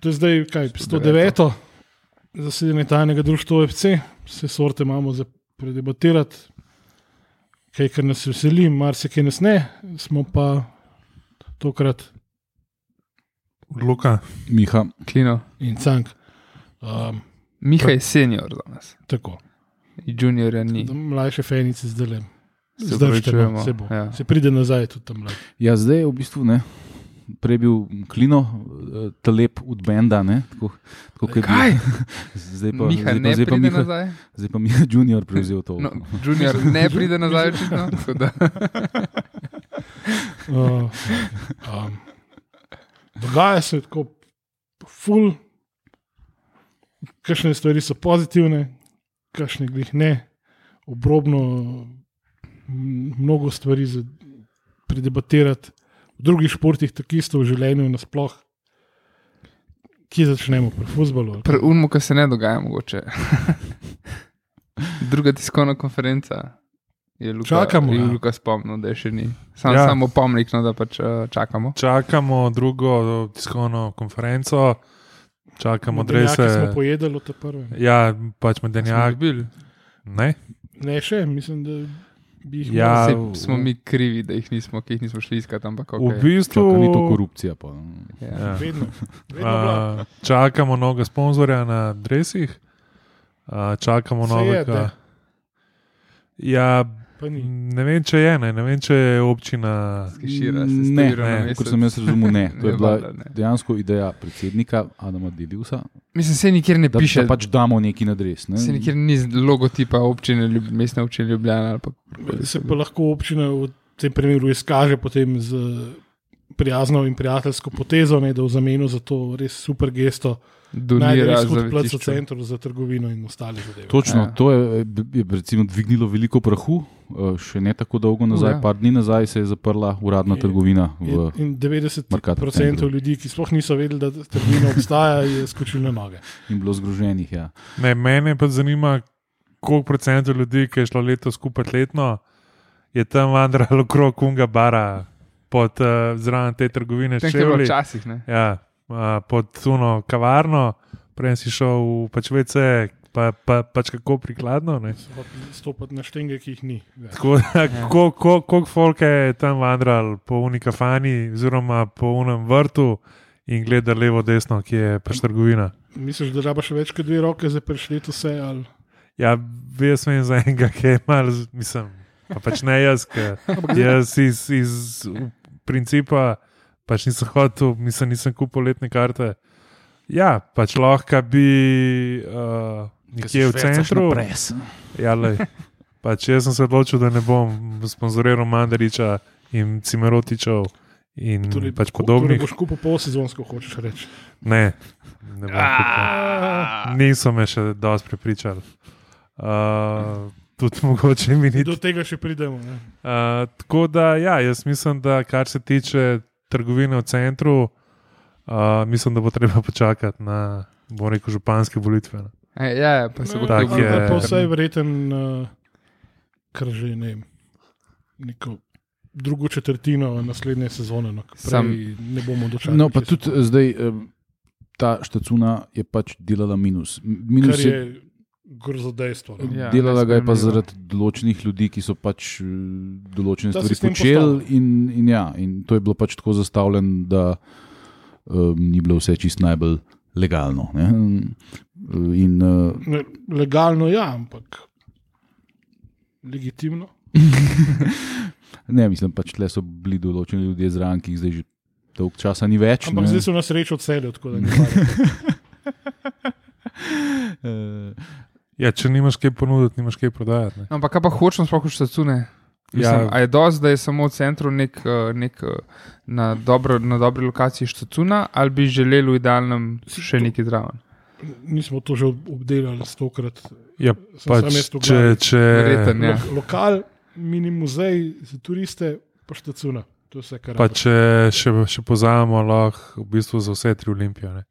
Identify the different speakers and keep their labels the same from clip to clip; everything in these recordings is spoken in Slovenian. Speaker 1: To je zdaj kaj, 109. zasedanje tajnega društva OFC, vse sorte imamo za predebatirati, kaj kar nas veseli, marsikaj nas ne, smo pa tokrat
Speaker 2: Luka,
Speaker 3: Miha,
Speaker 4: Klino.
Speaker 1: in cank. Um,
Speaker 4: Miha je senior danes,
Speaker 1: tako,
Speaker 4: junior je ni.
Speaker 1: da mlajše fenice zdaj le.
Speaker 4: Se
Speaker 1: Zdaj
Speaker 4: opravičujemo,
Speaker 1: se bo.
Speaker 4: ja.
Speaker 1: Ja. Se pride nazaj tudi tam mlad.
Speaker 3: ja, zdaj je v bistvu ne. Prej je bil klino, eh, telep od Benda. Ne, tako, tako, kot je bil.
Speaker 4: Kaj?
Speaker 3: Zdaj pa,
Speaker 4: Miha
Speaker 3: zdaj pa,
Speaker 4: ne
Speaker 3: zdaj pa
Speaker 4: pride
Speaker 3: Miha,
Speaker 4: nazaj.
Speaker 3: zdaj pa Miha Junior prevzel to.
Speaker 4: No, junior ne pride nazaj, očitno. tako da.
Speaker 1: Uh, um, dogaja se tako, ful, kakšne stvari so pozitivne, kakšne glih ne, obrobno, m, mnogo stvari za predebatirati, v drugih športih, tako isto v življenju nasploh. Kje začnemo, pri futbalu?
Speaker 4: Pri unmu, ki se ne dogaja, mogoče. Druga tiskovna konferenca. Je Luka,
Speaker 1: Čakamo,
Speaker 4: Je
Speaker 1: ja.
Speaker 4: Luka spomnil, da je še ni. Sam,
Speaker 2: Ja.
Speaker 4: ja. Samo pomnik, no, da pač uh, čakamo.
Speaker 2: čakamo drugo tiskovno konferenco, čakamo
Speaker 1: Modrejaki smo
Speaker 2: drese.
Speaker 1: pojedali od te prve.
Speaker 2: Ja, pač
Speaker 4: Smo
Speaker 2: medenjak.
Speaker 4: dobili.
Speaker 2: Ne,
Speaker 1: Ne še, mislim, da bi jih
Speaker 2: Ja,
Speaker 1: morali-
Speaker 4: Saj
Speaker 2: v-
Speaker 4: Smo mi krivi, da jih nismo, ki jih nismo šli iskati, ampak kako.
Speaker 2: v
Speaker 4: Okay.
Speaker 2: bistvu.
Speaker 3: Čaka, ni to korupcija. Pa.
Speaker 4: Ja.
Speaker 2: Ja.
Speaker 1: vedno. vedno bila.
Speaker 2: A, čakamo novega sponzorja na dresih, a, čakamo
Speaker 1: Se je,
Speaker 2: novega.
Speaker 1: da.
Speaker 2: Ja,
Speaker 1: Pa ni.
Speaker 2: ne vem, če je, ne, ne vem, če je občina.
Speaker 4: Skešira se.
Speaker 3: Ne,
Speaker 4: stevira na
Speaker 2: ne,
Speaker 4: mesec.
Speaker 3: Kot sem jaz razumel, ne. To je
Speaker 4: Ne,
Speaker 3: bila
Speaker 4: valjda ne.
Speaker 3: dejansko ideja predsednika Adama Deliusa,
Speaker 4: Mislim, se nikjer ne
Speaker 3: da,
Speaker 4: piše.
Speaker 3: da pač damo neki na dres. Ne.
Speaker 4: Se nikjer ni z- logotipa občine, Ljub- mestne občine Ljubljana. ali Pa,
Speaker 1: Se pa lahko občina v tem primeru izkaže potem z prijazno in prijateljsko potezo, ne, da v zameno za to res super gesto najde
Speaker 4: donira
Speaker 1: res
Speaker 4: za
Speaker 1: kot plačo
Speaker 4: vse.
Speaker 1: centru za trgovino in ostale zadeve.
Speaker 3: Točno,
Speaker 4: Ja.
Speaker 3: ja. to je, eh, b- je recimo, dvignilo veliko prahu. eh, Še ne tako dolgo nazaj,
Speaker 4: ja.
Speaker 3: ja. par dni nazaj, se je zaprla uradna
Speaker 1: Je-
Speaker 3: trgovina. V,
Speaker 1: In in 90%
Speaker 3: Mercator
Speaker 1: procentov
Speaker 3: centru.
Speaker 1: ljudi, ki sploh niso vedeli, da trgovina obstaja, je skočilo na noge.
Speaker 3: in bilo zgroženih. Ja.
Speaker 2: Ne, mene pa zanima, koliko procentov ljudi, ki je šlo leto skupaj letno, je tam vandralo okrog Kunga bara, pod, uh, zraven te trgovine
Speaker 4: Tem, kar je bilo
Speaker 2: Chevrolet.
Speaker 4: včasih. ne.
Speaker 2: Ja, a, pod tuno kavarno, prej si šel v pač vece, pa, pa, pač kako prikladno. Ne?
Speaker 1: So pa Stopati na štenge, ki jih ni. več.
Speaker 2: Tako da, ko- ko- koliko folke je tam vandral po unikafani, oziroma po unem vrtu in gleda levo, desno, ki je pač trgovina.
Speaker 1: Misliš, da rabaš več kot dve roke za prešleto vse? Ali...
Speaker 2: Ja, jaz vem za enega, ki je mal, z- mislim, pa pač ne jaz, ker jaz iz, iz principa pač nisem hotel, mislim, nisem kupil letne karte. Ja, pač lahko bi uh, nekje v centru. Ja, lej. pač jaz sem se odločil, da ne bom sponzoriral Mandariča in Cimerotičev in torej, pač
Speaker 1: Torej
Speaker 2: podobnih.
Speaker 1: boš kupil pol sezonsko, hočeš reči.
Speaker 2: Ne, ne bom kupil. Niso me še dosti prepričali. Uh, tudi mogoče mi ni
Speaker 1: Do tega še pridemo. Ne?
Speaker 2: Uh, tako da, ja, jaz mislim, da kar se tiče trgovine v centru, uh, mislim, da bo treba počakati na, bom rekel, županske volitve. ne.
Speaker 4: E, Ja, ja, pa se bo
Speaker 2: Tako
Speaker 4: to
Speaker 2: je.
Speaker 1: je. Pa vsaj verjeten, eh, kar že ne vem, neko drugo četrtino naslednje sezone, no, ke
Speaker 4: Sam-
Speaker 1: prej ne bomo dočakali.
Speaker 3: No, pa
Speaker 1: kje so
Speaker 3: tudi
Speaker 1: to.
Speaker 3: eh, zdaj eh, ta štacuna je pač delala minus. M-
Speaker 1: kar
Speaker 3: Minus
Speaker 1: je
Speaker 3: je.
Speaker 1: grzo dejstvo. No.
Speaker 4: Ja,
Speaker 3: Delala ga je pa
Speaker 4: nesprejemljivo.
Speaker 3: zaradi določenih ljudi, ki so pač eh, določene
Speaker 1: Ta
Speaker 3: stvari
Speaker 1: sistem
Speaker 3: počeli,
Speaker 1: postavlja.
Speaker 3: in, in, ja, in to je bilo pač tako zastavljeno, da um, ni bilo vse čist najbolj legalno. Ne? Eh, In uh,
Speaker 1: Ne, Legalno ja, ampak legitimno.
Speaker 3: Ne, mislim, pač tle so bili določeni ljudje zraven, ki jih zdaj že dolgo časa ni več.
Speaker 1: Ampak
Speaker 3: ne.
Speaker 1: zdaj so nas reči odselili, tako da ne vem.
Speaker 3: Eh,
Speaker 2: Ja, če nimaš kaj ponuditi, nimaš kaj prodajati. Ne.
Speaker 4: No, Ampak kaj pa hočemo, sploh še cune?
Speaker 2: Ja.
Speaker 4: Ja. A je dosti, da je samo v centru nek, eh, nek eh, na, dobro, na dobri lokaciji štacuna, ali bi želeli v idealnem še nekaj zraven?
Speaker 1: Nismo to že ob- obdelali stokrat.
Speaker 2: Ja,
Speaker 1: Sem sam
Speaker 2: pač,
Speaker 1: jaz to
Speaker 2: če,
Speaker 1: glavni.
Speaker 2: če,
Speaker 4: Verjetno ne. Ja.
Speaker 1: Lo- Lokal, mini muzej za turiste, pa štacuna. To je vse, kar
Speaker 2: pa
Speaker 1: rabiš.
Speaker 2: če še, še pozajamo, lahko v bistvu za vse tri olimpije. Ne.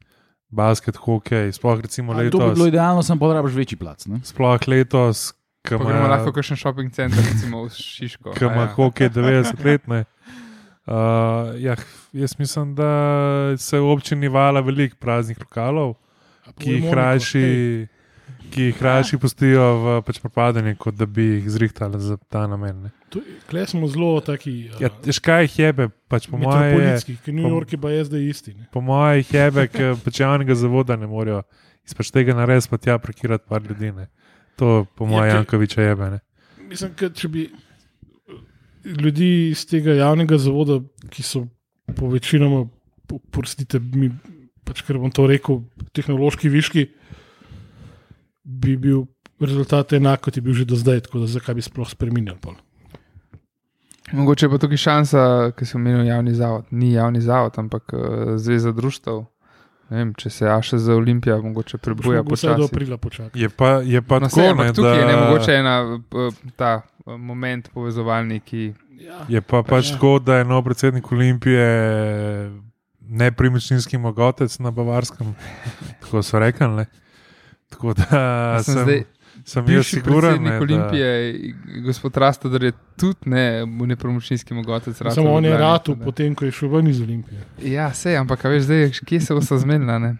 Speaker 2: Basket, hokej, sploh recimo
Speaker 3: To bi
Speaker 2: letos.
Speaker 3: bilo idealno, sem pa rabiš večji plac. Ne?
Speaker 2: Sploh letos, ki
Speaker 4: Pa gremo
Speaker 2: ima
Speaker 4: lahko v kakšen šoping center, recimo v Šiško.
Speaker 2: ki ima
Speaker 4: A ja.
Speaker 2: hokej 90 let, ne. Uh, ja, jaz mislim, da se v občini vala veliko praznih lokalov, ki jih rajši, ki
Speaker 4: Ja.
Speaker 2: jih rajši pustijo v pač propadanje, kot da bi jih zrihtali za ta namen. Ne.
Speaker 1: Klej smo zelo taki.
Speaker 2: Ja, škaj jih jebe, pač po mojem.
Speaker 1: Metropolitski, ki New York je pa je zdaj isti. Ne.
Speaker 2: Po mojih jebe, ker pač javnega zavoda ne morejo izpač tega narediti, pa tja parkirati par ljudi. Ne. To
Speaker 4: Ja,
Speaker 2: po mojem
Speaker 1: ker- Jankovića
Speaker 2: Jankoviča jebe. Ne.
Speaker 1: Mislim, da če bi eh, ljudi iz tega javnega zavoda, ki so po večinoma, po- oprostite, mi, pač, ker bom to rekel, tehnološki viški, bi bil rezultat enak, kot je bil že do zdaj, tako da zakaj bi sploh spremenili. pol?
Speaker 4: Mogoče je pa tukaj šansa, ki si omenil javni zavod. Ni javni zavod, ampak eh, zveza društev. Ne Vem, če se Aša za Olimpijo
Speaker 1: Boš
Speaker 4: mogoče
Speaker 2: ja,
Speaker 4: prebuja
Speaker 1: mogel Vsaj do
Speaker 4: počasi.
Speaker 1: aprila počakati.
Speaker 2: Je pa, je pa
Speaker 4: No,
Speaker 2: tako,
Speaker 4: sej,
Speaker 2: ne,
Speaker 4: ampak tukaj je ne
Speaker 2: da-
Speaker 4: mogoče ena, eh, ta eh, moment povezovalni, ki
Speaker 1: Ja.
Speaker 2: Je pa pač
Speaker 1: ja.
Speaker 2: tako, da je nov predsednik Olimpije nepremičninski mogotec na Bavarskem. Tako so rekli. ne. Tako da
Speaker 4: Jaz Ja, sem
Speaker 2: sem, sem,
Speaker 4: zdaj
Speaker 2: sem jaz
Speaker 4: Bivši
Speaker 2: siguren.
Speaker 4: predsednik
Speaker 2: Ne,
Speaker 4: Olimpije,
Speaker 2: da,
Speaker 4: gospod Rastador, je tudi ne, mu nepremočninski mogotec. ratal
Speaker 1: Samo
Speaker 4: v
Speaker 1: on je
Speaker 4: Ljubljani,
Speaker 1: ratu,
Speaker 4: tako da-
Speaker 1: potem ko je šel ven iz Olimpije.
Speaker 4: Ja, sej, ampak a veš, zdaj, kje se bosta zmenila. ne?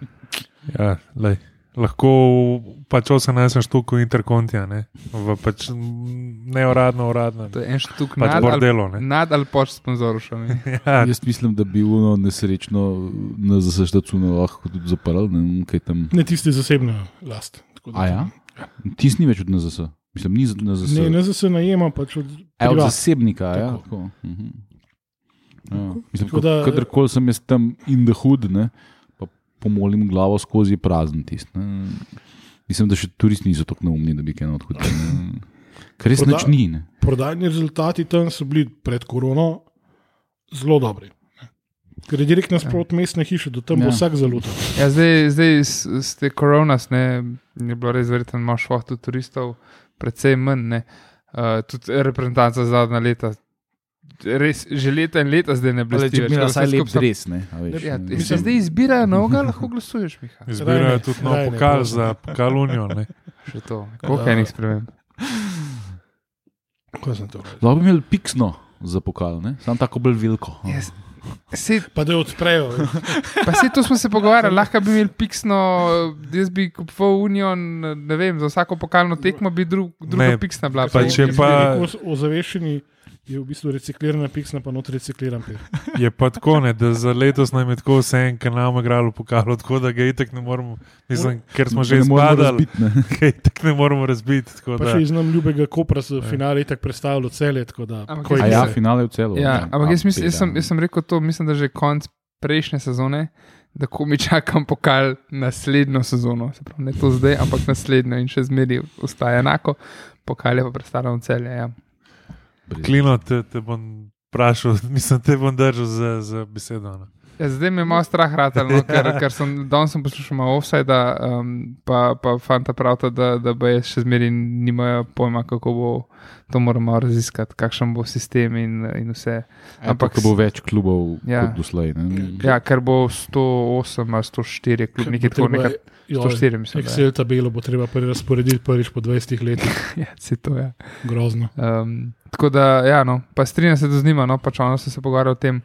Speaker 2: ja, lej, lahko v- pač 18 štuk v interkontija, ne, v pač neuradno, uradno.
Speaker 4: To je en štuk
Speaker 2: Pač
Speaker 4: nad, ali,
Speaker 2: bordelo. ne.
Speaker 4: nad ali pač sponzoršami.
Speaker 2: Ja,
Speaker 3: Jaz mislim, da bi bilo nesrečno na zaseštacuno lahko tudi zaprl, ne vem, kaj tam.
Speaker 1: Ne tiste zasebne last. Tako da-
Speaker 3: A ja? Tis ni več od NZS. Mislim, ni na ZS.
Speaker 1: Ne, ne za se najema, pač od
Speaker 3: E, od
Speaker 1: privat.
Speaker 3: zasebnika, ja.
Speaker 1: Tako.
Speaker 3: Tako. Mhm. ja. Mislim,
Speaker 1: Tako da-
Speaker 3: da... Kadarkoli sem jaz tam in the hood, ne, pa pomolim glavo skozi je prazen tist. Ne. Mislim, da še turisti niso tako neumni, da bi kaj odhodili. ne. Ker res
Speaker 1: Proda-
Speaker 3: nič ni. Ne.
Speaker 1: prodajni rezultati tam so bili pred korono zelo dobri. ne. Ker je direkt nasprot mestne hiše, da tam bo
Speaker 3: Ja.
Speaker 1: vsak zelo tam.
Speaker 4: Ja, zdaj, zdaj s- s te koronas, ne, je bilo res verjetno malo šlo tudi turistov, predvsem manj. Ne. Uh, tudi reprezentanca zadnja leta. Res, že leta in leta zdaj ne blesti. več, tako da vse skupaj sam-
Speaker 3: dres, ne. a Veš,
Speaker 4: Ja,
Speaker 3: ne.
Speaker 4: ti se zdaj izbira novega, lahko glasuješ, Miha.
Speaker 1: Rajne,
Speaker 2: Izbirajo tudi nov
Speaker 1: rajne,
Speaker 2: pokal
Speaker 1: prosim.
Speaker 2: za pokal Unijo. ne.
Speaker 4: Še to. Koliko
Speaker 2: Ja.
Speaker 4: enih sprememb?
Speaker 1: Kaj sem to rekel?
Speaker 3: Lahko bi imeli piksno za pokal, ne? samo tako bolj veliko.
Speaker 2: Oh.
Speaker 3: a.
Speaker 4: Yes. Se,
Speaker 1: Pa da jo odprejo.
Speaker 4: pa se to smo se pogovarjali, lahko bi imeli piksno, jaz bi kupoval Union, ne vem, za vsako pokalno tekmo bi drug, druga ne,
Speaker 2: Ne,
Speaker 4: piksna bila.
Speaker 2: pa če
Speaker 1: Ker
Speaker 2: pa-
Speaker 1: je rekel, Ozaveščeni je v bistvu reciklirana piksna, pa not recikliran pir.
Speaker 2: Je pa tako, ne, da za letos nam je tako vse en, ker nam je igralo pokalo, tako da ga itek ne moremo, mislim, ker smo že
Speaker 3: Ne moremo
Speaker 2: izpadali,
Speaker 3: razbiti, ne.
Speaker 2: ga itek ne moremo razbiti. tako
Speaker 1: Pa
Speaker 2: da-
Speaker 1: še iz nam ljubega kopra so finale tako predstavljalo celje, tako da
Speaker 4: Ampak
Speaker 1: ko
Speaker 4: jaz
Speaker 3: A
Speaker 1: je
Speaker 3: ja,
Speaker 1: bil-
Speaker 3: finale v celo.
Speaker 4: Ja,
Speaker 3: ne.
Speaker 4: ampak jaz,
Speaker 3: A,
Speaker 4: mislim, jaz, sem,
Speaker 3: pera.
Speaker 4: jaz sem rekel to, mislim, da že konc prejšnje sezone, da ko mi čakam pokal naslednjo sezono, se pravi, ne to zdaj, ampak naslednjo in še zmeri ostaja enako, pokal je pa predstavljen celje. Ja.
Speaker 3: Brez-
Speaker 2: Klino, te, te bom vprašal, mislim, te bom držal za, za besedo. no. Ne.
Speaker 4: Ja, zdaj me je malo strah, ratal, no, ker, ker sem danes sem poslušal malo offsajda, um, pa, pa fanta pravita, da, da boje še zmeri nimajo pojma, kako bo to moramo raziskati, kakšen bo sistem in, in vse.
Speaker 3: Ampak ko bo več klubov
Speaker 4: Ja.
Speaker 3: ja. kot doslej. Ne?
Speaker 4: Ja, ker bo 108 ali 104,
Speaker 1: Ker
Speaker 4: kljub nekaj
Speaker 1: bo
Speaker 4: tako,
Speaker 1: treba-
Speaker 4: nekaj
Speaker 1: joj,
Speaker 4: 104, mislim. da je.
Speaker 1: Excel tabelo bo treba prerasporediti prvič po 20 letih,
Speaker 4: Ja, se to je.
Speaker 1: grozno.
Speaker 4: Um, tako da, ja, no, pa strinjam se, da z njima, no, pač ono sem se pogovarjal o tem,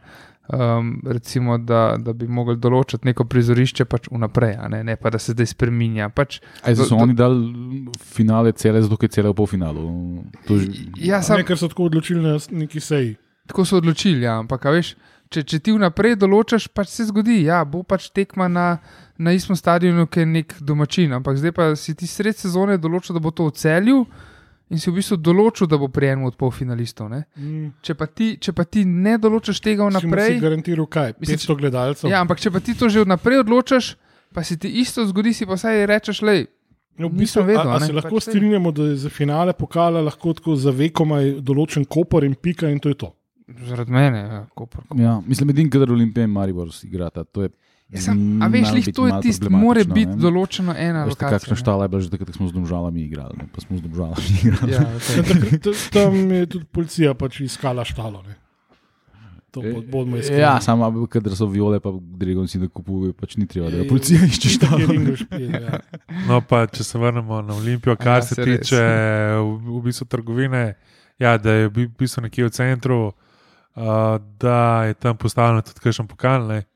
Speaker 4: um, recimo, da, da bi mogli določiti neko prizorišče pač vnaprej, a ne, ne pa da se zdaj spreminja. Pač,
Speaker 3: Aj, zdaj so
Speaker 4: Do- do-
Speaker 3: oni dali finale cele, zato ker je cele v polfinalu. To že-
Speaker 4: ja,
Speaker 1: Sam,
Speaker 4: sam,
Speaker 1: ne, ker so tako odločili na neki seji.
Speaker 4: tako so odločili, ja, ampak a veš. Če, če ti vnaprej določaš, pač se zgodi, ja, bo pač tekma na, na istem stadionu, ki je nek domačin, ampak zdaj pa si ti sred sezone določil, da bo to v celju in si v bistvu določil, da bo pri enem od polfinalistov. ne.
Speaker 1: Mm.
Speaker 4: Če pa ti, če pa ti ne določaš tega
Speaker 1: Naprej. Si
Speaker 4: vnaprej,
Speaker 1: garantiral kaj?
Speaker 4: Mislim,
Speaker 1: 500 gledalcev.
Speaker 4: Ja, ampak če pa ti to že vnaprej odločaš, pa si ti isto zgodi, si pa vsaj rečeš, le.
Speaker 1: No, v
Speaker 4: Nisem
Speaker 1: bistvu,
Speaker 4: vedel,
Speaker 1: vedel, a, a
Speaker 4: ne.
Speaker 1: se lahko
Speaker 4: Pač
Speaker 1: pač
Speaker 4: saj.
Speaker 1: strinjamo, da je za finale pokala lahko tako za vekomaj določen kopor in pika in to je to.
Speaker 4: Zaradi mene, ja, kopr.
Speaker 3: Ja, mislim, edin, kadar Olimpije in Maribor igrata. To je,
Speaker 4: Ja, sam, a veš,
Speaker 3: malo
Speaker 4: lih
Speaker 3: biti
Speaker 4: to je
Speaker 3: malo
Speaker 4: tisto,
Speaker 3: problematično,
Speaker 4: mora biti
Speaker 3: ne.
Speaker 4: določeno ena
Speaker 3: Veste, kakšna
Speaker 4: lokacija.
Speaker 3: štala je bila že takrat, ko smo z domžalami igrali. Ne? Pa smo z domžalami igrali.
Speaker 4: Ja,
Speaker 1: Ja,
Speaker 4: okay.
Speaker 1: takrat- t- Tam je tudi policija pač iskala štalo. Ne. To bo- bomo iskali.
Speaker 3: Ja, samo a, kadar so viole, pa dregonci, da kupujejo, pač ni treba, da
Speaker 1: Ja,
Speaker 3: jo policija išče
Speaker 1: Štalo.
Speaker 3: štalo.
Speaker 1: Ja.
Speaker 2: No, pa če se vrnemo na Olimpijo,
Speaker 4: Ja,
Speaker 2: kar ja, se,
Speaker 4: saj
Speaker 2: se
Speaker 4: res.
Speaker 2: tiče v, v bistvu trgovine, ja, da je v bistvu nekje v centru. Uh, uh, da je tam postavljen tudi kakšen pokal, ne,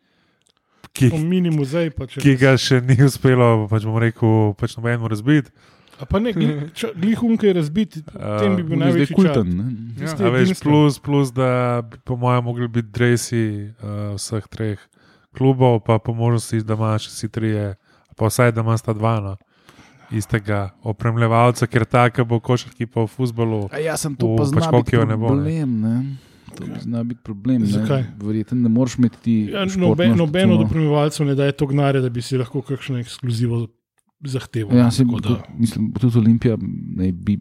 Speaker 2: ki,
Speaker 1: Po mini muzej. Pa, če-
Speaker 2: ki ga še ni uspelo, pač bom rekel, pač nobenemu razbiti.
Speaker 1: A pa ne, glihunke je um razbit, tem bi
Speaker 2: Uh,
Speaker 1: bil
Speaker 3: On je Zdaj
Speaker 1: največji
Speaker 3: je
Speaker 1: kulten.
Speaker 3: kulten. ne.
Speaker 4: Ja.
Speaker 2: A veš,
Speaker 1: edinstven.
Speaker 2: plus, plus, da bi po mojem mogli biti dresi uh, vseh treh klubov, pa po možnosti, da imaš vsi trije, pa vsaj da imaš ta dva no, istega opremljevalca, ker taka bo košarki pa v futbolu.
Speaker 3: A ja, sem
Speaker 2: V
Speaker 3: to pa zna
Speaker 2: pač
Speaker 3: biti
Speaker 2: hokeju ne bo, ne.
Speaker 3: problem. Ne. To bi zna biti problem.
Speaker 1: Zakaj?
Speaker 3: Ne. Verjetno ne moreš imeti ti.
Speaker 1: Ja,
Speaker 3: športno
Speaker 1: noben, noben od
Speaker 3: športno-
Speaker 1: opremljevalcev ne daje to gnare, da bi si lahko kakšno ekskluzivo zahteval.
Speaker 3: Ja, se,
Speaker 1: Tako da-
Speaker 3: da... Mislim, tudi Olimpija naj bi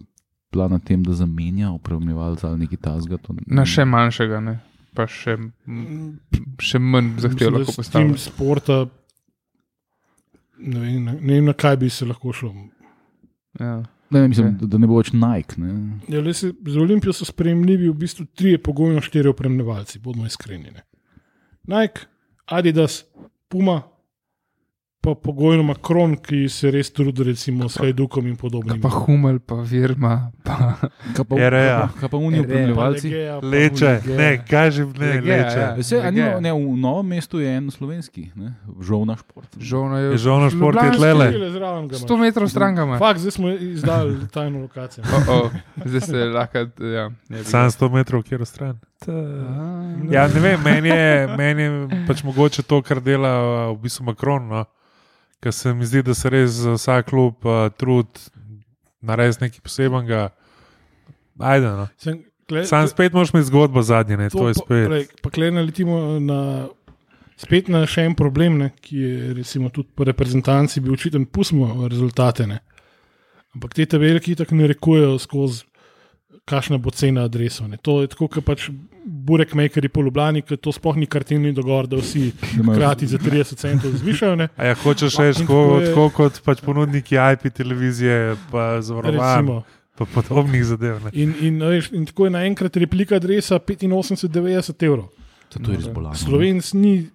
Speaker 3: bila na tem, da zamenja opremljevalca ali nekaj tasga.
Speaker 4: Na še manjšega, ne? pa še,
Speaker 1: Mm,
Speaker 4: še
Speaker 1: mislim,
Speaker 4: manj
Speaker 1: da
Speaker 4: zahtev lahko
Speaker 1: s
Speaker 4: postavim.
Speaker 1: tem sporta. Ne vem, na- ne vem, na kaj bi se lahko šlo.
Speaker 4: Ja.
Speaker 3: Ne, mislim,
Speaker 4: Ja.
Speaker 3: da, da ne bo več Nike. Ne.
Speaker 1: Ja, le se, za Olimpijo so sprejemljivi v bistvu trije, pogojno štiri opremljevalci, bodimo iskreni. Ne. Nike, Adidas, Puma, pa pogojno Macron, ki se res trudi, recimo s Hajdukom in
Speaker 4: Kaj
Speaker 1: podobnim.
Speaker 4: Pa Humel, pa Virma, pa
Speaker 3: Kaj pa,
Speaker 4: ja.
Speaker 2: REA.
Speaker 3: kaj pa- kaj pa unijo
Speaker 4: REA.
Speaker 3: opremljevalci?
Speaker 1: Legeja, pa-
Speaker 2: Leče,
Speaker 3: Legea.
Speaker 2: ne, kažem, ne,
Speaker 4: Legea,
Speaker 2: leče.
Speaker 4: ja.
Speaker 3: Vse, a ni, no-
Speaker 4: Legea.
Speaker 3: ne, v novem mestu je en slovenski, ne, žal naš šport.
Speaker 4: Žona je.
Speaker 2: Je Žovno šport je
Speaker 4: Ljubljanski
Speaker 2: tlele.
Speaker 1: Tule zraven ga imaš.
Speaker 4: 100 metrov stran ga ima.
Speaker 1: Fak, zdaj smo izdali tajno lokacijo.
Speaker 4: Oh, oh. Zdaj se lahko. Ja, ne bi.
Speaker 2: Sam 100 metrov, kjer stran.
Speaker 4: Ah.
Speaker 2: Ja, ne vem, meni je, meni je pač mogoče to, kar dela uh, v bistvu Macron. No? Ker se mi zdi, da se res za vsak klub uh, trud naredi nekaj posebnega. Ajde, no.
Speaker 1: Sem, gled,
Speaker 2: Sam spet moraš imeti zgodbo zadnje, ne? to je spet.
Speaker 1: Pa klej naletimo eh, na, spet na še en problem, ne, ki je recimo tudi po reprezentanci bil očiten, pustimo rezultate. Ne. Ampak te tabelke tako ne rekujejo skozi, kakšna bo cena adresov. Ne. To je tako, kot pač burek makeri po Ljubljani, ker to sploh ni kartelni dogovor, da vsi
Speaker 3: Da imajo-
Speaker 1: hkrati za 30 centov zvišajo. Ne.
Speaker 2: A ja, hočeš reči,
Speaker 1: In tako
Speaker 2: tako,
Speaker 1: je-
Speaker 2: tako kot pač ponudniki IP televizije, pa zavarovanj,
Speaker 1: Recimo.
Speaker 2: pa podobnih zadev. Ne?
Speaker 1: In, in, a veš, in tako je naenkrat replika adresa 85-90 evrov.
Speaker 3: To, to je res bolano.
Speaker 1: Slovenc ni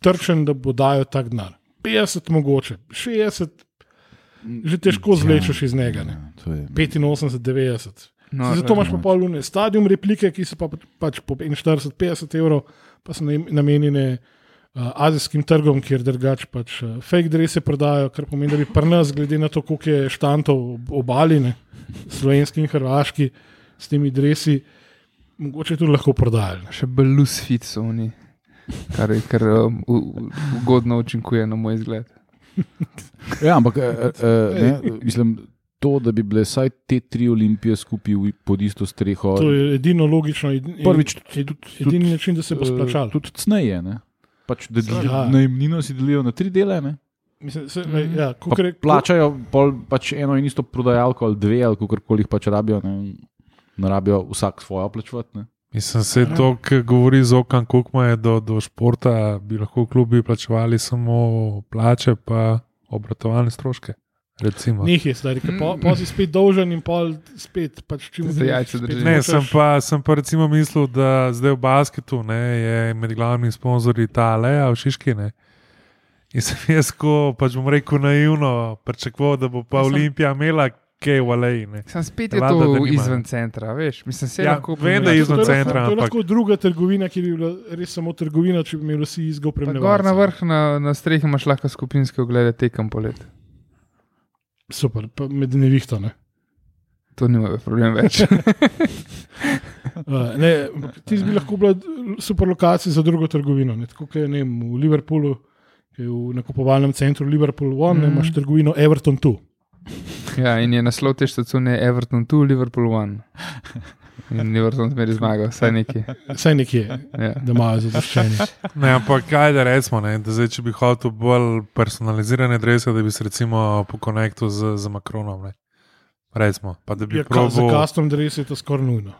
Speaker 1: trčen, da bo dajal tak denar. 50 mogoče, 60, že težko zlečeš iz njega. Ne?
Speaker 3: Ja, to je.
Speaker 1: 85, 90.
Speaker 4: No,
Speaker 1: No, Zato
Speaker 4: ne.
Speaker 1: imaš pa pol lune stadion replike, ki so pa pač po 40, 50 evrov, pa so nam- namenjene uh, azijskim trgom, kjer drugač pač uh, fake drese prodajajo, kar pomeni, da bi pri nas, glede na to, koliko je štantov obaline, slovenski in hrvaški, s temi dresi, mogoče tudi lahko prodajali. ne.
Speaker 4: še bolj lusfit so oni, kar, je- kar um, u- u- ugodno učinkuje na moj izgled.
Speaker 3: Ja, ampak eh, eh, eh, ne, mislim, to, da bi bile vsaj te tri olimpije skupaj v- pod isto streho.
Speaker 1: To je edino logično. Ed,
Speaker 3: Prvič,
Speaker 1: ed, edini način, da se bo splačalo.
Speaker 3: eh, Tudi cneje. ne. Pač, da delijo,
Speaker 1: Ja.
Speaker 3: ja. Najemnino si delijo na tri dele. Ne?
Speaker 1: Mislim, se,
Speaker 4: Mhm.
Speaker 1: ja,
Speaker 3: Pa
Speaker 1: kakor je-
Speaker 3: Plačajo pol, pač eno in isto prodajalko ali dve, ali kako jih pač rabijo. Ne, ne rabijo vsak svojo plačevati. ne.
Speaker 2: Mislim, se to, kar govori z okan, koliko ima do, do športa, bi lahko klubi plačevali samo plače, pa obratovalne stroške. Recimo.
Speaker 1: Njih je stari, ker po, po si spet dolžen in pol spet, pač čim
Speaker 4: Za jajca
Speaker 1: spet
Speaker 4: drži.
Speaker 2: Ne,
Speaker 1: hočeš.
Speaker 2: sem pa, sem pa recimo mislil, da zdaj v basketu ne, je med glavnimi sponzorji ta Leja v Šiški. Ne. In sem jaz, ko pač bom rekel naivno, pričakoval, da bo pa
Speaker 4: Ja, sem-
Speaker 2: Olimpija imela kaj v Leji. Ne.
Speaker 4: Sam spet je
Speaker 2: Valjda, da
Speaker 4: to
Speaker 2: nimajo.
Speaker 4: izven centra, veš. Mislim, se
Speaker 2: Ja,
Speaker 4: lahko
Speaker 2: vem, da
Speaker 1: To
Speaker 2: je
Speaker 1: je
Speaker 2: izven
Speaker 1: lahko-
Speaker 2: centra,
Speaker 1: To je
Speaker 2: ampak-
Speaker 1: lahko druga trgovina, ki bi bila res samo trgovina, če bi imeli vsi izgo
Speaker 4: Pa
Speaker 1: premjera.
Speaker 4: Gor na vrh, na, na strehi imaš lahko skupinske oglede tekem polet.
Speaker 1: Super, pa med nevihto. Ne.
Speaker 4: To ni moj problem več.
Speaker 1: Uh, ne, ampak ti bi lahko bila super lokacija za drugo trgovino. Ne. Tako kot je ne, vem, v Liverpoolu, ki je v nakupovalnem centru Liverpool One, mm.
Speaker 4: Mhm.
Speaker 1: imaš trgovino Everton 2.
Speaker 4: Ja, in je naslov te štacune Everton 2, Liverpool 1. In Liverpool zmeri zmagal, vsaj neki.
Speaker 1: Saj nekje,
Speaker 4: Ja.
Speaker 1: da imajo zadoščenje.
Speaker 2: Ne, ampak kaj da rečemo, ne, da zdaj, če bi hotel bolj personalizirane drese, da bi se recimo pokonektil z, z Makronom. Ne. Recimo, pa da bi
Speaker 1: Ja,
Speaker 2: ja,
Speaker 1: ka, za
Speaker 2: probo,
Speaker 1: custom dress je to skoraj nujno.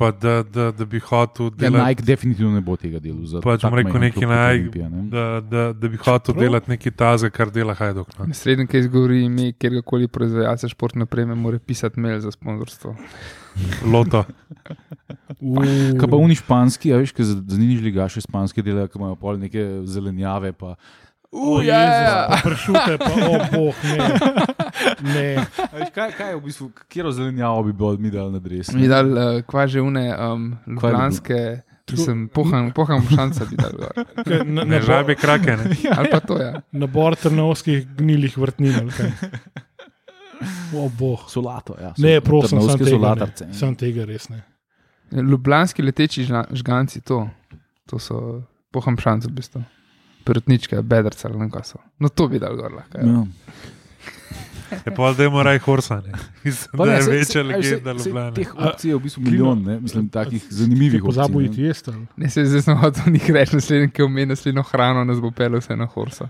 Speaker 2: pa da, da, da bi hotel
Speaker 3: Ja,
Speaker 2: delati.
Speaker 3: Nike definitivno ne bo tega delu. za
Speaker 2: Pač bom
Speaker 3: tak
Speaker 2: rekel,
Speaker 3: majhen
Speaker 2: neki
Speaker 3: klub kot
Speaker 2: Nike,
Speaker 3: Olimpija, ne.
Speaker 2: Da, da, da bi hotel
Speaker 1: Čeprav-
Speaker 2: delati nekaj taze, kar dela Hajduk. No.
Speaker 4: Sreden, ki izgovori ime kjerkoli proizvajalca športne opreme, mora pisati mail za sponzorstvo.
Speaker 2: Loto.
Speaker 3: Kaj
Speaker 1: Mm.
Speaker 3: pa oni španski, a veš, ki zanižli gaše španske dele, ki imajo pol neke zelenjave. Pa,
Speaker 1: Uj, ja, pršute, pa o boh, ne. ne.
Speaker 3: a veš, kaj, kaj je v bistvu, katero zelenjavo bi bilo mi dal na dreves?
Speaker 4: Mi dal uh, eh, kvaže une um,
Speaker 3: Kaj je bilo?
Speaker 4: ljubljanske Mislim, poham, poham šansa bi dal. gor.
Speaker 1: Kaj, Na,
Speaker 2: Ne
Speaker 1: nabor-
Speaker 2: žabe krake, ne.
Speaker 4: Ali pa to, ja.
Speaker 1: Nabor trnovskih gnilih vrtnin. ali kaj? O bog.
Speaker 3: Solato, ja.
Speaker 1: Ne, prosim, sem tega,
Speaker 3: solatarce.
Speaker 1: ne. sam tega res ne.
Speaker 4: Ljubljanski leteči žla- žganci, to, to so poham šanca v bistvu. Perutničke, bedrce, ali ne vem, kaj so. No, to bi dal gor lahko. Ja.
Speaker 3: Ja.
Speaker 2: Je pa da ima raj horsa, ne. Mislim,
Speaker 3: Pa
Speaker 2: da
Speaker 3: ne,
Speaker 2: je
Speaker 3: saj-
Speaker 2: večja
Speaker 3: saj- a saj-
Speaker 2: legenda
Speaker 3: saj
Speaker 2: Ljubljana.
Speaker 3: Teh opcij je v bistvu milijon, ne? mislim, takih zanimivih
Speaker 1: Pozabo
Speaker 3: opcij.
Speaker 1: iti
Speaker 3: ne.
Speaker 1: jesti. ali?
Speaker 4: Ne se zdaj znova to njih reči, naslednji, ki omeni naslednjo hrano, nas bo pelo vse na horsa.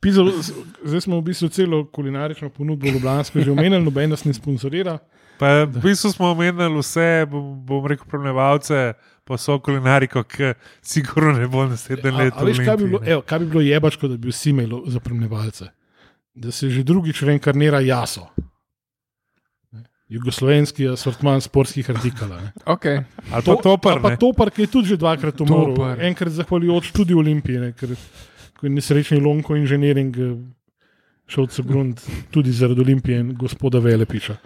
Speaker 1: Pizo, z- zdaj smo v bistvu celo kulinarično ponudbo Ljubljansko že omenili, noben nas ne sponsorira.
Speaker 2: Pa, v bistvu smo omenili vse, bom, bom rekel, problemevalce, pa so kulinariko, ki sigurno ne bo naslednje
Speaker 1: A,
Speaker 2: leto.
Speaker 1: a veš, kaj bi,
Speaker 2: Olimpiji,
Speaker 1: bilo,
Speaker 2: ne.
Speaker 1: evo, kaj bi bilo jebačko, da bi vsi imeli za premnevalce? Da se že drugič reinkarnira jaso. Ne? Jugoslovenski asortman sportskih artikelov. ne.
Speaker 4: Okay.
Speaker 2: Ali pa topar,
Speaker 1: ali pa
Speaker 2: ne.
Speaker 1: topar, ki je tudi že dvakrat umrl.
Speaker 4: Topar.
Speaker 1: Enkrat zahvaljujoč tudi Olimpiji, ne, ker ko je nesrečni Lonko inženiring eh, šel se grunt tudi zaradi Olimpije in gospoda Velepiča.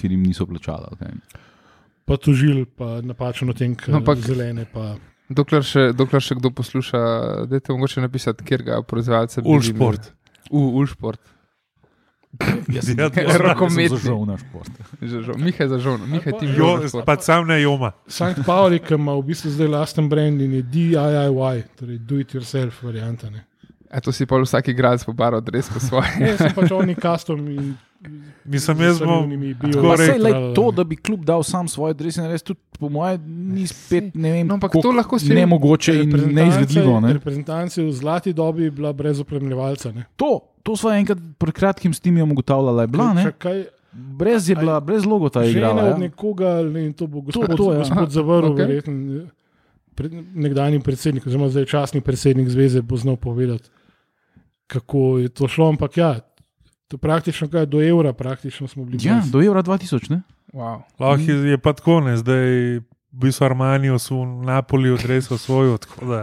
Speaker 3: Ker jim niso plačala. Okay.
Speaker 1: Pa tožil, pa napačen otenek
Speaker 4: No, ampak-
Speaker 1: Ampak... zelene. Pa...
Speaker 4: Dokler, še, dokler še kdo posluša, da te mogoče napisati, kjer ga proizvajalce bi imeli.
Speaker 2: Ulšport.
Speaker 4: U, Ulšport.
Speaker 3: Jaz
Speaker 2: Ja, to-
Speaker 4: Rokometni.
Speaker 3: zažal na šport.
Speaker 4: Zažo- Miha je zažon, Miha je ti
Speaker 2: Jo, pa sam ne joma.
Speaker 1: Sankt Pauli, ki ima v bistvu zdaj lasten brand in je DIY, torej do it yourself varianta. Ne.
Speaker 4: A to si pa vsak igralec po baru, res po svoje.
Speaker 1: Ne, so pač oni custom in
Speaker 2: Mislim, jaz bom.
Speaker 3: Pa
Speaker 2: Tako
Speaker 3: sej,
Speaker 2: rekel,
Speaker 3: lej, to, da bi kljub dal sam svoje drese, res tudi po mojem, ni spet ne vem.
Speaker 4: No, ampak to
Speaker 3: koliko
Speaker 4: lahko se-
Speaker 3: Nemogoče in neizvedljivo. Ne?
Speaker 1: Reprezentanci v zlati dobi je bila brez opremljevalca. Ne.
Speaker 3: To, to sva enkrat pred kratkim s tim ugotavljala, je bila, ne?
Speaker 1: Čakaj,
Speaker 3: brez je bila, brez logota je
Speaker 1: Žena
Speaker 3: igrala.
Speaker 1: od
Speaker 3: Ja?
Speaker 1: nekoga, ne, in to bo gospod,
Speaker 3: to, ja.
Speaker 1: gospod Zavrl,
Speaker 4: Okej.
Speaker 1: okay. verjetno. Pred, nekdani predsednik, oziroma zdaj časni predsednik zveze, bo znal povedati, kako je to šlo. Ampak ja, to praktično kaj do evra, praktično smo bili
Speaker 3: ja,
Speaker 1: brez.
Speaker 3: do evra 2000, ne?
Speaker 4: Wow.
Speaker 2: Lahko je je pa tako, ne, zdaj bi so Armani v Napolju res osvojil, tako da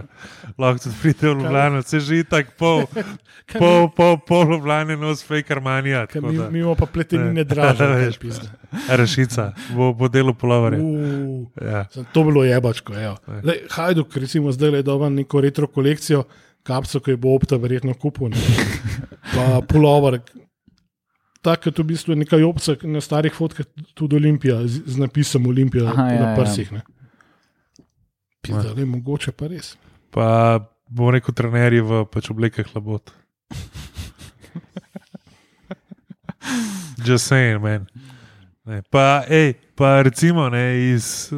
Speaker 2: lahko tudi pride v Ljubljano, se že tako pol, pol, pol, pol Ljubljane nos fake Armanija,
Speaker 1: Ker
Speaker 2: tako
Speaker 1: Mi,
Speaker 2: da
Speaker 1: mi imamo pa pletenine
Speaker 2: Ne.
Speaker 1: draže.
Speaker 2: Veš,
Speaker 1: kaj pizda.
Speaker 2: rešica, bo, bo delo polovarja.
Speaker 1: U,
Speaker 2: Ja.
Speaker 1: Sem, to bilo jebačko. evo.
Speaker 2: Ej.
Speaker 1: Glej, Hajduk, recimo, zdaj je dobil neko retro kolekcijo, kapso, ki jo bo opta verjetno kupil. ne. Pa pulover. Tako je to v bistvu neka opcija na starih fotkah, tudi Olimpija, z, z napisom Olimpija
Speaker 3: Aha,
Speaker 1: Aha,
Speaker 3: ja, ja.
Speaker 1: na prsih. ne.
Speaker 2: Ja.
Speaker 1: Pizda, le, mogoče pa res.
Speaker 2: Pa bom rekel, trenerji v pač oblekah labot. Just saying, man. Ne, pa, ej, pa recimo ne, iz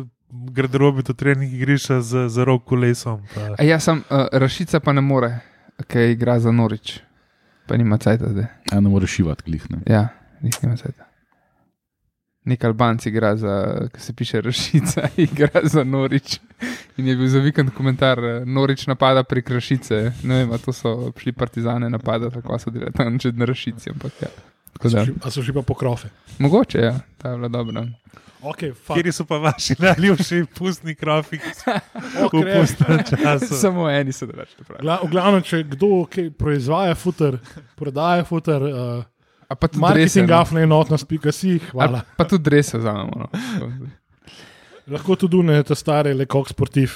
Speaker 2: garderobe do trening igrišča z, z rok kolesom. Pa.
Speaker 4: A ja, sam uh, Rašica pa ne more, ker igra za Norič. Pa nima cajta zdaj.
Speaker 3: Ja, ne moreš šivati, klihne.
Speaker 4: Ja, njih nima cajta. Nek Albanc igra za, ki se piše Rašica, igra za Norič. In je bil za vikend komentar, eh, Norič napada prek Rašice. Ne vem, a to so šli partizane napadati, tako so delali tam že na Rašici. Ampak, ja. Tako
Speaker 1: So
Speaker 4: da,
Speaker 1: že- A so že pa pokrofe.
Speaker 4: mogoče, ja, ta je bila dobra.
Speaker 1: Okay, fuck.
Speaker 2: Kjer so pa vaši najljubši pustni krofi, ki so
Speaker 1: Ok,
Speaker 2: v
Speaker 1: ne.
Speaker 2: pustnem času?
Speaker 4: Samo eni so da več napravili.
Speaker 1: Gla- V glavnem, če kdo kaj proizvaja futer, prodaja futer, uh,
Speaker 4: A pa tudi drese,
Speaker 1: marketing,
Speaker 4: no.
Speaker 1: gafne enotnost, pika si, hvala.
Speaker 4: Ali Pa tudi drese vzamemo. No.
Speaker 1: Lahko tudi ne te stare, le kok sportiv,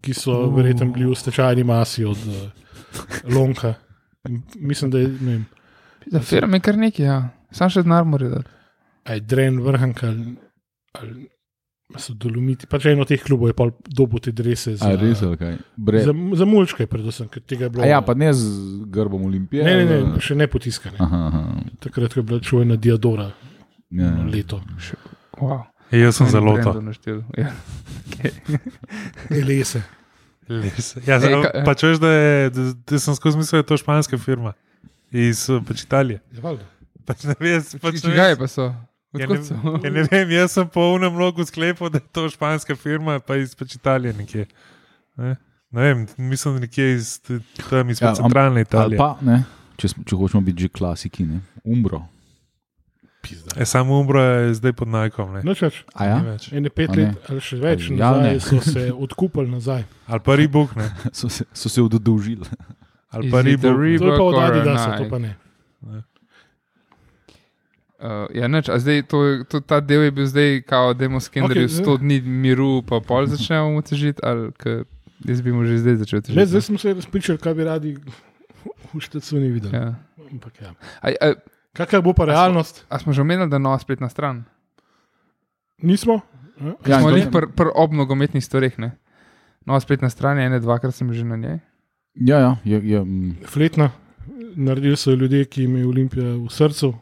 Speaker 1: ki so uh. verjetno bili v stečajni masi od uh, Lonka. In Mislim, da je ne vem,
Speaker 4: Za firme je kar nekaj, ja. sam še denar mora dati.
Speaker 1: a je Dren vrhanka ali, ali so dolomiti. Pač eno teh klubov je pa dobo te drese za,
Speaker 3: A res, ali kaj? Bre...
Speaker 1: za, za mulčke, predvsem, ker tega je bilo.
Speaker 3: A ja, pa Ja, ne z grbom olimpije.
Speaker 1: Ne, ne, ne,
Speaker 3: ali-
Speaker 1: še ne potiskane.
Speaker 3: Aha, aha.
Speaker 1: Takrat ko je bila čuvena Diadora
Speaker 3: Ja.
Speaker 1: no, leto.
Speaker 4: Wow.
Speaker 2: Jaz sem zelo to.
Speaker 4: Ja.
Speaker 1: Elese.
Speaker 2: Les. Ja,
Speaker 4: Ej, ka-
Speaker 2: pa če veš, da, je, da, da sem skozi mislil, da je to španska firma iz eh, pač Italije.
Speaker 1: Ja, valjda.
Speaker 2: Pač ne vem, pač ne
Speaker 4: Čigaj pa so?
Speaker 2: Ja
Speaker 4: Odkud so?
Speaker 2: ne, ja ne vem, jaz sem po unem logu sklepal, da je to španska firma, pa iz pač Italije nekje. Ne? Ne vem, mislim, da nekje iz, t- tam iz
Speaker 3: Ja,
Speaker 2: ja,
Speaker 3: am-
Speaker 2: centralne
Speaker 3: Ali
Speaker 2: Italije. Pa...
Speaker 3: pa, ne, če, smo- če hočemo biti že klasiki, ne? umbro.
Speaker 1: Pizda.
Speaker 2: E, samo Umbro je zdaj pod najkom. Ne?
Speaker 1: Noč več.
Speaker 3: A ja?
Speaker 2: Ni več.
Speaker 1: Ene pet
Speaker 3: A ne.
Speaker 1: let ali še več
Speaker 3: Ja, ne.
Speaker 1: nazaj so se odkupili nazaj.
Speaker 2: Ali pa ribuk, ne?
Speaker 3: So se, so se odolžili.
Speaker 2: Ali
Speaker 4: Is
Speaker 2: pa
Speaker 4: it a
Speaker 2: ribuk.
Speaker 4: rib-
Speaker 1: To je pa
Speaker 4: Reebok
Speaker 1: od
Speaker 4: or
Speaker 1: Adidasa, to
Speaker 4: Nike?
Speaker 1: pa ne.
Speaker 4: Uh, ja, neč, a zdaj to, to, ta del je bil zdaj, kao, da imamo skenderju
Speaker 1: Okej, zdaj-
Speaker 4: 100 dni miru, pa pol začnemo mu težiti, ali k, jaz bi mu že zdaj začel težiti.
Speaker 1: Le,
Speaker 4: ne?
Speaker 1: zdaj smo se razpričali, kaj bi radi v Štacuni videli.
Speaker 4: ja.
Speaker 1: Ampak Ja.
Speaker 4: a, a,
Speaker 1: Kakšna bo pa realnost?
Speaker 4: a smo že omenili, da je nova spletna stran?
Speaker 1: Nismo?
Speaker 3: Ja,
Speaker 4: Ja, smo
Speaker 3: in to-
Speaker 4: jih pr, pr ob nogometnih stvareh, ne? Nova spletna stran je ena, dvakrat sem že na njej.
Speaker 3: Ja, ja, je, je, mm,
Speaker 1: Fletna, naredili so jo ljudje, ki jim je Olimpija v srcu.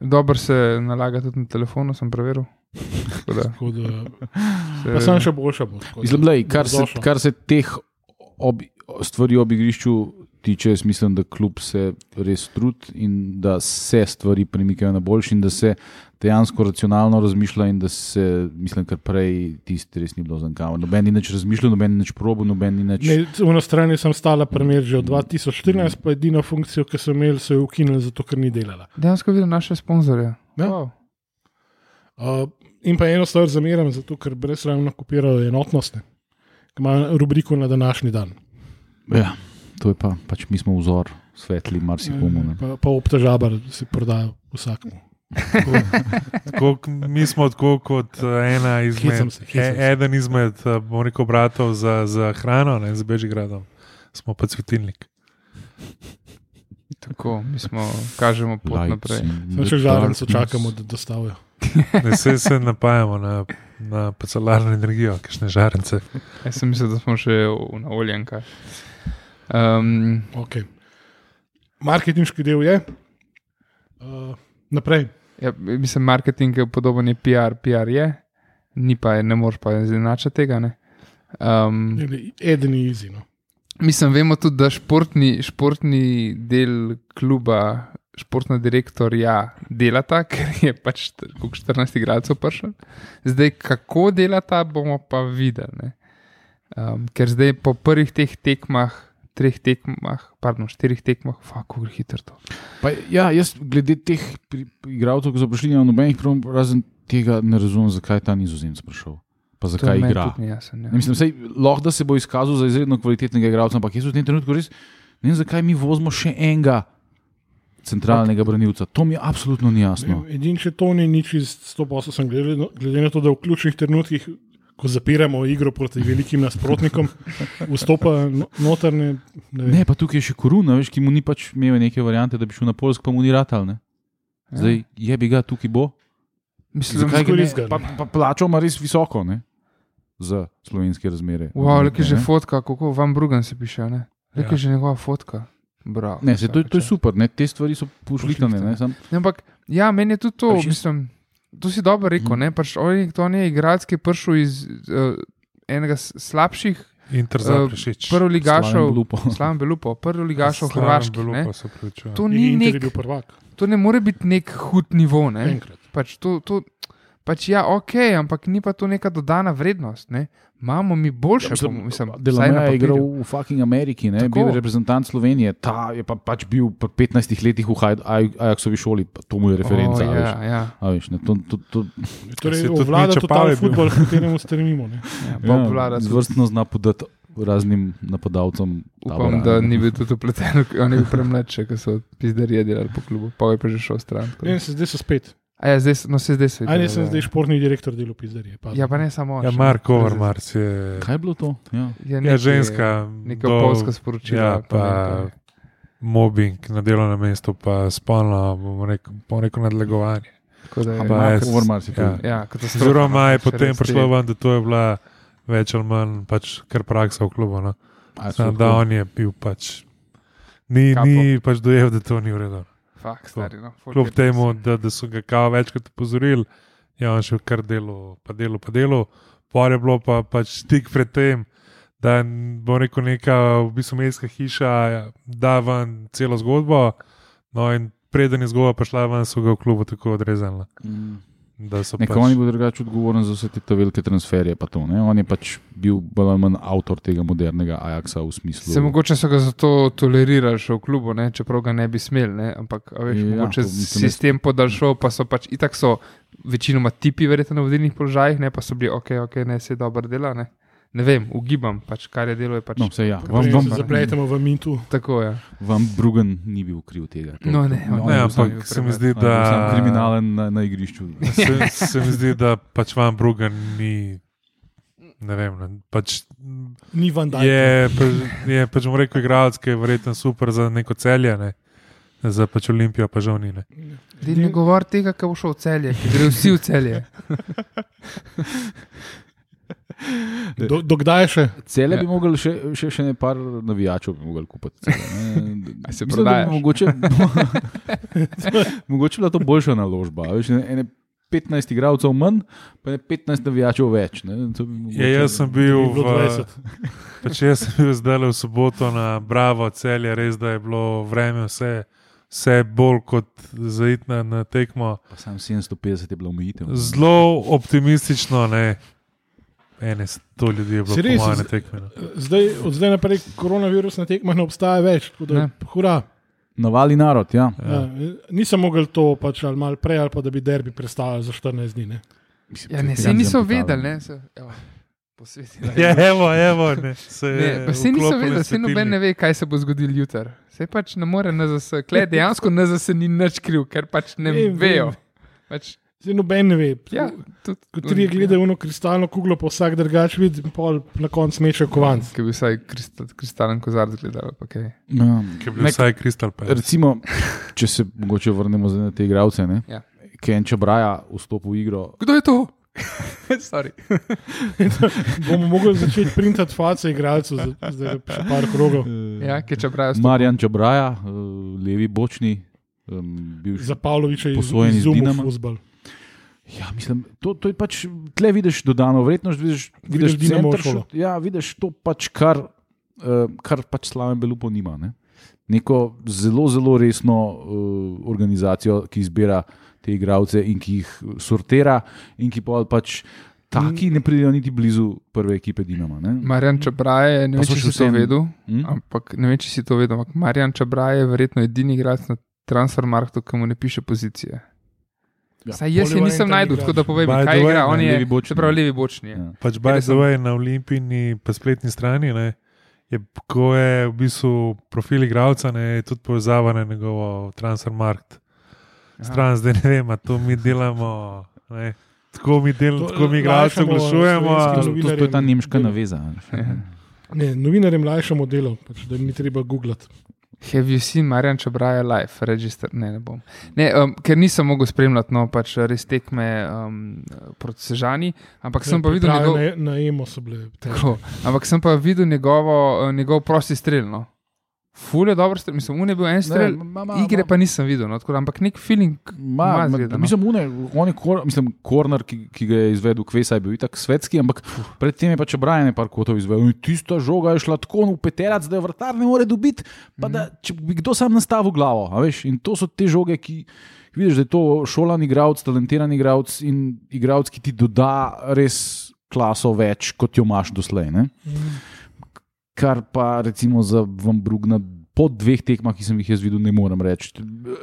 Speaker 4: Dobro se nalaga tudi na telefonu, sem preveril. Tako da
Speaker 1: tako Da,
Speaker 4: se-
Speaker 1: pa sem še boljša. Bo, tako da-
Speaker 3: mislim, lej, Eh. kar, se,
Speaker 1: Dobrodošla.
Speaker 3: kar se teh ob, stvari ob igrišču tiče, jaz mislim, da kljub se res trud in da se stvari premikajo na boljši in da se dejansko racionalno razmišlja in da se, mislim, kar prej tisti res ni bilo zankaven. Noben ni nič razmišljal, noben ni nič probo, noben ni nič.
Speaker 1: Ne, v eno stran sem stala, primer že od 2014, pa edino funkcijo, ki sem imela, so jo ukinili, zato ker ni delala.
Speaker 4: Dejansko vidim naše sponzorje.
Speaker 1: Ja.
Speaker 4: Wow.
Speaker 1: Uh, in pa eno stvar zameram, zato ker brezravno kopirajo enotnost, ne. Ki ima rubriko na današnji dan.
Speaker 3: Ja, to je pa, pač mi smo vzor svetli marsikomu. ne.
Speaker 1: Pa, pa obtežabar si prodajo vsakmu.
Speaker 2: Tako k- Mi smo tako kot eh, ena
Speaker 1: Hecam
Speaker 2: izmed,
Speaker 1: se, hecam se.
Speaker 2: e, eden izmed, eh, bom rekel, bratov za, za hrano, ne z Bežigradom. Smo pa cvetilnik.
Speaker 4: Tako, mi smo, kažemo pot Lights. naprej.
Speaker 1: Sem še žaren, se čakamo, da dostavijo.
Speaker 2: Ne se, se napajamo na, na pa solarno energijo, kišne žarence.
Speaker 4: Jaz sem mislil, da smo še v- na oljenka. Um,
Speaker 1: Okay. Marketinški del je. Uh, naprej.
Speaker 4: ja, mislim, marketing je podoben je PR, PR je, ni pa, je- ne moreš pa izenačati tega. Ne? Um,
Speaker 1: Ili Eden no. je izino.
Speaker 4: mislim, vemo tudi, da športni, športni del kluba, športna direktorja delata, ker je pač t- koliko 14 igralcev prišel. Zdaj, kako delata, bomo pa videli. ne. Um, ker zdaj po prvih teh tekmah, treh tekmah, pardon, štirih tekmah, kako gre hitro to.
Speaker 3: Pa, ja, jaz glede teh pri- igralcev, ki so prišli na nobenih prvom, razen tega ne razumem, zakaj je ta nizozemc prišel. Pa
Speaker 4: To
Speaker 3: zakaj
Speaker 4: meni
Speaker 3: igra.
Speaker 4: tudi ni Jasen, ja.
Speaker 3: Ne, mislim, sej, lahko da se bo izkazal za izredno kvalitetnega igralca, ampak jaz v tem trenutku res ne vem, zakaj mi vozimo še enega centralnega branilca. To mi absolutno ni jasno.
Speaker 1: Edini, če to ni nič iz 180, glede, na- no, glede na to, da v ključnih trenutkih, ko zapiramo igro proti velikim nasprotnikom, vstopa no- noter. Ne, ne vem.
Speaker 3: Ne, pa tukaj je še koruna, veš, ki mu ni pač imel neke variante, da bi šel na Polsk, pa mu ni ratal. Ne? Zdaj je bi ga tukaj bo.
Speaker 4: mislim,
Speaker 3: Zakaj ga ne?
Speaker 1: izgledal.
Speaker 3: Pa, pa plačal ima res visoko ne? za slovenske razmere.
Speaker 4: Wow,
Speaker 3: Nekaj,
Speaker 4: leke že
Speaker 3: ne?
Speaker 4: fotka, kako vam drugan se piše, ne? Leke ja.
Speaker 2: Ja.
Speaker 4: že njegova fotka. Bravo,
Speaker 3: Ne, se, to, je- to
Speaker 4: vsaka
Speaker 3: je
Speaker 4: čast.
Speaker 3: super, ne? te stvari so pošlitane. ne, samo-
Speaker 4: Ne, Ampak, ja, meni je tudi to,
Speaker 3: Pa že-
Speaker 4: mislim, to si dobro rekel,
Speaker 3: Mhm.
Speaker 4: ne, pač on je, to ni igralec, ki je prišel iz uh, enega s- slabših
Speaker 2: Inter za
Speaker 3: Slaven
Speaker 2: prešič.
Speaker 4: prvoligašev,
Speaker 3: Belupo.
Speaker 4: slam Belupo, prvoligašev Hrvaški. ne.
Speaker 2: ja.
Speaker 4: To
Speaker 1: In
Speaker 4: ni
Speaker 1: Inter je
Speaker 4: nek,
Speaker 1: bil prvak.
Speaker 4: to ne more biti nek hud nivo, ne.
Speaker 1: Enkrat.
Speaker 4: Pač to, to, pač ja, ok, ampak ni pa to neka dodana vrednost, ne. Imamo mi boljše,
Speaker 3: Ja, Mislim,
Speaker 4: po- mislim, vsaj na
Speaker 3: Delamere je
Speaker 4: papirju.
Speaker 3: igral v fucking Ameriki, ne,
Speaker 4: Tako.
Speaker 3: bil je reprezentant Slovenije, ta je pa pač bil po 15 letih v Haj- Aj- Ajaxovi šoli, pa to mu je referenca.
Speaker 4: O,
Speaker 3: Oh,
Speaker 4: ja,
Speaker 3: yeah.
Speaker 4: ja.
Speaker 3: A veš, ne, to, to, to,
Speaker 1: Torej,
Speaker 2: tudi
Speaker 1: vlada
Speaker 2: Mičo Pavel
Speaker 1: totalni
Speaker 2: je bil.
Speaker 1: futbol, k kateremu stremimo. Ne?
Speaker 4: ja, Bob
Speaker 3: ja,
Speaker 4: Vlada tudi
Speaker 3: zvrstno zna podati raznim napadalcem.
Speaker 4: Upam,
Speaker 3: tabora,
Speaker 4: da
Speaker 3: ne.
Speaker 4: ni bil tudi upleten, on je bil premlečen, ker so pizderije delali po klubu, pa je pa že šel stran. tako
Speaker 1: Ne,
Speaker 4: da-
Speaker 1: se zdaj so spet.
Speaker 4: A ja, zdaj, so- no se zdaj se.
Speaker 1: Ali sem zdaj športni direktor delu pizdarije.
Speaker 4: Ja, pa ne samo on.
Speaker 2: Ja,
Speaker 4: še
Speaker 2: Marko
Speaker 4: brez-
Speaker 2: Overmars je,
Speaker 3: Kaj je bilo to? Ja.
Speaker 4: Ja,
Speaker 2: je
Speaker 4: nekaj-
Speaker 2: ženska.
Speaker 4: Neka
Speaker 2: do-
Speaker 4: polska sporočila.
Speaker 2: Ja,
Speaker 4: ali pa ne
Speaker 2: pa
Speaker 4: vem,
Speaker 2: mobbing na delovnem mestu, pa spolno, bom rekel, bom rekel nadlegovanje.
Speaker 4: Tako da je.
Speaker 2: Pa
Speaker 3: Mark
Speaker 2: jaz-
Speaker 3: Overmars je
Speaker 2: ja.
Speaker 3: to.
Speaker 4: Ja, katastrofa.
Speaker 2: Oziroma je
Speaker 4: Še
Speaker 2: potem
Speaker 4: res
Speaker 2: prišlo
Speaker 4: te-
Speaker 2: ven, da to je bila več ali manj pač kar praksa v klubu.
Speaker 4: Ja,
Speaker 2: No?
Speaker 3: A, so
Speaker 2: Sam, da
Speaker 3: tako?
Speaker 2: on je bil pač. Ni,
Speaker 4: Kapo.
Speaker 2: ni pač dojel, da to ni v redu.
Speaker 4: Fak, stari, no. full
Speaker 2: Kljub
Speaker 4: pity.
Speaker 2: temu, da, da so ga kao večkrat opozorili, je on še kar delo, pa delo, pa delo. Por je bilo pa pač tik pred tem, da bo rekel neka v bistvu medijska hiša, da ven celo zgodbo. No in preden je zgodba prišla ven, so ga v klubu tako odrezali.
Speaker 3: Mm.
Speaker 2: da so
Speaker 3: Neko on je
Speaker 2: Pač,
Speaker 3: bil drugače odgovoren za vse te ta velike transferje. pa To, ne. on je pač bil bolj ali manj avtor tega modernega Ajaxa v smislu.
Speaker 4: Se mogoče so ga zato tolerirali še v klubu, ne? čeprav ga ne bi smeli, ne? ampak a veš,
Speaker 3: Ja,
Speaker 4: ja, mogoče
Speaker 3: to mislim, jaz-
Speaker 4: sistem podaljšal, pa so pač itak so večinoma tipi, verjetno na vodilnih položajih, ne pa so bili ok, ok, ne se dobro dela, ne. Ne vem, ugibam, pač, kar je delo. Je pač
Speaker 3: No, vse ja, vam,
Speaker 1: Vam,
Speaker 3: vam,
Speaker 1: vam, zapletemo v mitu.
Speaker 4: Tako ja. je.
Speaker 3: vam Brugen ni bil kriv tega. To-
Speaker 4: No, ne, on
Speaker 3: on je
Speaker 2: Ne,
Speaker 3: bil sam-
Speaker 2: ampak se mi zdi,
Speaker 3: on je bil sam
Speaker 2: da
Speaker 3: kriminalen na, na igrišču.
Speaker 2: se, se mi zdi, da pač vam Brugan ni. Ne vem, ne, pač
Speaker 1: Ni van dal.
Speaker 2: je, pa- je pač bom rekel igralec, ki je verjetno super za neko celje, ne? za pač Olimpijo, pa žal ni. Ne?
Speaker 4: Ti ne govori tega, ki bo šel v celje, ki gre vsi v celje.
Speaker 1: Do, dokdaj še?
Speaker 3: Cele
Speaker 4: Ja.
Speaker 3: bi mogli, še, še, še nekaj navijačev bi mogli kupiti. Cele, ne.
Speaker 4: A se
Speaker 3: Mislim, da bi
Speaker 4: prodajaš?
Speaker 3: Mogoče, mogoče bila to boljša naložba. a Veš, ne, ene 15 igralcev manj, pa ne 15 navijačev več. Ne, to bi mogoče,
Speaker 2: Ja, jaz sem
Speaker 1: Bi
Speaker 2: bil
Speaker 1: bilo
Speaker 2: v,
Speaker 1: 20.
Speaker 2: pač jaz sem bil zdaj v soboto na Bravo celje, res da je bilo vreme vse, vse bolj kot zaitna na tekmo.
Speaker 3: Pa Sam 750 je bila omejitev.
Speaker 2: Zelo optimistično, ne. Ene sto ljudi je bilo
Speaker 1: Si res?
Speaker 2: po mojem tekmenu.
Speaker 1: Zdaj, od zdaj naprej koronavirus na tekmah ne obstaja več. tako Da,
Speaker 4: Ne.
Speaker 1: hura.
Speaker 3: Navali narod, ja.
Speaker 1: Ja. Nisem mogel to pač ali malo prej, ali pa da bi derbi predstavljal za 14 dni. Ne.
Speaker 3: Mislim,
Speaker 4: Ja, ne,
Speaker 3: to je
Speaker 4: se niso
Speaker 3: Jansen
Speaker 4: vedeli,
Speaker 3: Pikalo.
Speaker 4: ne. Se, evo, posvetila.
Speaker 2: Ja, evo, evo, ne. Se
Speaker 4: Ne, pa se niso vedeli, se noben ne
Speaker 2: ve.
Speaker 4: ve, kaj se bo zgodil jutri. Se pač ne more NZS, klej dejansko NZS ni nič kriv, ker pač ne
Speaker 1: Ne vem.
Speaker 4: vejo. Pač,
Speaker 1: Zdaj noben ne ve.
Speaker 4: ja, tudi,
Speaker 1: Ko tri gledajo eno kristalno kuglo, pa vsak drugač vidi, in pol na koncu meče kovanc.
Speaker 4: Ki bi vsaj kristal, kristalen kozarc gledal. pa kaj.
Speaker 3: Ja.
Speaker 2: Ki je bil
Speaker 3: Nek-
Speaker 2: vsaj kristal pes.
Speaker 3: Torej, Recimo, če se mogoče vrnemo zdaj na te igralce, ne?
Speaker 4: Ja.
Speaker 3: Kenča Braja vstopi v igro.
Speaker 4: Kdo je to? Sorry.
Speaker 1: bomo mogli začeti printati face igralcev, za- zdaj je še par krogov.
Speaker 4: Ja, ki če pravijo,
Speaker 3: Marjan Čabraja, eh, levi bočni, em, bivši
Speaker 1: Za Pavloviča iz
Speaker 3: Posvojen iz
Speaker 1: Zuma
Speaker 3: Dinama.
Speaker 1: fuzbal.
Speaker 3: Ja, mislim, to, to je pač, tle vidiš dodano vrednost, vidiš, vidiš,
Speaker 1: Vidiš Dinamo
Speaker 3: center
Speaker 1: šolo.
Speaker 3: šut, ja, vidiš to, pač, kar, uh, kar pač Slaven Belupo nima. Ne? Neko zelo, zelo resno uh, organizacijo, ki izbira te igralce in ki jih sortira, in ki pa pač taki ne pridejo niti blizu prve ekipe Dinama. ne.
Speaker 4: Marjan Čabraje, ne
Speaker 3: Pa
Speaker 4: vem, če
Speaker 3: so še
Speaker 4: si to
Speaker 3: vsem-
Speaker 4: vedel,
Speaker 3: Hm?
Speaker 4: ampak ne vem, če si to vedel, ampak Marjan Čabraje je verjetno edini igralec na transfermarktu, ki mu ne piše pozicije. Ja,
Speaker 3: Ja,
Speaker 4: Saj jaz je
Speaker 1: Oliver
Speaker 4: nisem
Speaker 1: Anton
Speaker 4: najdel,
Speaker 1: igrač.
Speaker 4: tako da povem,
Speaker 2: By
Speaker 4: kaj
Speaker 2: the way,
Speaker 4: igra.
Speaker 2: ne,
Speaker 4: On je
Speaker 3: levi bočni.
Speaker 4: se pravi levi bočni. je.
Speaker 3: Ja.
Speaker 2: Pač by the
Speaker 4: sem-
Speaker 2: way, na olimpijni pa spletni strani, ne, je, ko je v bistvu profil igralca, ne, je tudi povezava na njegovo transfermarkt. Stran zdaj ne vem, a to mi delamo, ne. Tako mi delamo,
Speaker 1: To,
Speaker 2: tako mi
Speaker 1: eh,
Speaker 2: igralce
Speaker 1: lajšamo
Speaker 2: oglašujemo.
Speaker 1: slovenski
Speaker 2: ali-
Speaker 1: novi-
Speaker 3: To, to je ta nemška
Speaker 1: Delo.
Speaker 3: naveza.
Speaker 1: Ne, novinarjem lajšamo delo, pač, da jim ni treba googlati.
Speaker 4: Have you seen Marjan Čabraja live, register? Ne, ne bom. Ne, um, ker nisem mogel spremljati, no pač res tekme um, proti Sežani, ampak sem pa videl njegov.
Speaker 1: Na, na emo so bile.
Speaker 4: Tako, ampak sem pa videl njegovo, eh, njegov prosti streljno. Ful je dobro streljal, mislim, un je bil en strelj, igre pa nisem videl, no, tako, da- ampak nek feeling. Ima
Speaker 3: Ma, ma,
Speaker 4: zgleda, no.
Speaker 3: mislim, une, on je kor, mislim, korner, ki, ki ga je izvedel Kvesa, je bil itak svetski, ampak predtem je pač Brian je par kotov izvedel. In tista žoga je šla tako v peterac, da je vrtar ne more dobiti, pa
Speaker 4: Mhm.
Speaker 3: da če bi kdo sam nastavil glavo. a Veš, in to so te žoge, ki vidiš, da je to šolan igralec, talentiran igralec in igralec, ki ti doda res klaso več, kot jo imaš doslej. Ne?
Speaker 4: Mhm.
Speaker 3: Kar pa recimo za Vambrugna po dveh tekmah, ki sem jih jaz videl, ne morem reči.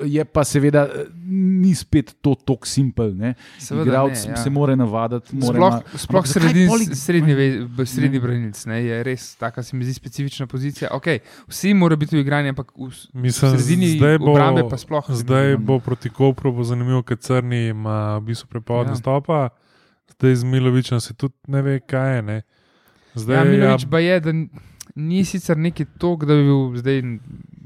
Speaker 3: Je pa seveda eh, ni spet to tako simpel. ne.
Speaker 4: Seveda ne,
Speaker 3: Igralec
Speaker 4: ja.
Speaker 3: se more navaditi, mora
Speaker 4: Sploh,
Speaker 3: na-
Speaker 4: sploh
Speaker 3: Ampak zakaj
Speaker 4: sredin,
Speaker 3: pol ig-
Speaker 4: srednji, ve- b- srednji branilc ne, je res taka, se mi zdi specifična pozicija. Okay, vsi morajo biti v igranju, ampak v,
Speaker 2: Mislim,
Speaker 4: V sredini
Speaker 2: zdaj bo,
Speaker 4: obrambe pa sploh ne
Speaker 2: zdaj
Speaker 4: vidim.
Speaker 2: bo proti Kopru bo zanimivo, ker Crni ima v bistvu prepoved
Speaker 4: Ja.
Speaker 2: ja. nastopa, zdaj z Milovičem se tudi ne ve, kaj je. Ne.
Speaker 4: Ja,
Speaker 2: Zdaj,
Speaker 4: Milovič ja, pa je, da n- ni sicer neki tok, da bi bil zdaj,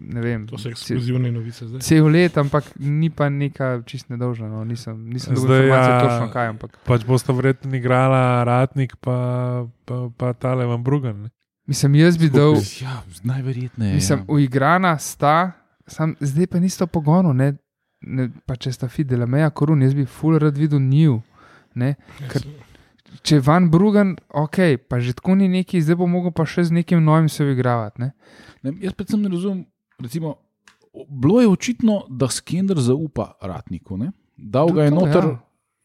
Speaker 4: ne vem,
Speaker 1: To so
Speaker 4: ce-
Speaker 1: ekskluzivne novice. Zdaj.
Speaker 4: cel let, ampak ni pa neka čist nedožna. No. Nisem, nisem dobil
Speaker 2: Zdaj,
Speaker 4: informacije
Speaker 2: ja,
Speaker 4: točno kaj, ampak
Speaker 2: pač bosta verjetno igrala Ratnik, pa, pa, pa tale Van Brugen. Ne.
Speaker 4: mislim, jaz bi dal,
Speaker 3: Ja, najverjetneje.
Speaker 4: mislim,
Speaker 3: ja.
Speaker 4: uigrana sta, sam, zdaj pa nista v pogonu, ne, ne, pa če sta Fidela Meja korun, jaz bi full rad videl njiju. Ne. Ker- Če je van Brugen, ok, pa že tako ni neki, zdaj bo mogel pa še z nekim novim se uigravati. Ne?
Speaker 3: Ne, jaz predvsem ne razumem. Recimo, o- bilo je očitno, da Skender zaupa ratniku. Ne? Dal ga je
Speaker 4: Tudi to,
Speaker 3: noter,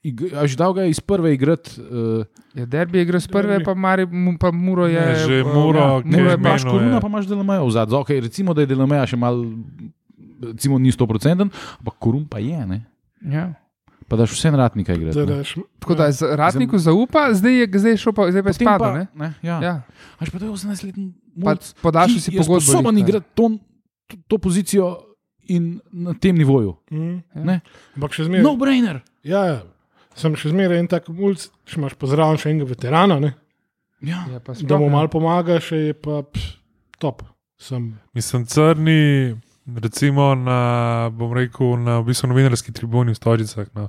Speaker 4: ja.
Speaker 3: ja. až dal ga je iz prve igrati. Uh,
Speaker 4: Ja, derbi je igral s prve, pa, Mari, mu- pa Muro je.
Speaker 2: Ne, že
Speaker 4: pa-
Speaker 2: Muro, ki
Speaker 4: Muro
Speaker 2: je
Speaker 4: je pa
Speaker 2: imel-
Speaker 3: imaš
Speaker 2: Meno
Speaker 3: koruna,
Speaker 4: ja.
Speaker 2: je.
Speaker 3: pa imaš delameja v zadnjem. Okay, recimo, da je delameja še mal, recimo, ni 100%, ampak korun pa je. Ne?
Speaker 4: Ja.
Speaker 3: Pa daš vse ratnika igrati.
Speaker 1: da
Speaker 4: no.
Speaker 3: ne.
Speaker 1: daš.
Speaker 4: Tako da z Ratniku zaupa, zdaj je, zdaj je šel pa, zdaj pa je
Speaker 3: Ja. Potem
Speaker 4: spadal. ne?
Speaker 3: ne, ja. Ja.
Speaker 4: Ja.
Speaker 3: Až pa to je 18-letni
Speaker 4: Pa
Speaker 3: mulc,
Speaker 4: Podaljšal si
Speaker 3: ki je
Speaker 4: pogodbo.
Speaker 3: sposoben
Speaker 4: glih, ne.
Speaker 3: igrati to, to, to pozicijo in na tem nivoju.
Speaker 1: Mm.
Speaker 3: Ne.
Speaker 1: Ampak še zmeraj.
Speaker 3: No, brainer.
Speaker 1: Ja, ja. sem še zmeraj en tak mulj, še imaš pa zraven še enega veterana, ne?
Speaker 3: Ja.
Speaker 4: Ja, pa sploh
Speaker 1: da mu
Speaker 4: ne.
Speaker 1: malo pomaga, še je pa pš, top. Sem.
Speaker 2: Mislim, crni, recimo na, bom rekel, na v bistvu novinarski tribuni v Stožicah. No.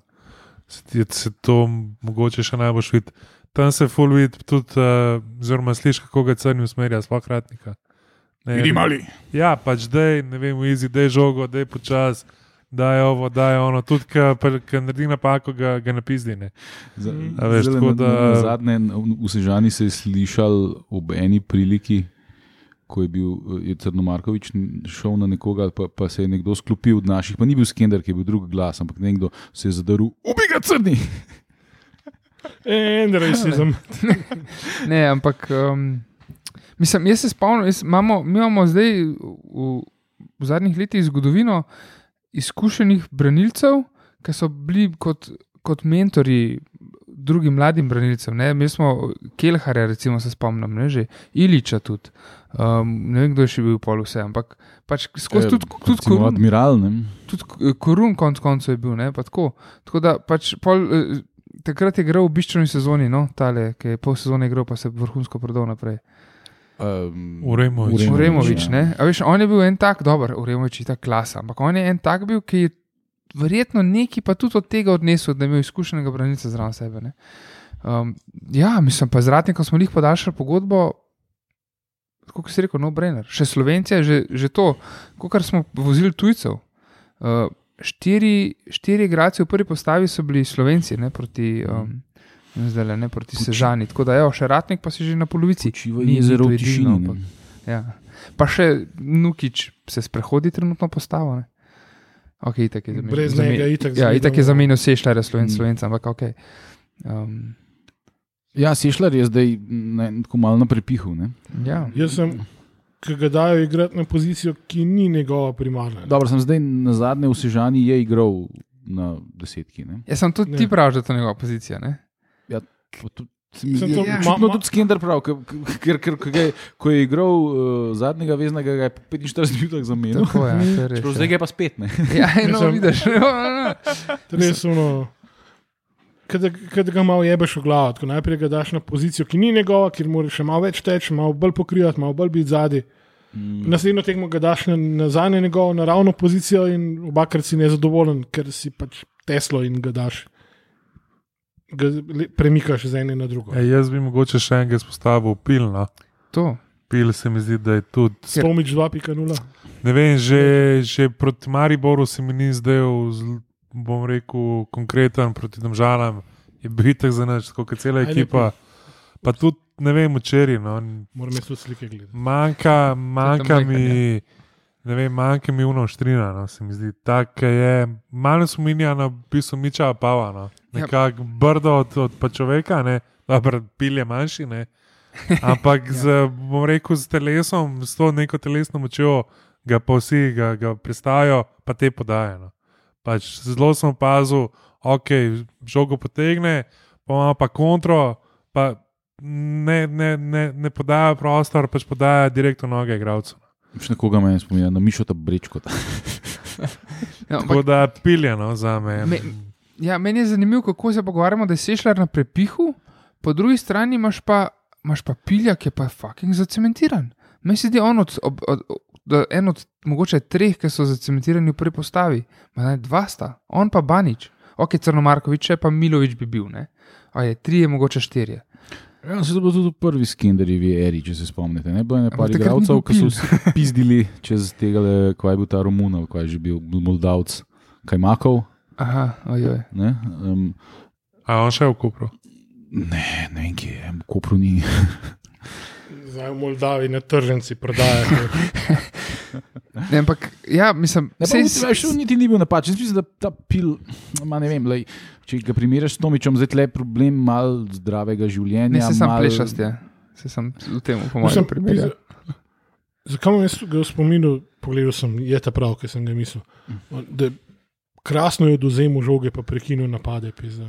Speaker 2: Se, ti- se to mogoče še najbolj vidi. Tam se full vid, tudi, eh, oziroma uh, slišiš, kako ga crni usmerja, sploh kratnika. Ne, Ja, pač dej, ne vem, izi, dej žogo, dej počas. Da je ovo, da je ono, tudi ki naredi napako, ga, ga napizdi. Ne.
Speaker 3: Za-
Speaker 2: A veš,
Speaker 3: zdajle
Speaker 2: tako
Speaker 3: na-
Speaker 2: da-
Speaker 3: na Zadnje v- v Sežani se je slišal ob eni priliki, ko je bil eh, je Crno Markovič n- šel na nekoga, ali pa, pa se je nekdo sklopil od naših, pa ni bil skender, ki je bil drug glas, ampak nekdo se je zadaril, ubi ga crni.
Speaker 1: En rasizem.
Speaker 4: Ne, ampak um, mislim, jaz se spomnim, jaz imamo, mi imamo zdaj v, v zadnjih letih zgodovino izkušenih branilcev, ki so bili kot, kot mentori drugim mladim branilcem. Ne? Mi smo Kelharja, recimo, se spomnim, ne že Iliča tudi. Um, ne vem, kdo je še bil pol vse, ampak pač skozi tudi, tudi,
Speaker 3: kot
Speaker 4: tudi,
Speaker 3: admiral. Ne?
Speaker 4: tudi eh, korun konc koncev je bil. Ne, pa tako. tako da pač pol, eh, takrat je igral v biščni sezoni, no, tale, ki je pol sezone igral, pa se vrhunsko prodal naprej.
Speaker 3: Um,
Speaker 2: Uremovič.
Speaker 3: Uremovič,
Speaker 4: Uremovič,
Speaker 3: ja.
Speaker 4: ne. A veš, on je bil en tak, dober, Uremovič je ta klasa, ampak on je en tak bil, ki je verjetno neki pa tudi od tega odnesel, da je imel izkušenega branilca zraven sebe. ne. Um, ja, mislim pa z Ratnikom smo jih podaljšali pogodbo. Tako kot si rekel, no, Brenner. Še Slovencija, že, že to, kot smo vozili tujcev. Uh, štiri, štiri igrači v prvi postavi so bili Slovenci, ne proti, um, zdaj le ne proti Sežani. Tako da, evo, še Ratnik pa si že na polovici.
Speaker 3: Počiva
Speaker 4: Ni- ni
Speaker 3: jezero
Speaker 4: to
Speaker 3: v
Speaker 4: edino,
Speaker 3: tišini.
Speaker 4: ampak-
Speaker 3: ne.
Speaker 4: Ja. Pa še Nukič se sprehodi trenutno postavo. Ne? Ok, itak je zamenjal.
Speaker 1: Brez njega itak
Speaker 4: ja,
Speaker 1: zgledamo.
Speaker 4: itak je zamenjal vse šlare slovenc,
Speaker 3: Mm.
Speaker 4: slovenc, ampak ok. Um,
Speaker 3: Ja, Sešljar je zdaj ne, tako malo na prepihu. Ne?
Speaker 4: ja.
Speaker 1: Jaz sem, ki ga dajo igrati na pozicijo, ki ni njegova primarna.
Speaker 3: Dobro, sem zdaj na zadnje v Sežani je igral na desetki. Ne?
Speaker 4: Jaz sem tudi
Speaker 1: Ne.
Speaker 4: ti prav, da je to njegova pozicija. Ne?
Speaker 3: Pa tudi-
Speaker 1: Mislim,
Speaker 3: je
Speaker 1: to-
Speaker 3: Očitno
Speaker 1: ma- ma-
Speaker 3: tudi Skender prav, ker, ker, ker, ker ga je, ko je igral uh, zadnjega veznega, ga je po 45 minut zamenjal.
Speaker 4: Tako je, to je
Speaker 3: Čeprav
Speaker 4: res. ja.
Speaker 3: Zdaj ga je pa spet. Ne?
Speaker 4: Ja, eno
Speaker 1: Mislim-
Speaker 4: vidiš. no,
Speaker 1: Resno. Kaj ga malo jebeš v glavo, tako najprej ga daš na pozicijo, ki ni njegova, kjer moraš še malo več teči, malo bolj pokrivati, malo bolj biti zadaj.
Speaker 3: Mm,
Speaker 1: Naslednjo tekmo ga daš na, nazaj na njegovo naravno pozicijo in obakrat si nezadovoljen, ker si pač teslo in ga daš. Ga le- premikaš z ene na drugo.
Speaker 2: E, jaz bi mogoče še enega izpostavil, pil. No.
Speaker 4: To.
Speaker 2: Pil se mi zdi, da je tudi
Speaker 1: Spomič 2.0.
Speaker 2: Ne vem, že, že proti Mariboru se mi ni zdel, zl- bom rekel, konkreten, proti Domžalam je bil tak za nas, kot cela
Speaker 1: Ajde,
Speaker 2: ekipa. Pa tudi, ne vem, včeraj. No,
Speaker 1: Moram jaz tudi slike gledati.
Speaker 2: manjka, manjka
Speaker 4: mleka,
Speaker 2: mi. Ne vem, manjka mi unoštrina, no, se mi zdi. Tako je, malo spominja na pismo no, Miča Pava, no. nekako brdo od, od pa človeka, ne, dobro, pil je manjši, ne. Ampak, ja. z, bom rekel, z telesom, s to neko telesno močjo, ga pa vsi ga, ga prestajajo, pa te podajo. No. Pač zelo sem opazil, ok, žogo potegne, pa ima pa kontro, pa ne, ne, ne, ne podaja prostor, pač podaja direktno noge igralcu.
Speaker 3: Še nekoga me je spominjal, na Mišota Brečko.
Speaker 4: Ja, ampak,
Speaker 2: Tako da no, piljeno za me.
Speaker 4: Me- ja, meni je zanimivo, kako se pogovarjamo, da je sešljar na prepihu, po drugi strani imaš pa, imaš pa pilja, ki je pa fucking zacementiran. Meni se zdi on od, ob, od, od, en od mogoče treh, ki so zacementirani v prvi postavi, Ma ne, dva sta, on pa Banič. Ok, Crnomarkovič, je, pa Milovič bi bil, ne? A je tri, je mogoče štirje.
Speaker 3: Ja, se je bil tudi prvi Skenderjevi eri, če se spomnite. Ne bilo je
Speaker 4: Ampak
Speaker 3: nekaj
Speaker 4: takrat ni
Speaker 3: igralcev,
Speaker 4: bil
Speaker 3: ki so
Speaker 4: Pil.
Speaker 3: vsi pizdili čez tega, le, kaj je bil ta Romun, ali kaj je že bil Moldavc, kaj makov.
Speaker 4: Aha, ojoj.
Speaker 3: Ne, um,
Speaker 2: A on še v Kupru.
Speaker 3: ne, ne vem, kje je, Kopru ni.
Speaker 1: Zdaj v Moldavi na tržnici prodajajo.
Speaker 4: Ne, ampak, ja, mislim,
Speaker 3: Ne,
Speaker 4: saj-
Speaker 3: sej, sej, sej, niti ni bil napačen. Jaz Mislim, da ta pil, ma, ne vem, lej, če ga primerjaš s Tomičem, zdaj tle je problem mal zdravega življenja.
Speaker 4: ne se sam
Speaker 3: malo-
Speaker 4: plešast, ja. Se sam v tem, po
Speaker 1: Mislim,
Speaker 4: mojem primeru. ja.
Speaker 1: pizda-
Speaker 4: Mm.
Speaker 1: Zakaj imam jaz ga v spominu? Pogledal sem, je ta prav, ki sem ga mislil. On- Da, krasno je oduzemu žoge, pa prekinil napade. Pizda.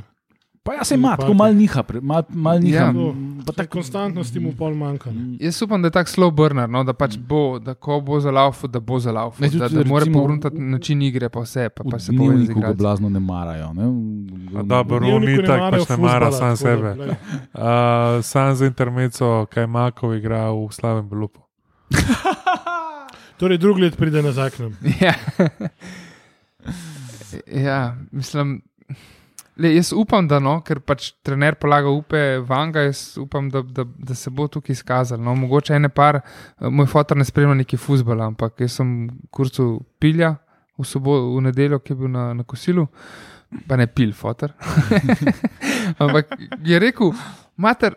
Speaker 3: Pa ja, jaz sem matko, mal niha, pre- mal, mal niha.
Speaker 4: Ja.
Speaker 1: To,
Speaker 3: Pa
Speaker 1: ta
Speaker 3: tako-
Speaker 1: konstantnost mu pol manjka. ne.
Speaker 4: Jaz upam, da je tako slow burner, no, da pač bo, da ko bo za laufu, da bo za laufu.
Speaker 3: Ne, tudi
Speaker 4: Da, da mora
Speaker 3: recimo
Speaker 4: pogruntati način igre, pa vse, pa,
Speaker 3: V
Speaker 4: pa se boji z
Speaker 3: dnevniku ga
Speaker 4: igro.
Speaker 3: blazno ne marajo. Ne?
Speaker 2: A
Speaker 4: Ja.
Speaker 2: dobro. Bruno
Speaker 1: Dnevniku
Speaker 2: itak
Speaker 1: marajo
Speaker 2: pač ne mara
Speaker 1: fuzbala,
Speaker 2: sam
Speaker 1: tako da,
Speaker 2: sebe.
Speaker 1: glej.
Speaker 2: Uh, Sam za intermezzo, kaj Makov igra v slavnem Belupu.
Speaker 1: Torej, drugi let pride nazaj k nam.
Speaker 4: Ja. ja, mislim. Le, jaz upam, da no, ker pač trener polaga upe vanga, jaz upam, da, da, da se bo tukaj izkazal. No, mogoče ene par, eh, moj fotor ne spremlja neki fusbala, ampak jaz sem v kurcu pilja v, sobo, v nedeljo, ki je bil na, na kosilu, pa ne pil, fotor. ampak je rekel, mater,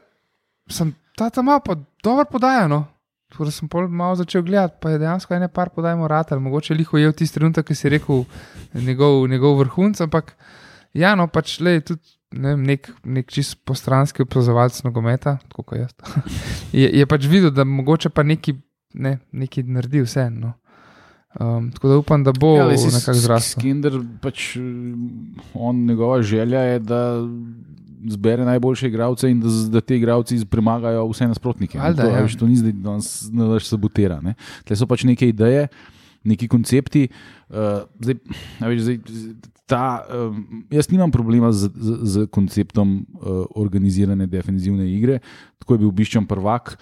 Speaker 4: sem ta tam pa dobro podajano. Tako da sem pol malo začel gledati, pa je dejansko ene par podajmo ratelj. Mogoče liho je v tisti trenutek, ki si rekel njegov, njegov vrhunc, ampak ja, no pač le je tudi. Ne, vem, nek, nek čist postranski opazovalec nogometa, tako kot jaz, je, je pač videl, da mogoče pa neki, ne, neki naredi vseeno. No. Um, tako da upam, da bo ja, nekako zrastel.
Speaker 3: Skinder, pač, eh, on, njegova želja je, da zbere najboljše igralce in da, z- da te igralci premagajo vse nasprotnike. ne.
Speaker 4: Valjda,
Speaker 3: to,
Speaker 4: ja.
Speaker 3: a veš, to ni zdaj, da nas ne daš sabotira. Ne? Tle so pač neke ideje, neki koncepti. Uh, zdaj, a veš, zdaj, z- ta, um, jaz nimam problema z, z, z konceptom uh, organizirane defenzivne igre. Tako je bil Biščan prvak,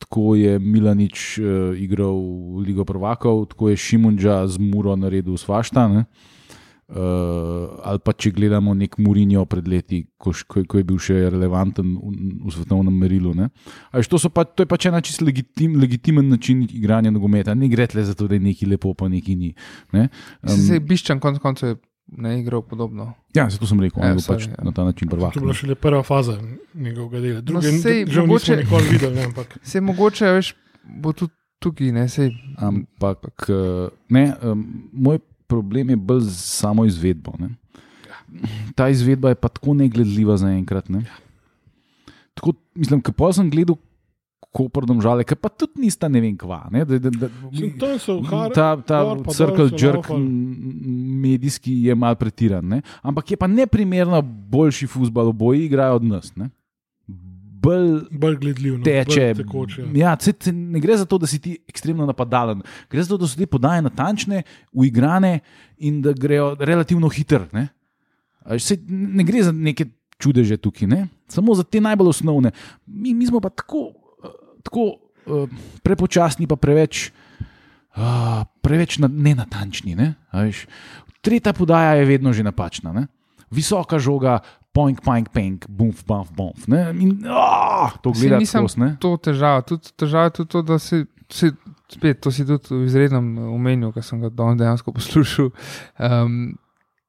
Speaker 3: tako je Milanič uh, igral Ligo prvakov, tako je Šimunča z Muro naredil svašta. Ne? Uh, ali pa če gledamo nek Murinjo pred leti, ko, š- ko, je- ko je bil še relevanten v, v svetovnem merilu. ne. A Veš, to, so pa, to je pač ena čisto legitim, legitimen način igranja nogometa. Ne gre le za to, da je neki lepo, pa neki ni. Ne? Ehm,
Speaker 4: Um, se je biščan konc koncev je, ne igral podobno.
Speaker 3: Ja, zato sem rekel,
Speaker 4: Ja,
Speaker 3: da je pač
Speaker 4: sorry, ja.
Speaker 3: na ta način prvak.
Speaker 1: To je bila šele prva faza njegovega dela. Druge, no,
Speaker 4: sej,
Speaker 1: sej, žal
Speaker 4: mogoče-
Speaker 1: mogoče... nismo nikoli videli, ne, ampak
Speaker 4: Se mogoče, a veš, bo tudi tukaj, ne sej.
Speaker 3: Ampak eh, ne, um, moj problem je bolj z samo izvedbo. Ne. Ta izvedba je pa tako negledljiva zaenkrat. Ne. Tako, mislim, ko pa sem gledal Koper domžale, ki pa tudi nista ne vem kva. Ne, da, da, da,
Speaker 1: Mislim, tam so har,
Speaker 3: Ta, ta
Speaker 1: gor pa dol
Speaker 3: circle
Speaker 1: so
Speaker 3: jerk
Speaker 1: laufali.
Speaker 3: m, medijski je mal pretiran, ne? ampak je pa neprimerno boljši futbal, oboji igrajo od nas. ne. Bolj
Speaker 1: bolj gledljiv. No,
Speaker 3: teče.
Speaker 1: bolj Tekoče.
Speaker 3: Ja, se, se, ne gre za to, da si ti ekstremno napadalen, gre za to, da so te podaje natančne, uigrane in da grejo relativno hitro. Ne? A veš, saj ne gre za neke čudeže tukaj, ne? samo za te najbolj osnovne. Mi, mi smo pa tako, eh, tako eh, prepočasni, pa preveč. Uh, preveč na, nenatančni. Ne? a veš. Tretja podaja je vedno že napačna. Ne? Visoka žoga, poink, poink, poink, bumf, bumf, bumf. Ne? In, oh, to
Speaker 4: Saj
Speaker 3: gledaš
Speaker 4: nisem
Speaker 3: skozi. ne.
Speaker 4: to težava. Tudi težava je tudi to, da si, si spet, to si tudi v izrednem omenil, ker sem ga danes dejansko poslušal. Um,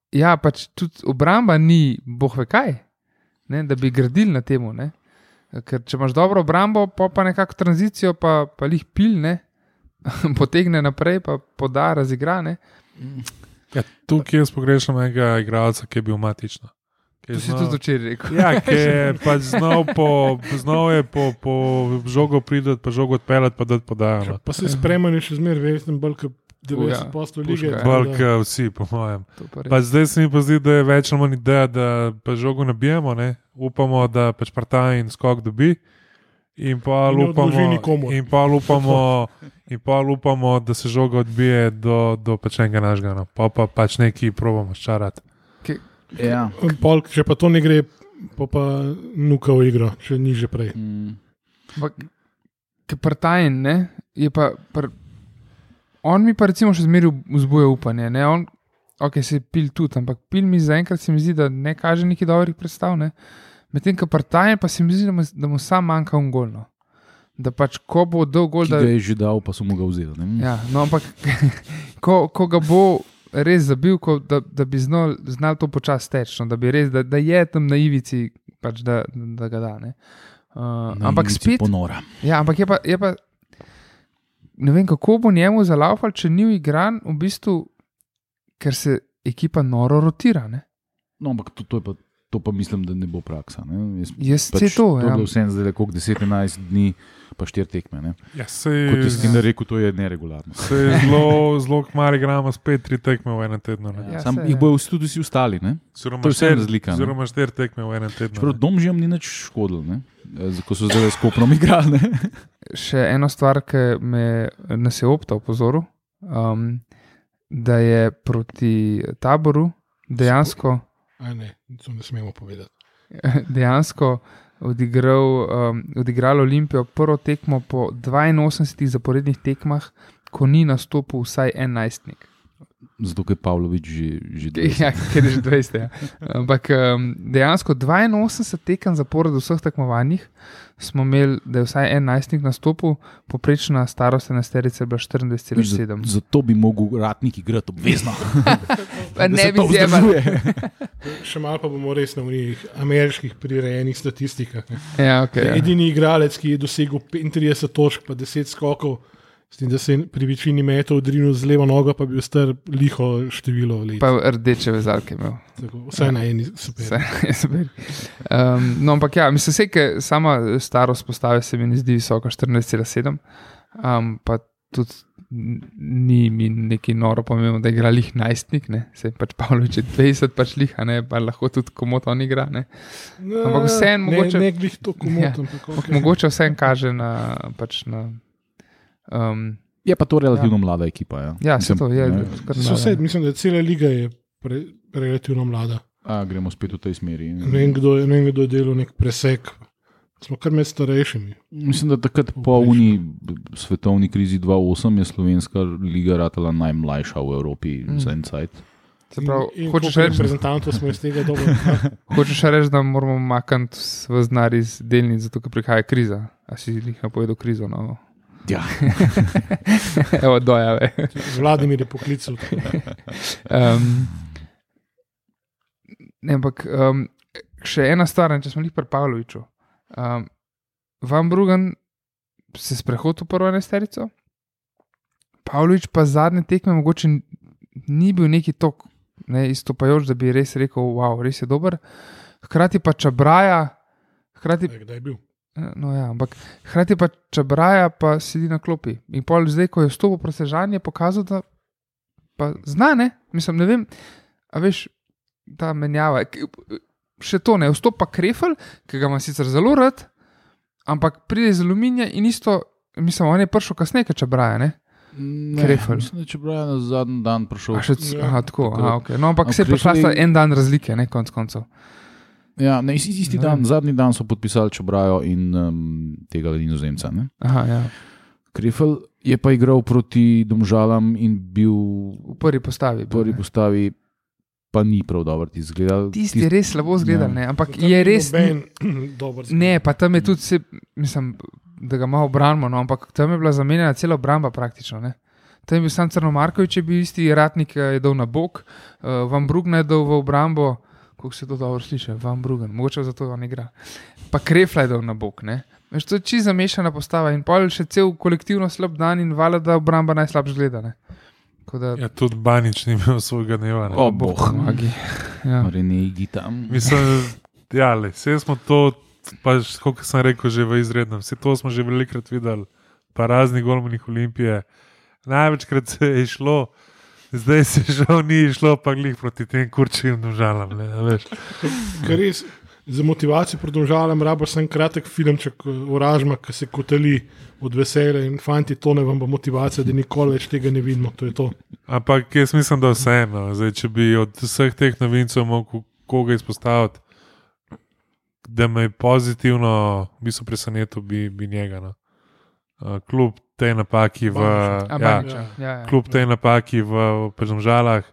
Speaker 4: ja, pač tudi obramba ni bohve kaj, ne, da bi gradili na temu. Ne. Ker če imaš dobro obrambo, pa, pa nekako tranzicijo, pa, pa jih pil, ne, potegne naprej, pa poda razigrane.
Speaker 2: Ja, tukaj jaz pogrešam enega igralca, ki je bil matičen.
Speaker 4: To si tudi včeraj rekel.
Speaker 2: Ja, ki je pač znal, po, znal je po, po žogo prideti, pa žogo odpeljati, pa da
Speaker 4: Ja.
Speaker 2: podajo. no.
Speaker 1: Pa se spremeni še zmeraj, verjetno bolj kot 90%
Speaker 4: puška,
Speaker 1: lige. tako
Speaker 4: ja.
Speaker 1: da-
Speaker 2: Balk, vsi, po mojem.
Speaker 4: To pa res.
Speaker 2: Pa zdaj se mi pa zdi, da je več ali manj ideja, da pa žogo nabijemo, ne? upamo, da pač prta in skok dobi. In pa
Speaker 1: In ne odloži
Speaker 2: lupamo,
Speaker 1: nikomur.
Speaker 2: in pa lupamo, in pa lupamo, da se žoga odbije do, do pač enega našega, no. pa pa pač neki probamo ščarati.
Speaker 3: Ja.
Speaker 1: Pol, če pa to ne gre, pa, pa nuka v igro, če ni že prej.
Speaker 3: Mm.
Speaker 4: Prtajn, ne, je pa. Pr... On mi pa recimo še zmeraj vzbuja upanje. Ne? On, ok, se pil tudi, ampak pil mi zaenkrat se mi zdi, da ne kaže neki dobrih predstav. ne. Medtem, ko prtajn, pa se mi zdi, da mu, da mu sam manjka ungolno. Da pač, ko bo dolgo,
Speaker 3: Ki
Speaker 4: da.
Speaker 3: ga je že dal, pa so mu ga vzeli. ne.
Speaker 4: Ja, no, ampak ko, ko ga bo res zabil, ko, da, da bi znal, znal to počasi tečno, da, bi res, da, da je tam na ivici, pač, da, da ga da. ne. Uh,
Speaker 3: Na
Speaker 4: ampak
Speaker 3: ivici
Speaker 4: spet,
Speaker 3: Ponora.
Speaker 4: Ja, ampak je pa, je pa ne vem, kako bo njemu zalaupal, če ni igran, v bistvu, ker se ekipa noro rotira. Ne?
Speaker 3: No, ampak to, to je pa to pa mislim, da ne bo praksa. Ne? Jaz, pač
Speaker 4: Jaz se to,
Speaker 3: to
Speaker 4: ja.
Speaker 3: da vsem zdaj lahko 10-11 dni, pa 4 tekme. Ne?
Speaker 2: Ja, sej,
Speaker 3: Kot je Skinner rekel, to je neregularno.
Speaker 2: sej zelo, zelo kmar igramo spet tri tekme v enem tednu. ne.
Speaker 4: Ja,
Speaker 3: Sam
Speaker 4: saj,
Speaker 3: jih
Speaker 4: ja.
Speaker 3: bojo vsi tudi vsi ostali. Ne?
Speaker 2: Oziroma
Speaker 3: To je vseeno
Speaker 2: štiri-
Speaker 3: razlika, ne.
Speaker 2: Oziroma štiri tekme v enem tednu.
Speaker 4: Ja.
Speaker 3: Čeprav dom že jim ni nič škodil, ne? Eh, ko so zdaj skupno igrali. ne.
Speaker 4: Še ena stvar, ki me nas je opta opozoril, um, da je proti taboru dejansko,
Speaker 1: A ne, to ne smemo povedati.
Speaker 4: dejansko odigral, um, odigral Olimpijo prvo tekmo po 82 zaporednih tekmah, ko ni nastopil vsaj en najstnik.
Speaker 3: Zato je Pavlović že, že dvajset.
Speaker 4: Ja, ker je že 20. Ja. Ampak um, dejansko 82 tekem zapored v vseh tekmovanjih smo imeli, da je vsaj en najstnik nastopil, poprečna starost enesterice je bila
Speaker 3: Veš, za-
Speaker 4: 24,7.
Speaker 3: Zato bi mogel ratnik igrati obvezno.
Speaker 4: Pa
Speaker 3: da
Speaker 4: ne
Speaker 3: se
Speaker 4: bi
Speaker 3: to
Speaker 4: zjebali.
Speaker 3: vzdržuje.
Speaker 1: Še malo pa bomo res na unih ameriških prirejenih statistikah. Ne.
Speaker 4: Ja, okay,
Speaker 1: Ja.
Speaker 4: ja.
Speaker 1: Edini igralec, ki je dosegel 35 točk, pa 10 skokov, s tem, da se je pri večini metov odrinil z levo nogo, pa bi bil star liho število let.
Speaker 4: Pa rdeče vezalke imel.
Speaker 1: Tako, vsaj na eni super.
Speaker 4: Vse, jaz bi rekel. Um, no, ampak ja, mislim, se, ker sama starost postave se mi ne zdi visoka, 14,7, um, pa tudi n- ni mi neki noro pomembno, da igra lih najstnik, ne, se pač Pavlovič je 20, pač lih, a ne, pa lahko tudi komot on igra, ne.
Speaker 1: Ne,
Speaker 4: Ampak vseeno
Speaker 1: Ne,
Speaker 4: mogoče-
Speaker 1: ne glih to
Speaker 4: Ja.
Speaker 1: komotam.
Speaker 4: Ampak mogoče vse kaže na, pač na, um,
Speaker 3: Je pa to relativno ja. mlada ekipa. Ja,
Speaker 4: ja, se
Speaker 3: Mislim,
Speaker 4: to je,
Speaker 3: ne.
Speaker 4: kar
Speaker 1: So
Speaker 4: noro,
Speaker 1: vse,
Speaker 4: ne.
Speaker 1: mislim, da cela liga je pre, relativno mlada.
Speaker 3: A, gremo spet v tej smeri.
Speaker 1: Ne vem, kdo, je- ne vem, kdo je delal nek presek. Smo kar med starejšimi.
Speaker 3: Mislim, da takrat po uni svetovni krizi 2008 je slovenska liga ratala najmlajša v Evropi mm. za en cajt.
Speaker 4: Se pravi,
Speaker 1: In- in
Speaker 4: hočeš
Speaker 1: koliko
Speaker 4: reči,
Speaker 1: reprezentantov smo iz tega dobro. Ja,
Speaker 4: Hočeš reči, da moramo umakniti v znar iz delnic, zato ker prihaja kriza. A si jih napovedal krizo? No?
Speaker 3: Ja.
Speaker 4: Evo, dojave.
Speaker 1: Vladimir je poklical.
Speaker 4: Um, ne, ampak um, še ena stvar, ne, če smo jih pri Pavloviču. Um, Van Brugen se sprehodil v prvo enesterico, Pavlovič pa zadnje tekme mogoče n- ni bil neki tok, ne, izstopajoč, da bi res rekel, wow, res je dober. Hkrati pa čabraja, hkrati
Speaker 1: Kdaj je bil?
Speaker 4: No, ja, ampak hkrati pa čebraja, pa sedi na klopi. In pol zdaj, ko je vstopil presežan, je pokazal, da pa zna, ne, mislim, ne vem, a veš, ta menjava. K- Še to ne, vstopa Krefel, ki ga ima sicer zelo rad, ampak pride iz aluminija in isto, mislim, on je prišel kasneje, ker čebraja, ne.
Speaker 3: Ne,
Speaker 4: Krefeld.
Speaker 3: Mislim, da če pravi na zadnji dan prišel.
Speaker 4: A še c-
Speaker 1: Ja,
Speaker 4: aha, tako,
Speaker 3: tako.
Speaker 4: aha, okay. No, ampak
Speaker 3: Ampak
Speaker 4: se je prišla
Speaker 3: Krefel
Speaker 4: sta
Speaker 3: je-
Speaker 4: en dan razlike, ne, konc koncev.
Speaker 3: Ja, ne, isti, isti
Speaker 4: Ne.
Speaker 3: dan, zadnji dan so podpisali Čebrajo in um, tega Nizozemca. Ne?
Speaker 4: Aha, ja.
Speaker 3: Krefel je pa igral proti Domžalam in bil
Speaker 4: V prvi postavi.
Speaker 3: v
Speaker 4: bil,
Speaker 3: prvi
Speaker 4: ne.
Speaker 3: postavi, pa ni prav dobro ti izgledal.
Speaker 4: Tisti je res slabo zgledal,
Speaker 3: Ja.
Speaker 4: ne, ampak je res.
Speaker 1: Ben, dober
Speaker 4: Ne, pa tam je tudi, se, mislim, da ga malo obrambno, no, ampak tam je bila zamenjena cela obramba praktično. Ne. Tam je bil sam Crnomarkovič, je bil isti ratnik, eh, je dal na bok, uh, Van Brugna je dal v obrambo, kako se to dobro sliši, Van Brugen, mogoče zato on igra. Pa Krefla je dal na bok, ne. Veš, to je čisto zamešana postava in pol še cel kolektivno slab dan in vala, da obramba najslabš gleda. Ne. Tako da,
Speaker 2: Ja, tudi Banič ni imel svojega dneva. ne.
Speaker 3: O, boh.
Speaker 4: magi. Ja.
Speaker 3: Rene Igita.
Speaker 2: Mislim, ja, le, vse smo to, pač, kot sem rekel, že v izrednem. Vse to smo že velikokrat videli, pa razni golmanih olimpije. Največkrat se je šlo, zdaj se žal ni šlo, pa glih proti tem kurčim državam.
Speaker 1: Ker res za motivacijo pridružujem, rabo sem kratek filmček eh, Oražma, ki se kotali od veselja in fanti, to ne vam bo motivacija, da nikoli več tega ne vidimo. To je to.
Speaker 2: Ampak jaz mislim, da vseeno, zdaj, če bi od vseh teh novincev mogel koga izpostaviti, da me je pozitivno v bistvu presenetil, bi, bi njega. No. Uh, Kljub tej napaki v.
Speaker 1: Baniča.
Speaker 4: A,
Speaker 2: Ja,
Speaker 4: Baniča, ja, ja.
Speaker 2: kljub tej napaki v Pežamžalah,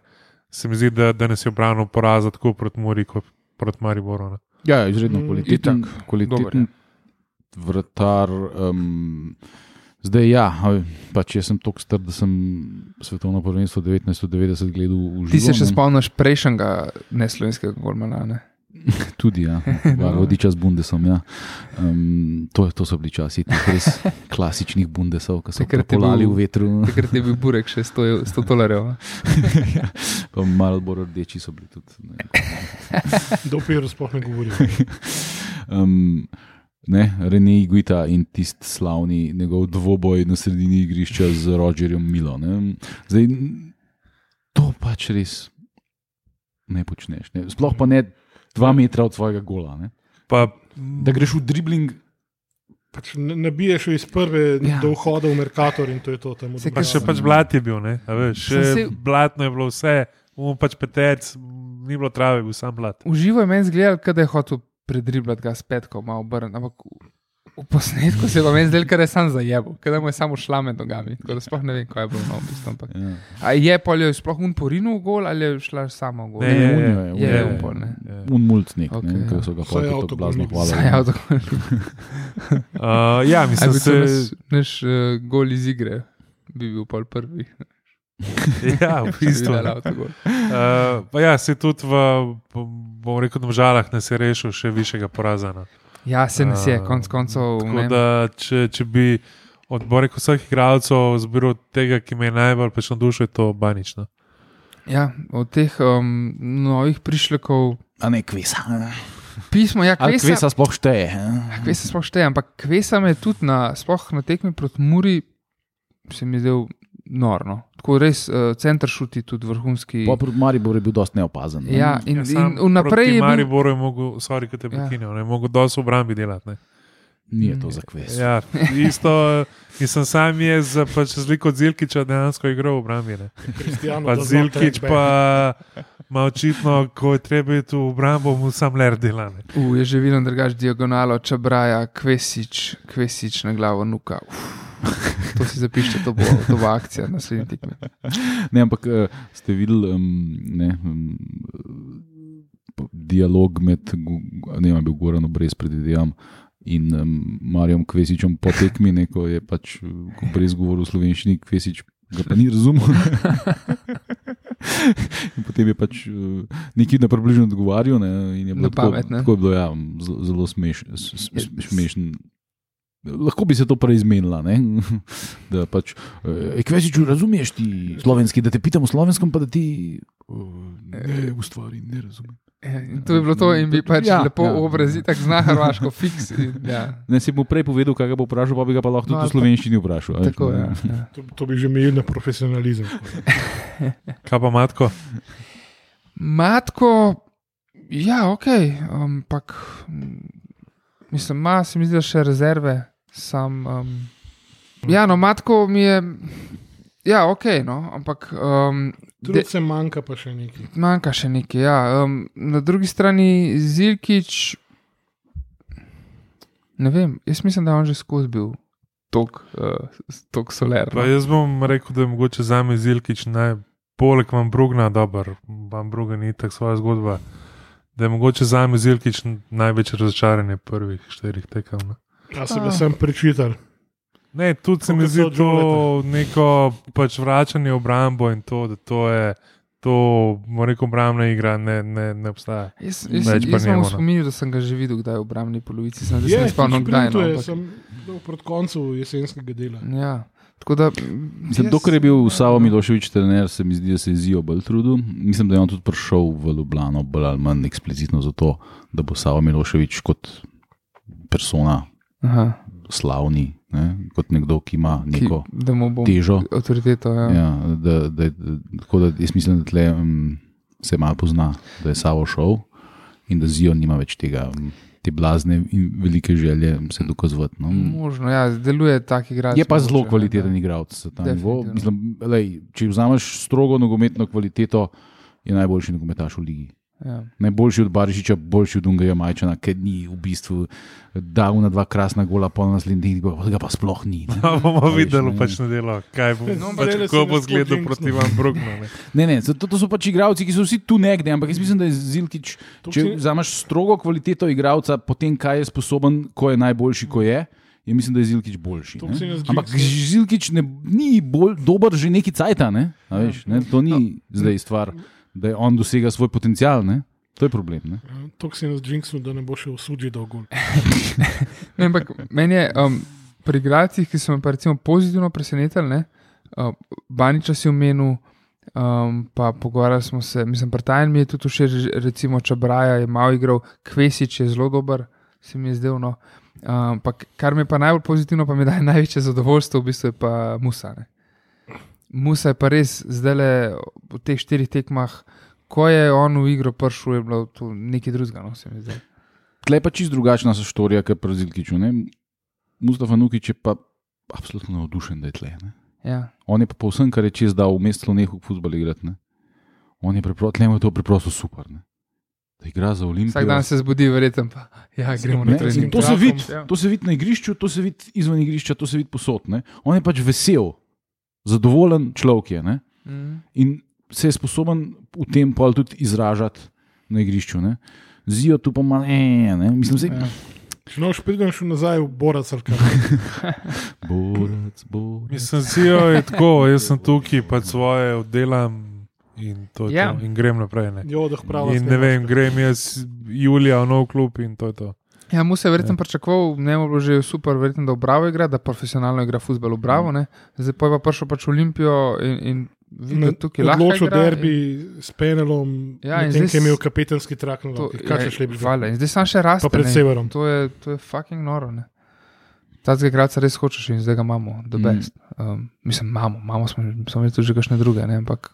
Speaker 2: se mi zdi, da, da nas je obranil poraz tako proti Muri kot proti Mariboru. Ne?
Speaker 3: Ja, izredno
Speaker 1: Mm,
Speaker 3: kvaliteten,
Speaker 4: itak. Dober je.
Speaker 3: kvaliteten vrtar. Um, zdaj, ja, a, pač jaz sem tako star, da sem svetovno prvenstvo 1990 gledal v živo.
Speaker 4: Ti se še
Speaker 3: ne.
Speaker 4: spomniš prejšnjega neslovenskega golmana, ne?
Speaker 3: Tudi, ja, vodiča z Bundesom. Ja. Um, to, to so bili časi teh res klasičnih Bundesov, ki so
Speaker 4: Takrat je
Speaker 3: krepolali
Speaker 4: bil-
Speaker 3: v vetru.
Speaker 4: Takrat je bil burek še 100, ev- 100 dolarjev.
Speaker 3: ja. Pa malo bolj rdeči so bili tudi. Ne.
Speaker 1: Do piru sploh ne govorim.
Speaker 3: Um, ne, Rene Iguita in tisti slavni njegov dvoboj na sredini igrišča z Rogerjem Milo. Ne. Zdaj, n- to pač res ne počneš. Ne. Sploh pa ne dva metra od svojega gola. Ne.
Speaker 2: Pa,
Speaker 3: Da greš v dribling,
Speaker 1: Pač ne- nabiješ jo iz prve ja.
Speaker 3: Ja.
Speaker 1: do vhoda v Merkator in to je to. Tam,
Speaker 4: Se
Speaker 2: pa še pač blat je bil, ne? a veš, še
Speaker 4: ja. Sem se-
Speaker 2: blatno je bilo vse, mu pač petec, ni bilo trave, bil sam blat.
Speaker 4: Uživo je meni zgledal, da je hotel predriblati ga s petkom, malo obrn, ampak v- v posnetku se je pa meni zdel, da je sam zajel, da mu je samo šla med nogami. Tako da sploh ne vem, kaj je bilo na obistu. Ampak.
Speaker 3: Ja.
Speaker 4: A je pa jo sploh un porinu v gol ali je šla samo v gol?
Speaker 2: Ne, je,
Speaker 3: unijo je,
Speaker 4: je,
Speaker 3: unijo
Speaker 4: je
Speaker 2: je.
Speaker 4: upor, ne.
Speaker 3: Ja. un multnik, okay.
Speaker 4: Okej,
Speaker 3: ne, ki so ga
Speaker 1: Vsaj
Speaker 3: hoteli tako
Speaker 1: avtogol
Speaker 3: blazno
Speaker 1: ni bil.
Speaker 3: hvaliti.
Speaker 4: Saj, ja, tako.
Speaker 2: Uh, ja,
Speaker 4: Aj,
Speaker 2: mislim,
Speaker 4: bi to naš,
Speaker 2: se,
Speaker 4: naš uh, gol iz igre bi bil pol prvi.
Speaker 2: ja, v bistvu.
Speaker 4: Videla avtogol.
Speaker 2: Uh, pa ja, se tudi v, bom rekel, domžalah nas je rešil še višjega poraza. No.
Speaker 4: Ja, se nas je,
Speaker 2: Eh,
Speaker 4: konc koncev.
Speaker 2: Tako
Speaker 4: ne.
Speaker 2: da, če, če bi odborek vseh igralcev zbiral tega, ki me je najbolj pač navdušil, je to banično.
Speaker 4: Ja, od teh um, novih prišlekov.
Speaker 3: A e ne kvesa. ne.
Speaker 4: Pismo, ja,
Speaker 3: Ali
Speaker 4: kvesa,
Speaker 3: kvesa sploh šteje. eh?
Speaker 4: Kvesa sploh šteje, ampak kvesa me je tudi na, sploh na tekmi proti Muri, se mi je zdel norno. Tako res, uh, center šuti tudi vrhunski.
Speaker 3: Pa pri Mariboru je bil dosti neopazen. ne.
Speaker 4: Ja, in,
Speaker 2: Ja,
Speaker 4: in
Speaker 2: sam
Speaker 4: vnaprej
Speaker 2: proti
Speaker 4: je bil,
Speaker 2: Mariboru je mogel, sorry, ki
Speaker 4: Ja.
Speaker 2: te prekinjal, ne mogel dosti v obrambi delati. Ne.
Speaker 3: Ni to za kves.
Speaker 2: Ja, isto, mislim, sam je za pač razliko od Zilkiča dejansko igral v obrambi. Ne.
Speaker 4: pač
Speaker 2: Pa Zilkič pa ima očitno, ko je treba biti v obrambo, mu sam ler dela. Ne.
Speaker 4: uh, je že videl drugač diagonalo, čabraja, kvesič, kvesič na glavo nuka. Uf, to si zapišite, to bo, to bo akcija na naslednji tekmi.
Speaker 3: Ne, ampak eh, ste videli um, ne, um, p- dialog med, Gu- Gu- ne vem, a je bil Goran Brez, predvidevam, in um, Marijo Kvesičem po tekmi, ne, ko je pač eh, brez govoril v slovenščini, Kvesič ga pa ni razumel. In Potem je pač eh, nekaj na približno odgovarjal. Ne, e in je bilo
Speaker 4: Na
Speaker 3: tako-
Speaker 4: pamet, ne.
Speaker 3: Tako je bilo ja, z- zelo smeš, s- s- s- smešen. Lahko bi se to preizmenila, ne? da pač, eh, kvesiču, razumeš ti slovenski, da te pitam o slovenskem, pa da ti eh, ne, v stvari ne razumem.
Speaker 4: Ja, in to je bilo to, in bi pač ja,
Speaker 3: Ja,
Speaker 4: lepo
Speaker 3: ja.
Speaker 4: ja, obrazi, tako zna hrvaško, fiks. in- Ja.
Speaker 3: Ne si mu prej povedal, kaj ga bo vprašal, pa bi ga pa lahko
Speaker 4: No,
Speaker 3: tudi
Speaker 4: ali
Speaker 3: v slovenščini vprašal. a veš,
Speaker 4: Tako
Speaker 3: ne.
Speaker 4: je. Ja, ja.
Speaker 1: To, to bi že imel na profesionalizem.
Speaker 2: Kaj pa matko?
Speaker 4: Matko, ja, ok, ampak mm, mislim, ima se mi zdi, da še rezerve. Sam, um, ja, no, matko mi je, ja, ok, no, ampak um, de,
Speaker 1: Trud se manjka, pa še nekaj.
Speaker 4: manjka še nekaj. Ja, um, na drugi strani Zirkič, ne vem, jaz mislim, da je on že skozi bil tok, uh, tok soler.
Speaker 2: Pa
Speaker 4: No.
Speaker 2: jaz bom rekel, da je mogoče za me Zilkič najbolj vam brugna, dober, vam bruga ni tako svoja zgodba. Da je mogoče za me Zilkič največje razočaranje prvih štirih tekem.
Speaker 1: A
Speaker 2: Ne,
Speaker 1: se ga sem prečital.
Speaker 2: ne tudi se
Speaker 1: Tako
Speaker 2: mi
Speaker 1: kot
Speaker 2: zdi
Speaker 1: so od
Speaker 2: to neko pač vračanje v obrambo in to, da to je, to, moram reči, obrambna igra ne, ne, ne obstaja.
Speaker 4: Jaz,
Speaker 2: Več
Speaker 4: jaz,
Speaker 2: pa
Speaker 4: jaz
Speaker 2: ne
Speaker 4: sem
Speaker 2: bo, no.
Speaker 4: spominjal, da sem ga že videl, kdaj v obrambni polovici, sem se ne spomnil, kdaj. No, ampak-
Speaker 1: Sem dol proti koncu jesenskega dela.
Speaker 4: Ja, tako da.
Speaker 3: Mislim, dokler je bil Savo Miloševič trener, se mi zdi, da se je Zijo bolj trudil. Mislim, da je on tudi prišel v Ljubljano bolj ali manj eksplicitno zato, da bo Savo Miloševič kot persona
Speaker 4: Aha,
Speaker 3: slavni, ne? kot nekdo, ki ima
Speaker 4: ki,
Speaker 3: neko
Speaker 4: da mu bo
Speaker 3: težo.
Speaker 4: avtoriteto. Ja. Ja.
Speaker 3: Ja, da, da, da, tako da jaz mislim, da tle, um, se malo pozna, da je Savo šel in da Zijo nima več tega, um, te blazne in velike želje se dokazovati. No?
Speaker 4: Možno, ja, deluje tak igralec.
Speaker 3: Je pa zelo
Speaker 4: mogoče,
Speaker 3: kvaliteten
Speaker 4: ja.
Speaker 3: igralec. za ta
Speaker 4: Definitivno.
Speaker 3: nivo. Mislim, lej, Če vzameš strogo nogometno kvaliteto, je najboljši nogometaš v ligi.
Speaker 4: Ja.
Speaker 3: Najboljši od Barišiča, boljši od Dunga Majčana, ker ni v bistvu dal na dva krasna gola, pa na naslednji tekmi ga pa sploh ni. ne.
Speaker 2: Pa bomo
Speaker 3: Veš,
Speaker 2: videli
Speaker 3: ne.
Speaker 2: pač na delo, kaj bo,
Speaker 1: No,
Speaker 2: no,
Speaker 1: ampak
Speaker 2: pač,
Speaker 1: zdajle
Speaker 2: kako
Speaker 1: se
Speaker 2: bo
Speaker 1: nas
Speaker 2: zgledal
Speaker 1: podjenksno.
Speaker 2: proti vam brugnu. ne.
Speaker 3: Ne, ne, zato to so pač igravci, ki so vsi tu nekde, ampak jaz mislim, da je Zilkič,
Speaker 1: To
Speaker 3: če
Speaker 1: si-
Speaker 3: vzameš strogo kvaliteto igravca, potem kaj je sposoben, ko je najboljši, ko je. Je mislim, da je Zilkič boljši.
Speaker 1: To
Speaker 3: ne.
Speaker 1: si jaz
Speaker 3: Ampak
Speaker 1: Zilkič-
Speaker 3: Zilkič ne, ni bolj dober že neki cajt, ne? A Veš, ne? To ni zdaj stvar, da je on dosega svoj potencial. Ne? To je problem. Ne?
Speaker 1: Tako Ja, si nas džinksnil, da ne bo še osudil dolgo.
Speaker 4: Ne, ampak meni je um, pri igralcih, ki so me pa recimo pozitivno presenetili, ne, uh, Baniča si omenil, um, pa pogovarjali smo se, mislim, Partajan mi je tudi všeč, recimo Čabraja je malo igral, Kvesič je zelo dober, se mi je zdel. No. Um, pa, k- kar mi je pa najbolj pozitivno, pa mi daje največje zadovoljstvo, v bistvu je pa Musa. Ne. Musa je pa res zdaj le v teh štirih tekmah. Ko je on v igro prišel, je bilo to nekaj drugega. No, se mi zdi.
Speaker 3: Tle je pa čist drugačna štorija, kot pri Zilkiču. Ne? Mustafa Nukič je pa absolutno navdušen, da je tle. Ne?
Speaker 4: ja.
Speaker 3: On je pa povsem, kar je čez dal v mestu nehu futbol igrati. Ne? On je preprosto, tle mu je to preprosto super. Ne? Da igra za Olimpijo.
Speaker 4: Vsak dan se zbudi, verjetno pa ja, gremo na
Speaker 3: Ne,
Speaker 4: trening.
Speaker 3: To se vidi,
Speaker 4: Ja.
Speaker 3: to se vidi na igrišču, to se vidi izven igrišča, to se vidi posod. Ne? On je pač vesel, zadovoljen človek je ne?
Speaker 4: Mhm.
Speaker 3: in se je sposoben v tem pol tudi izražati na igrišču. Ne? Zijo tu pa malo, "E, ne, mislim, se,
Speaker 1: Ja. Če noš pridem še nazaj v Borac, ali kaj.
Speaker 3: borac, borac.
Speaker 2: Mislim, CEO je tako, jaz sem tukaj, pač svoje oddelam in, to je
Speaker 4: Ja.
Speaker 2: to, in grem naprej. Ne.
Speaker 1: Jo, da pravi.
Speaker 2: In ne vem, grem jaz julija v nov klub in to je to.
Speaker 4: Ja, mu se je verjetno pričakoval, ne bo bilo že super, verjetno, da v Bravo igra, da profesionalno igra futbol v Bravo. Ne? Zdaj pa je pa prišel pač v Olimpijo in, in videl, da tukaj lahko
Speaker 1: Odločil
Speaker 4: igra eh,
Speaker 1: derbi s Penelom,
Speaker 4: Ja,
Speaker 1: ja, tem,
Speaker 4: in zdaj
Speaker 1: ki je
Speaker 4: s-
Speaker 1: imel kapetanski trak na
Speaker 4: in To, ja,
Speaker 1: roki. Kaj še šli bi
Speaker 4: Hvala. Zdaj sam še raste.
Speaker 1: Pa pred
Speaker 4: ne.
Speaker 1: severom.
Speaker 4: To je, to je fucking noro. Ne? Tazga gradca res hočeš in zdaj ga imamo, the
Speaker 3: Mm.
Speaker 4: best. Um, mislim, imamo, imamo smo, smo imeli tudi že kakšne druge, ne? ampak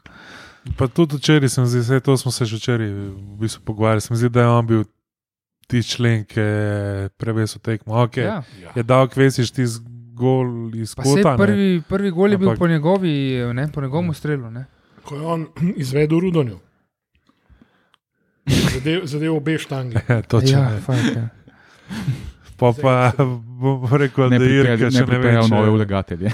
Speaker 2: Pa tudi včeraj sem zdaj, vse to smo se že včeraj v bistvu pogovarjali, sem zdaj, da je on bil ti člen, ki je prevesel tekmo. Okay.
Speaker 4: ja.
Speaker 2: Je dal kvesiš ti z gol iz
Speaker 4: Pa sej
Speaker 2: kota. ne.
Speaker 4: prvi, prvi gol je bil
Speaker 2: Ampak-
Speaker 4: po njegovi, ne, po njegovem strelu. Ne?
Speaker 1: Ko je on izvedel Rudonjo. Zadev, zadev obe štangi.
Speaker 2: Ja, točno.
Speaker 4: Ja,
Speaker 2: Ja.
Speaker 4: fakt, ja.
Speaker 2: Pa pa bom rekel, da
Speaker 3: Ne
Speaker 2: je Irka
Speaker 3: pripelje-
Speaker 2: še
Speaker 3: ne
Speaker 2: ne ve.
Speaker 3: pripeljal nove
Speaker 2: če-
Speaker 3: vlagatelje.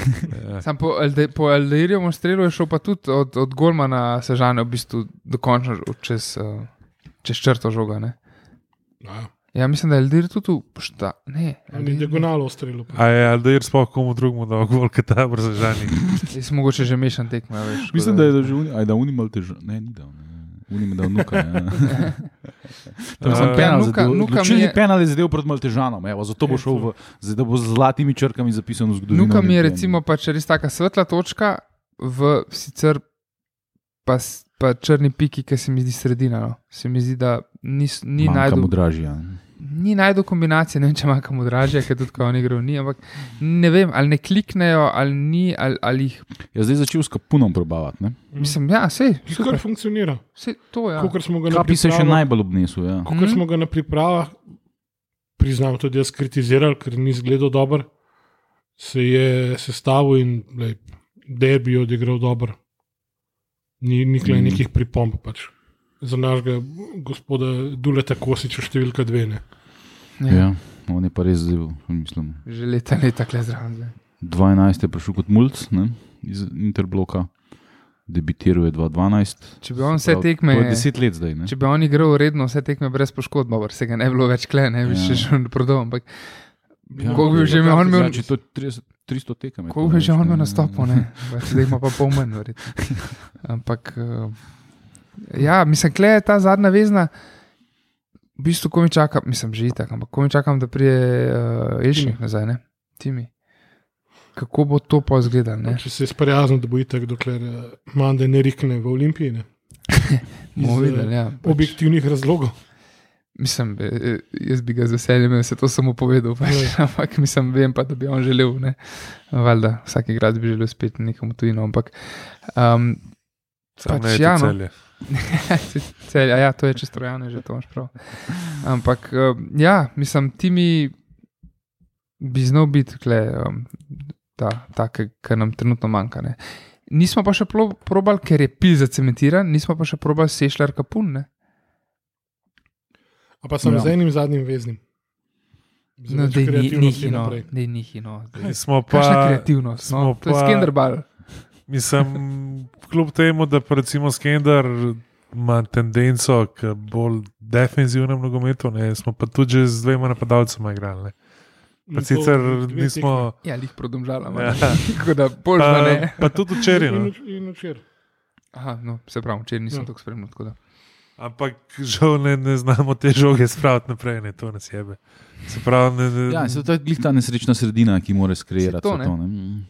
Speaker 2: Ja.
Speaker 4: Sam po, Alde, po Aldeirjevem strelu je šel pa tudi od, od Golmana Sežane v bistvu dokončno ž- čez, eh, čez črto žoga. Ne?
Speaker 1: Ja,
Speaker 4: Ja, mislim, da je Aldeir tudi v šta. Ne,
Speaker 1: ali diagonalo ostrelo.
Speaker 2: A je Aldair sploh komu drugemu dal gol, kot ta brzažani.
Speaker 4: Jaz mogoče že mešam tekme. Veš, tako
Speaker 3: Mislim, da je da že uni, aj da unimal težav. Ne, ni dal. Unim dal nuka. ja. Tam sem
Speaker 2: Ja,
Speaker 3: penal,
Speaker 4: Nuka-
Speaker 3: zadev-
Speaker 4: Nuka Eh, mi
Speaker 3: odločilni
Speaker 4: je-
Speaker 3: penal je zadev pred Maltežanom, evo, zato bo šel v, zdaj, da bo z zlatimi črkami zapisan v zgodovino.
Speaker 4: Nuka mi je
Speaker 3: Olimpije.
Speaker 4: recimo pač res taka svetla točka, v sicer pa, s- pa črni piki, ki se mi zdi sredina. No. Se mi zdi, da ni, s- ni
Speaker 3: Manjka
Speaker 4: najdel
Speaker 3: mu dražja.
Speaker 4: ni najdel kombinacije, ne vem, če ima kam odražje, ker tudi ko on igra, ni, ampak ne vem, ali ne kliknejo, ali ni, ali, ali jih.
Speaker 3: Jaz Ja, zdaj začel s kapunom probavati. ne.
Speaker 4: Mislim, ja, sej,
Speaker 1: Kar funkcionira.
Speaker 4: sej to je. Ja.
Speaker 1: Ja. Kot smo ga na
Speaker 3: Kapi se je še
Speaker 1: pripravah-
Speaker 3: najbolj obnesel. Ja.
Speaker 1: kakor
Speaker 4: Mhm.
Speaker 1: smo ga na pripravah, priznam tudi jaz, kritiziral, ker ni zgledal dober, se je sestavil in lej, derbi je odigral dober. Ni nikoli
Speaker 3: Mhm.
Speaker 1: nekih pripomb. Pač. Za našega gospoda Duleta Kosiča številka dve. Ne.
Speaker 4: Ja.
Speaker 3: Ja. On je pa res zdaj, mislim,
Speaker 4: Že leta, leta, le zraven. zdaj.
Speaker 3: 12 je prišel kot mulj iz Interbloka, debitiral je 2012.
Speaker 4: Če bi on vse
Speaker 3: Prav,
Speaker 4: tekme,
Speaker 3: To je 10 let zdaj. Ne?
Speaker 4: če bi on igral redno, vse tekme brez poškodb, dobro, se ga ne bi bilo več kle, ne bi
Speaker 3: Ja.
Speaker 4: še šel prodal. Ampak koliko bi že imel on imel-
Speaker 3: Torej, Znači, to je 30, 300 tekem. je
Speaker 4: koliko
Speaker 3: to
Speaker 4: je že
Speaker 3: več,
Speaker 4: on
Speaker 3: ne.
Speaker 4: na nastopu, ne, več zdaj ima pa pol manj, verjetno. Ampak, eh, ja, mislim, kle je ta zadnja vezna. V bistvu, ko mi čakam, mislim, že itak, ampak ko mi čakam, da prije uh, Elšnik nazaj, ne, Timi. Kako bo to pa izgledalo? ne?
Speaker 1: Če se je sprijaznil, da bo itek, dokler eh, Mande ne rikne v Olimpiji. Ne.
Speaker 4: Bomo
Speaker 1: Iz, eh,
Speaker 4: videli, ja. pač.
Speaker 1: Objektivnih razlogov.
Speaker 4: Mislim, eh, eh, jaz bi ga z veseljem jaz se to samo povedal, pač. ampak mislim, vem pa, da bi on želel. Ne? Valjda, vsak igralec bi želel spet nekam tujino, ampak um,
Speaker 2: Samo
Speaker 4: Pač
Speaker 2: ne je
Speaker 4: ja,
Speaker 2: to
Speaker 4: no.
Speaker 2: celje.
Speaker 4: Celja, ja, to je čez trojane, že to imaš prav. Ampak um, ja, mislim, ti mi bi znal biti kle, um, ta, ta ki nam trenutno manjka. Ne. Nismo pa še plo- probali, ker je pil zacementiran, nismo pa še probali sešljar kapun. Ne.
Speaker 1: A pa sem
Speaker 3: Ja.
Speaker 1: ja. z enim zadnjim veznim. Z
Speaker 4: No,
Speaker 1: več
Speaker 4: da je
Speaker 1: kreativnosti
Speaker 4: nihino,
Speaker 1: naprej.
Speaker 4: da je nihino.
Speaker 2: Kaj Smo
Speaker 4: Kakšna
Speaker 2: pa,
Speaker 4: kreativnost, no?
Speaker 2: smo
Speaker 4: to je
Speaker 2: pa-
Speaker 4: skenderbal.
Speaker 2: mislim, kljub temu, da pa recimo Skender ima tendenco k bolj defenzivnemu nogometu, ne, smo pa tudi že z dvema napadalcema igrali. ne. Pa
Speaker 1: In to
Speaker 2: sicer
Speaker 1: dve
Speaker 2: nismo.
Speaker 4: Ja, jih prodomžala,
Speaker 2: Ja.
Speaker 4: ja. tako da bolj pa
Speaker 2: Pa,
Speaker 4: ne.
Speaker 2: pa tudi
Speaker 1: tekme.
Speaker 2: včeraj.
Speaker 1: In
Speaker 2: No.
Speaker 1: vč- In včeraj.
Speaker 4: Aha, no, se pravi, če nisem
Speaker 1: Ja.
Speaker 4: tako spremljal. tako da.
Speaker 2: Ampak žal ne, ne znamo te žoge spraviti naprej, ne to nas jebe. Se pravi, ne, ne,
Speaker 3: Ja, se to je glih ta nesrečna sredina, ki mora skreirati.
Speaker 4: Saj to,
Speaker 3: vse
Speaker 4: ne.
Speaker 3: to, ne. Mm.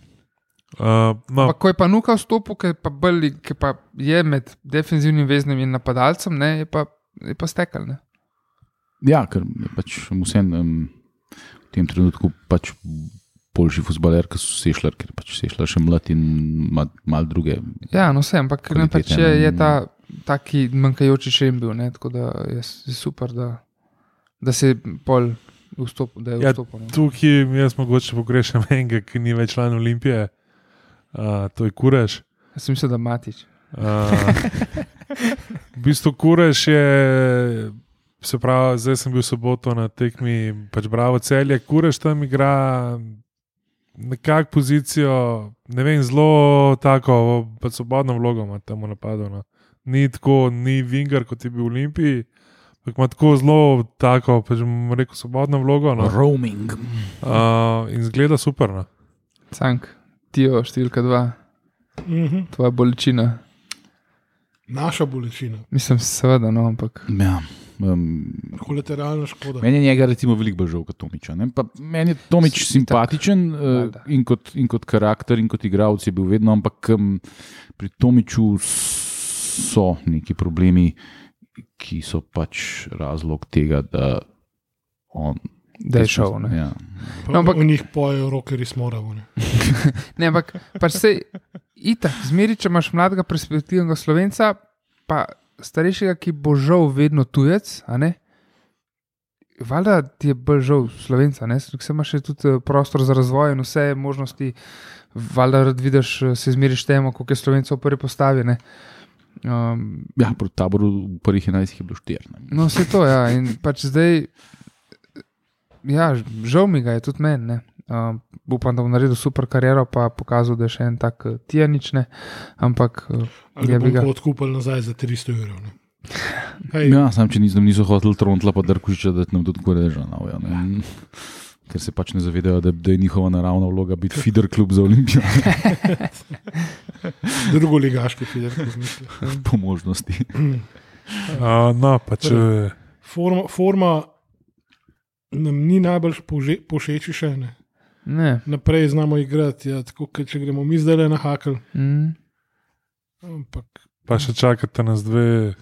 Speaker 2: uh, no,
Speaker 4: Ampak ko je pa nuka vstopil, ki pa, bolj- ke pa je med defensivnim veznim in napadalcem, ne, je, pa, je pa stekel. Ne.
Speaker 3: Ja, ker je pač vsem um, v tem trenutku pač boljši futbaler, kot so sešljar, ker je pač sešljar še mlad in ima malo druge.
Speaker 4: Ja, no vse, ampak ne, pač
Speaker 3: Kvalitete,
Speaker 4: je,
Speaker 3: ne.
Speaker 4: je ta taki manjkajoči člen bil. Ne, tako da je, s- je super, da, da se je pol vstopil. Da je
Speaker 2: Ja,
Speaker 4: vstopil ne.
Speaker 2: tukaj jaz mogoče pogrešam enega, ki ni več član Olimpije, uh, to je Kurež.
Speaker 4: Jaz sem mislil, da Matič.
Speaker 2: Uh, v bistvu Kurež je, se pravi, zdaj sem bil v soboto na tekmi, pač bravo celje, Kurež tam igra nekako pozicijo, ne vem, zelo tako, pač svobodno vlogo ima tam napadal. No. Ni tako, ni vingar kot je bil v Olimpiji, ampak ima tako zelo tako, pač bom rekel, svobodno vlogo. No.
Speaker 3: Roaming.
Speaker 2: Uh, in zgleda super. No.
Speaker 4: Cank, Tio, številka dva,
Speaker 1: Mhm.
Speaker 4: tvoja bolečina.
Speaker 1: Naša bolečina,
Speaker 4: Mislim, seveda, no, ampak.
Speaker 3: Ja. Um,
Speaker 1: kolateralna škoda.
Speaker 3: Meni je njega recimo veliko bolj žal kot Tomiča. ne. Pa Meni je Tomič
Speaker 4: Itak.
Speaker 3: simpatičen eh,
Speaker 4: Valjda.
Speaker 3: in kot, in kot karakter in kot igralec je bil vedno, ampak em, pri Tomiču so neki problemi, ki so pač razlog tega, da on.
Speaker 4: Da je šel. Ne.
Speaker 3: Ja.
Speaker 1: Pa
Speaker 4: No, ampak-
Speaker 1: V njih pojejo roke res moramo. Ne.
Speaker 4: Ne, ampak pač se itak, zmeri, če imaš mladega perspektivnega slovenca, pa starejšega, ki bo žal vedno tujec, a ne. Valjda ti je bolj žal slovenca, ne, ker se imaš še tudi eh, prostor za razvoj in vse možnosti. Valjda rad vidiš, eh, se zmeriš temo, koliko je slovencev v prvi postavi. ne. Um,
Speaker 3: ja, proti taboru v prvih 11 je bilo 4. Ne.
Speaker 4: No, vse to je. Ja. In pač zdaj, ja, žal mi ga je tudi meni. ne. Um, upam, da bom naredil super kariero, pa pokazal, da je še en tak eh, tijanič, ne. ampak eh,
Speaker 1: Ali
Speaker 4: Ja,
Speaker 1: ga
Speaker 4: bi ga. No.
Speaker 1: bomo odkupili nazaj za 300 evrov. ne. Hej,
Speaker 3: Ja, sam če nisem, niso hoteli trontla pa drkušiča, da nam tudi gore žanavijo. Ja. Ker se pač ne zavedajo, da, da je njihova naravna vloga biti feeder klub za olimpijo,
Speaker 1: drugo ligaški fider, kot mislim.
Speaker 3: po možnosti.
Speaker 2: Uh, no, pa če.
Speaker 1: Forma, forma nam ni najbolj pože- pošeči še ne.
Speaker 4: ne.
Speaker 1: Naprej znamo igrati, ja, tako kot če gremo mi zdaj le na hakl.
Speaker 4: Mm.
Speaker 1: Ampak
Speaker 2: Pa še čakate nas dve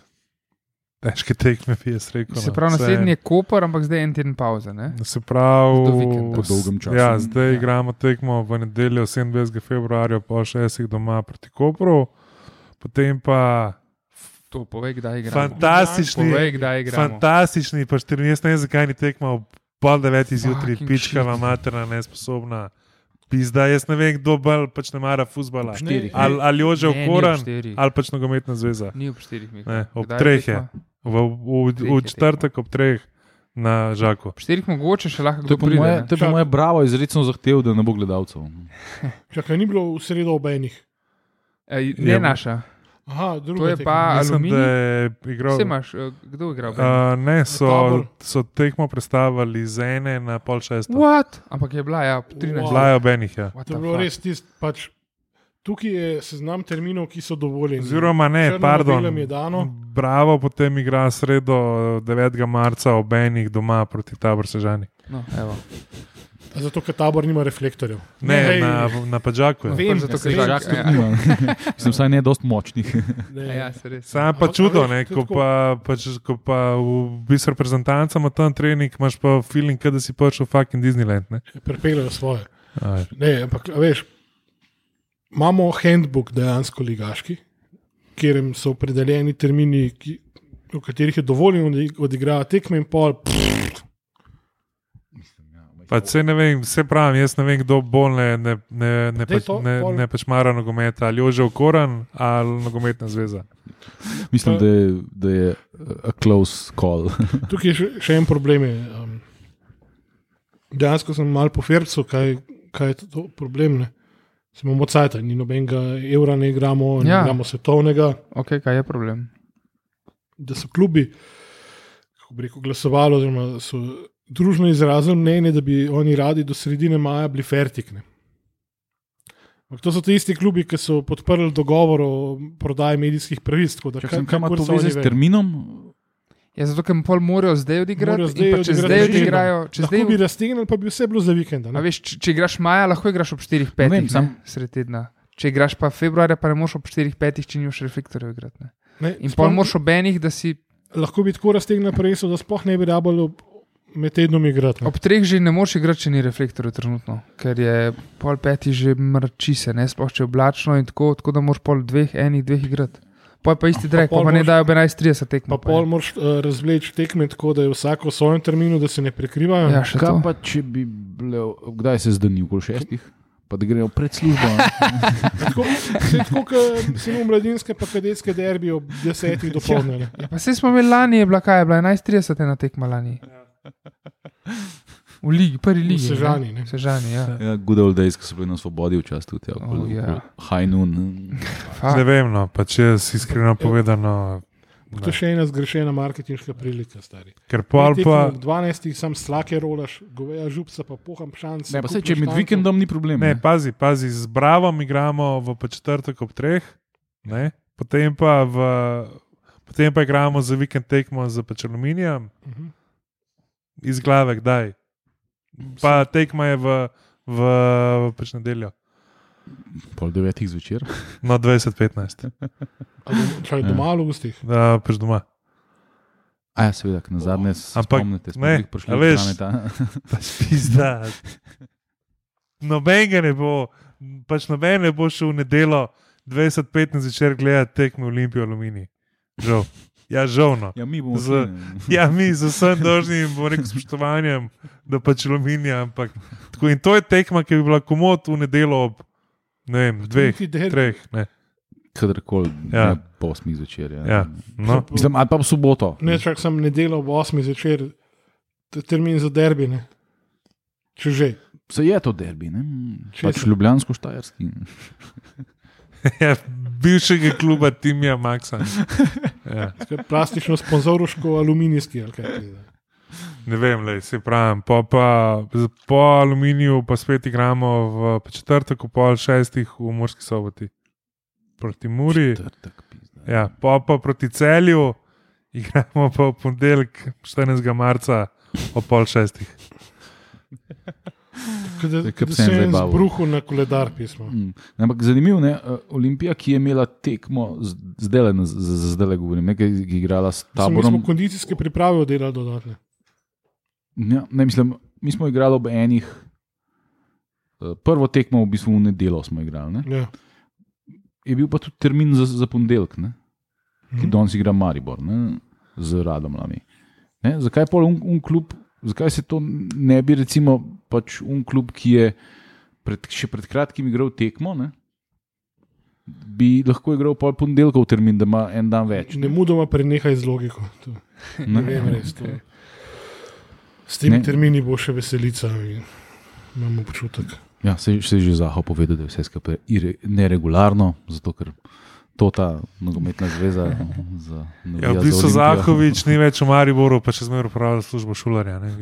Speaker 2: težke tekme, bi jaz rekel.
Speaker 4: Se
Speaker 2: no.
Speaker 4: pravi,
Speaker 2: Vse-
Speaker 4: naslednji je Koper, ampak zdaj je en teden pauze. Ne?
Speaker 2: Se
Speaker 4: Do
Speaker 2: pravi,
Speaker 4: vikenda.
Speaker 3: Po dolgem času. Mm,
Speaker 2: Ja, zdaj
Speaker 4: Ja.
Speaker 2: ja. igramo tekmo v nedeljo 27. februarja, po 6. doma proti Kopru, potem pa
Speaker 4: To povej, kdaj igra.
Speaker 2: fantastični,
Speaker 4: Povej, kdaj igra.
Speaker 2: fantastični, pa 14. ne vem, zakaj ni tekma ob pol devetih zjutraj,
Speaker 4: Fucking
Speaker 2: pičkava
Speaker 4: shit.
Speaker 2: materna, nesposobna. Pizda, jaz ne vem, kdo bolj pač ne mara fusbala.
Speaker 3: štirih, ne?
Speaker 2: Ali, ali Jože Okoran,
Speaker 4: Ni
Speaker 2: ali pač nogometna zveza.
Speaker 4: ob štirih, Mika.
Speaker 2: Ne, ob
Speaker 4: Kdaj
Speaker 2: treh
Speaker 4: tekma?
Speaker 2: je. V, v,
Speaker 4: Treh
Speaker 2: v
Speaker 4: je
Speaker 2: četrtek ob treh na Žaku.
Speaker 4: Ob štirih mogoče še lahko
Speaker 3: To je po
Speaker 4: pride,
Speaker 3: moje,
Speaker 4: ne.
Speaker 3: to je po
Speaker 1: Čak.
Speaker 3: moje bravo izrecno zahtev, da ne bo gledalcev.
Speaker 1: čakaj, ni bilo v sredo obenih.
Speaker 4: Ej, Ne
Speaker 2: Je-
Speaker 4: naša.
Speaker 1: Aha, drugo
Speaker 4: To je pa aluminij.
Speaker 2: Mislim, da je igral.
Speaker 4: Vse imaš, eh, kdo igra? Uh,
Speaker 2: Uh, ne,
Speaker 1: Tabor.
Speaker 2: so, so tekmo predstavili z ene na pol šesto.
Speaker 4: What? Ampak je bila, ja, ob
Speaker 1: Wow.
Speaker 4: 13.
Speaker 2: Zlajo benih, ja.
Speaker 4: What
Speaker 1: To je
Speaker 4: the
Speaker 1: bilo
Speaker 4: fuck?
Speaker 1: res tisto. Pač, tukaj je seznam terminov, ki so dovoljeni.
Speaker 2: Oziroma ne,
Speaker 1: Črno na
Speaker 2: pardon.
Speaker 1: belem je dano.
Speaker 2: Bravo, potem igra sredo 9. marca ob enih doma proti Tabor Sežani.
Speaker 4: No, evo.
Speaker 1: Zato, ker tabor nima reflektorjev.
Speaker 2: Ne,
Speaker 1: hej,
Speaker 2: na, na Pačaku.
Speaker 1: Vem,
Speaker 4: Pač zato,
Speaker 1: ja,
Speaker 4: ker
Speaker 1: saj,
Speaker 4: Žak-
Speaker 1: ja.
Speaker 4: ja.
Speaker 3: Sem vsaj ne dost močnih.
Speaker 1: Ne.
Speaker 4: Ja, se res.
Speaker 1: A- a
Speaker 2: Sam pa čudo,
Speaker 1: veš, to je
Speaker 2: ne, ko,
Speaker 1: tako.
Speaker 2: pa, pač, ko pa v bistvu reprezentanca ima tam trening, imaš pa feeling, kot da si prišel v fucking Disneyland. Ne?
Speaker 1: Prepeljejo svoje.
Speaker 2: Aj.
Speaker 1: Ne, ampak a veš, imamo handbook dejansko ligaški, kjer so opredeljeni termini, ki, v katerih je dovoljeno, da odigrajo tekme in pol. Pff,
Speaker 2: Pa se ne vem, vse pravim, jaz ne vem, kdo bolj ne, ne, ne, ne,
Speaker 1: Daj
Speaker 2: pač,
Speaker 1: to,
Speaker 2: ne,
Speaker 1: pol.
Speaker 2: ne pač mara nogometa, ali Jože Okoran ali nogometna zveza.
Speaker 3: Mislim,
Speaker 1: Pa-
Speaker 3: da je, da je eh, a close call.
Speaker 1: tukaj je še, še en problem. Je, um, dejansko sem mal po fercu, kaj, kaj je to- to problem. Ne? Smo mocajta, ni nobenega evra, ne igramo, ne ja.
Speaker 4: Ja.
Speaker 1: igramo svetovnega,
Speaker 4: Ok, kaj je problem?
Speaker 1: da so klubi, kako bi rekel, glasovali, oziroma so družno izrazili mnenje, da bi oni radi do sredine maja bili fertikne. Ampak to so ti isti klubi, ki so podprli dogovor o prodaji medijskih pravic. tako da
Speaker 3: Čak,
Speaker 1: kaj-
Speaker 3: sem,
Speaker 1: kaj
Speaker 3: kaj ima
Speaker 1: kurca
Speaker 3: to
Speaker 1: oni
Speaker 3: veze s
Speaker 1: vejo?
Speaker 3: terminom?
Speaker 4: Ja, zato, ker jim pol morajo zdaj odigrati.
Speaker 1: Morajo
Speaker 4: Zdaj
Speaker 1: zdaj
Speaker 4: pa, če
Speaker 1: odigrati
Speaker 4: zdaj
Speaker 1: že.
Speaker 4: odigrajo, če
Speaker 1: Če
Speaker 4: zdaj,
Speaker 1: bi raztegnili, pa bi vse bilo za vikend.
Speaker 4: a veš, če, če igraš maja, lahko igraš ob 4-5
Speaker 3: Ne vem,
Speaker 4: no
Speaker 3: sam-
Speaker 4: sred tedna. Še igraš pa februarja, pa ne moš ob 4-5, če nimaš reflektorjev igrati. ne. In pol moš ob enih, da si
Speaker 1: Lahko bi tako raztegnili preso, da sploh ne bi rabili ob- med tednom igrati. no. ne.
Speaker 4: ob treh že ne moš igrati, če ni reflektorjev trenutno, ker je pol petih že mrči se, ne sploh če je oblačno in tako, tako da moš pol dveh, enih, dveh igrati. Poj pa isti drek, pa,
Speaker 1: pol
Speaker 4: pa ne
Speaker 1: moraš-
Speaker 4: dajo ob 11.30 tekmo.
Speaker 1: Pa pol moraš uh, razvleči tekme tako, da je vsako v svojem terminu, da se ne prekrivajo.
Speaker 4: Ja, še
Speaker 3: Kaj
Speaker 4: to.
Speaker 3: pa, če bi bile, kdaj se zdani, okoli šestih, pa da grejo pred službo?
Speaker 1: Tako, saj tako kot samo mladinske, pa kadetske derbi ob desetih do polnega.
Speaker 4: Ja, pa se smo imeli lani, je bila kaj, je bila 11:30 na tekma lani. V ligi, prvi ligi. ne?
Speaker 1: Sežani, ne.
Speaker 4: V Sežani, ja.
Speaker 3: ja, good old days, ki so bili na svobodi včasih tudi, ja,
Speaker 4: Oh, ja.
Speaker 3: high noon.
Speaker 2: Ne
Speaker 4: Fak.
Speaker 2: vem, no, pa če jaz iskreno povedano,
Speaker 1: Ja, To je Ja. še ena zgrešena marketinška prilika, stari.
Speaker 2: ker pol
Speaker 1: Tekmo
Speaker 2: pa.
Speaker 1: Ob 12. sam slake rolaš, goveja župca, pa poham šance.
Speaker 3: Ne, pa se, če med vikendom ni problem.
Speaker 2: Ne, pazi, pazi, z Bravom igramo v pa četrtek ob treh, ne? potem pa, v, potem pa igramo za vikend tekmo z pač aluminijem,
Speaker 1: Mhm.
Speaker 2: iz glave, kdaj. Pa tekma je v, v pač nedeljo,
Speaker 3: Pol devetih zvečer.
Speaker 2: no 20-15,
Speaker 1: Čaj doma ali v gostih.
Speaker 2: da pač doma.
Speaker 3: A ja, seveda, na zadnje se
Speaker 2: Ampak,
Speaker 3: spomnite, smo
Speaker 2: ne,
Speaker 3: jih prišli
Speaker 2: a veš.
Speaker 3: od planeta.
Speaker 2: Pač pizda. Noben ga ne bo, pač noben ne bo šel v nedelo 20-15 zvečer gledati tekme Olimpijo Aluminij. Žal. Ja, žal. No.
Speaker 3: Ja, mi bomo
Speaker 2: Z-
Speaker 3: šli.
Speaker 2: Ja, mi z vsem dolžnim bom rekel, spoštovanjem, da pač aluminija. Ampak, tako, in to je tekma, ki bi bila komod v nedeljo ob ne vem, dveh,
Speaker 1: Niti derbi.
Speaker 2: treh. Ne.
Speaker 3: Kadarkoli,
Speaker 2: Ja.
Speaker 3: ja. po osmih zvečer. Ja.
Speaker 2: Ja, no.
Speaker 3: Mislim, ali pa v soboto.
Speaker 1: Ne, čak sem nedeljo ob 8. zvečer, t- termin za derbine. Če že.
Speaker 3: Se je to derbi, ne?
Speaker 1: Česa?
Speaker 3: Pač ljubljansko-štajerski.
Speaker 2: Ja, bivšega kluba Timija Maxa. Ja,
Speaker 1: Kaj, Plastično sponzoruško aluminijski. ali kaj ti je.
Speaker 3: Ja.
Speaker 2: ne vem, le, se pravim. Po, pa, z- po aluminiju pa spet igramo v pa četrtek, ob pol šestih v Murski soboti. Proti Muri.
Speaker 3: Četrtek, pizda.
Speaker 2: Ja, pa pa proti celju, igramo pa v ponedeljek 14. marca ob pol šestih.
Speaker 1: Kot Da,
Speaker 3: Zdaj,
Speaker 1: da
Speaker 3: kap
Speaker 1: se
Speaker 3: sem
Speaker 1: je
Speaker 3: zabaval.
Speaker 1: zbruhal na koledar pismo.
Speaker 3: Mm. Ampak zanimivo je, Olimpija, ki je imela tekmo, zdaj le, zdaj le govorim, nekaj je igrala s
Speaker 1: Mislim, Mi smo
Speaker 3: taborom.
Speaker 1: kondicijske priprave oddelali dodatne.
Speaker 3: Ja, ne, mislim, mi smo igrali ob enih, eh, prvo tekmo v bistvu v nedeljo smo igrali. Ne?
Speaker 1: Ja.
Speaker 3: Je bil pa tudi termin za, za ponedeljek, ne? ki
Speaker 1: Mhm.
Speaker 3: danes igra Maribor ne? z radom lami. Ne? Zakaj pa un, un klub, zakaj se to ne bi, recimo, pač un klub, ki je pred, še pred kratkim igral tekmo, ne? bi lahko igral pol ponedeljkov termin, da ima en dan več.
Speaker 1: Ne mudoma prenehaj z logiko. To, ne vem, res. To. S temi
Speaker 3: Ne.
Speaker 1: termini bo še veselica. in Imam občutek.
Speaker 3: Ja, se, se je že Zaho povedal, da je vse skupaj ire- neregularno, zato ker to ta nogometna zveza. no, Za,
Speaker 2: Ja,
Speaker 3: navija
Speaker 2: v bistvu
Speaker 3: za Olimpijo.
Speaker 2: Zahovič ni več v Mariboru, pa še zmeraj upravlja službo šularja. Ne?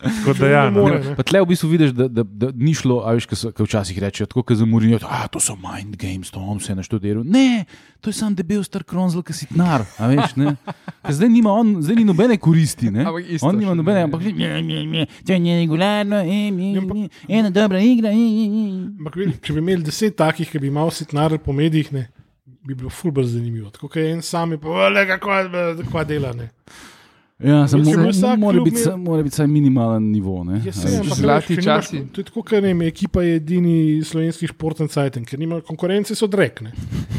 Speaker 2: Tako da ja,
Speaker 1: more,
Speaker 2: no.
Speaker 1: ne.
Speaker 3: Pa tle v bistvu vidiš, da, da, da ni šlo, a veš, kaj včasih rečejo, tako kot za Murijo, da to so mind games, to on se je naštudiral. Ne, to je sam debel star kronzel, ki si tnar, a veš, ne. Ker zdaj, nima on, zdaj ni nobene koristi, ne.
Speaker 4: Ampak isto
Speaker 3: On nima
Speaker 4: še,
Speaker 3: nobene,
Speaker 4: ne.
Speaker 3: ampak ne, ne, ne, to je neregularno, e, ne,
Speaker 1: Ja, ampak-
Speaker 3: ne, ena dobra igra, e, e, e.
Speaker 1: Ampak, vidi, če bi imeli deset takih, ki bi imel sitnare po medijih, ne, bi bilo fulbr zanimivo. Tako kot je en sam, je pa le kako kva dela. Ne.
Speaker 3: Ja, samo
Speaker 1: če bo
Speaker 3: mo-
Speaker 1: vsak
Speaker 3: mora
Speaker 1: klub
Speaker 3: biti
Speaker 1: imel-
Speaker 3: sa- mora biti vsaj minimalen nivo, ne.
Speaker 1: Ja,
Speaker 3: A
Speaker 1: sej,
Speaker 3: veš.
Speaker 1: ampak,
Speaker 4: Zlati
Speaker 1: veš, če nimaš-
Speaker 4: časi.
Speaker 1: To je tako, ker ne vem, ekipa je edini slovenski športni cajtnik, ker nima konkurence, so drekne.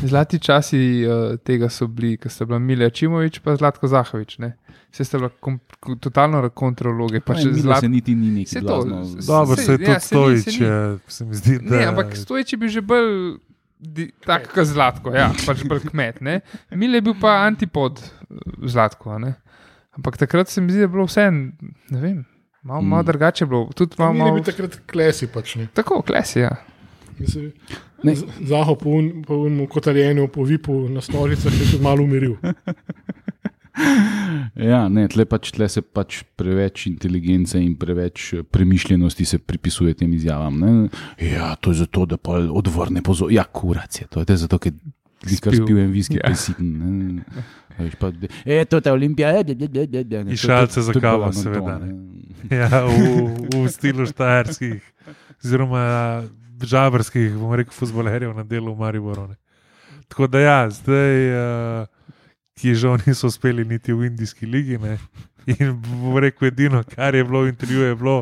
Speaker 4: Zlati časi uh, tega so bili, ko sta bila Milja Čimovič in Zlatko Zahovič. Ne? Vse sta bila kom, ko, totalno kontrologe. Pa
Speaker 3: Če
Speaker 4: še
Speaker 3: zlat... se
Speaker 4: Zlat...
Speaker 3: niti ni neki
Speaker 4: Saj to,
Speaker 3: blazno.
Speaker 4: s-
Speaker 2: Dobro,
Speaker 4: Saj,
Speaker 2: se
Speaker 4: ja,
Speaker 2: je
Speaker 4: saj
Speaker 2: tudi
Speaker 4: ni, saj
Speaker 2: stojič,
Speaker 4: ni.
Speaker 2: je, se mi zdi, da
Speaker 4: Ne, ampak stoječi bi že bolj di- tak kot Zlatko, ja, pač bolj kmet. Ne? Milja je bil pa antipod eh, Zlatko. a Ne? Ampak takrat se mi zdi, da je bilo vse, ne vem, malo, malo
Speaker 3: Mm.
Speaker 4: drugače je bilo. Tudi malo,
Speaker 1: Mi bi
Speaker 4: malo...
Speaker 1: takrat klesi pač ne.
Speaker 4: Tako, klesi, ja.
Speaker 1: Mislim,
Speaker 3: Ne.
Speaker 1: Z- Zaho po un- po unemu kotaljenju, po vipu na stolicah je tudi malo umiril.
Speaker 3: Ja, ne, tle, pač, tle se pač preveč inteligence in preveč eh, premišljenosti se pripisuje tem izjavam. Ne? Ja, to je zato, da pa odvrne pozornost. Ja, kurac je to, to je zato, ker viskar
Speaker 4: Spil.
Speaker 3: spil en viski,
Speaker 4: Ja.
Speaker 3: ja. pesiten. Veš pa, e, to je ta olimpija, e, de, de, de, de, de. ne,
Speaker 2: In
Speaker 3: to- to-
Speaker 2: šalce za
Speaker 3: to je
Speaker 2: kavo,
Speaker 3: pa London,
Speaker 2: seveda, ne.
Speaker 3: ne.
Speaker 2: Ja, v, v stilu štajerskih, oziroma žabrskih, bomo rekel, futbolerjev na delu v Mariboru. Ne. Tako da ja, zdaj, uh, ki žal niso uspeli niti v indijski ligi. Ne. In bom rekel, edino, kar je bilo v intervjuju, je bilo,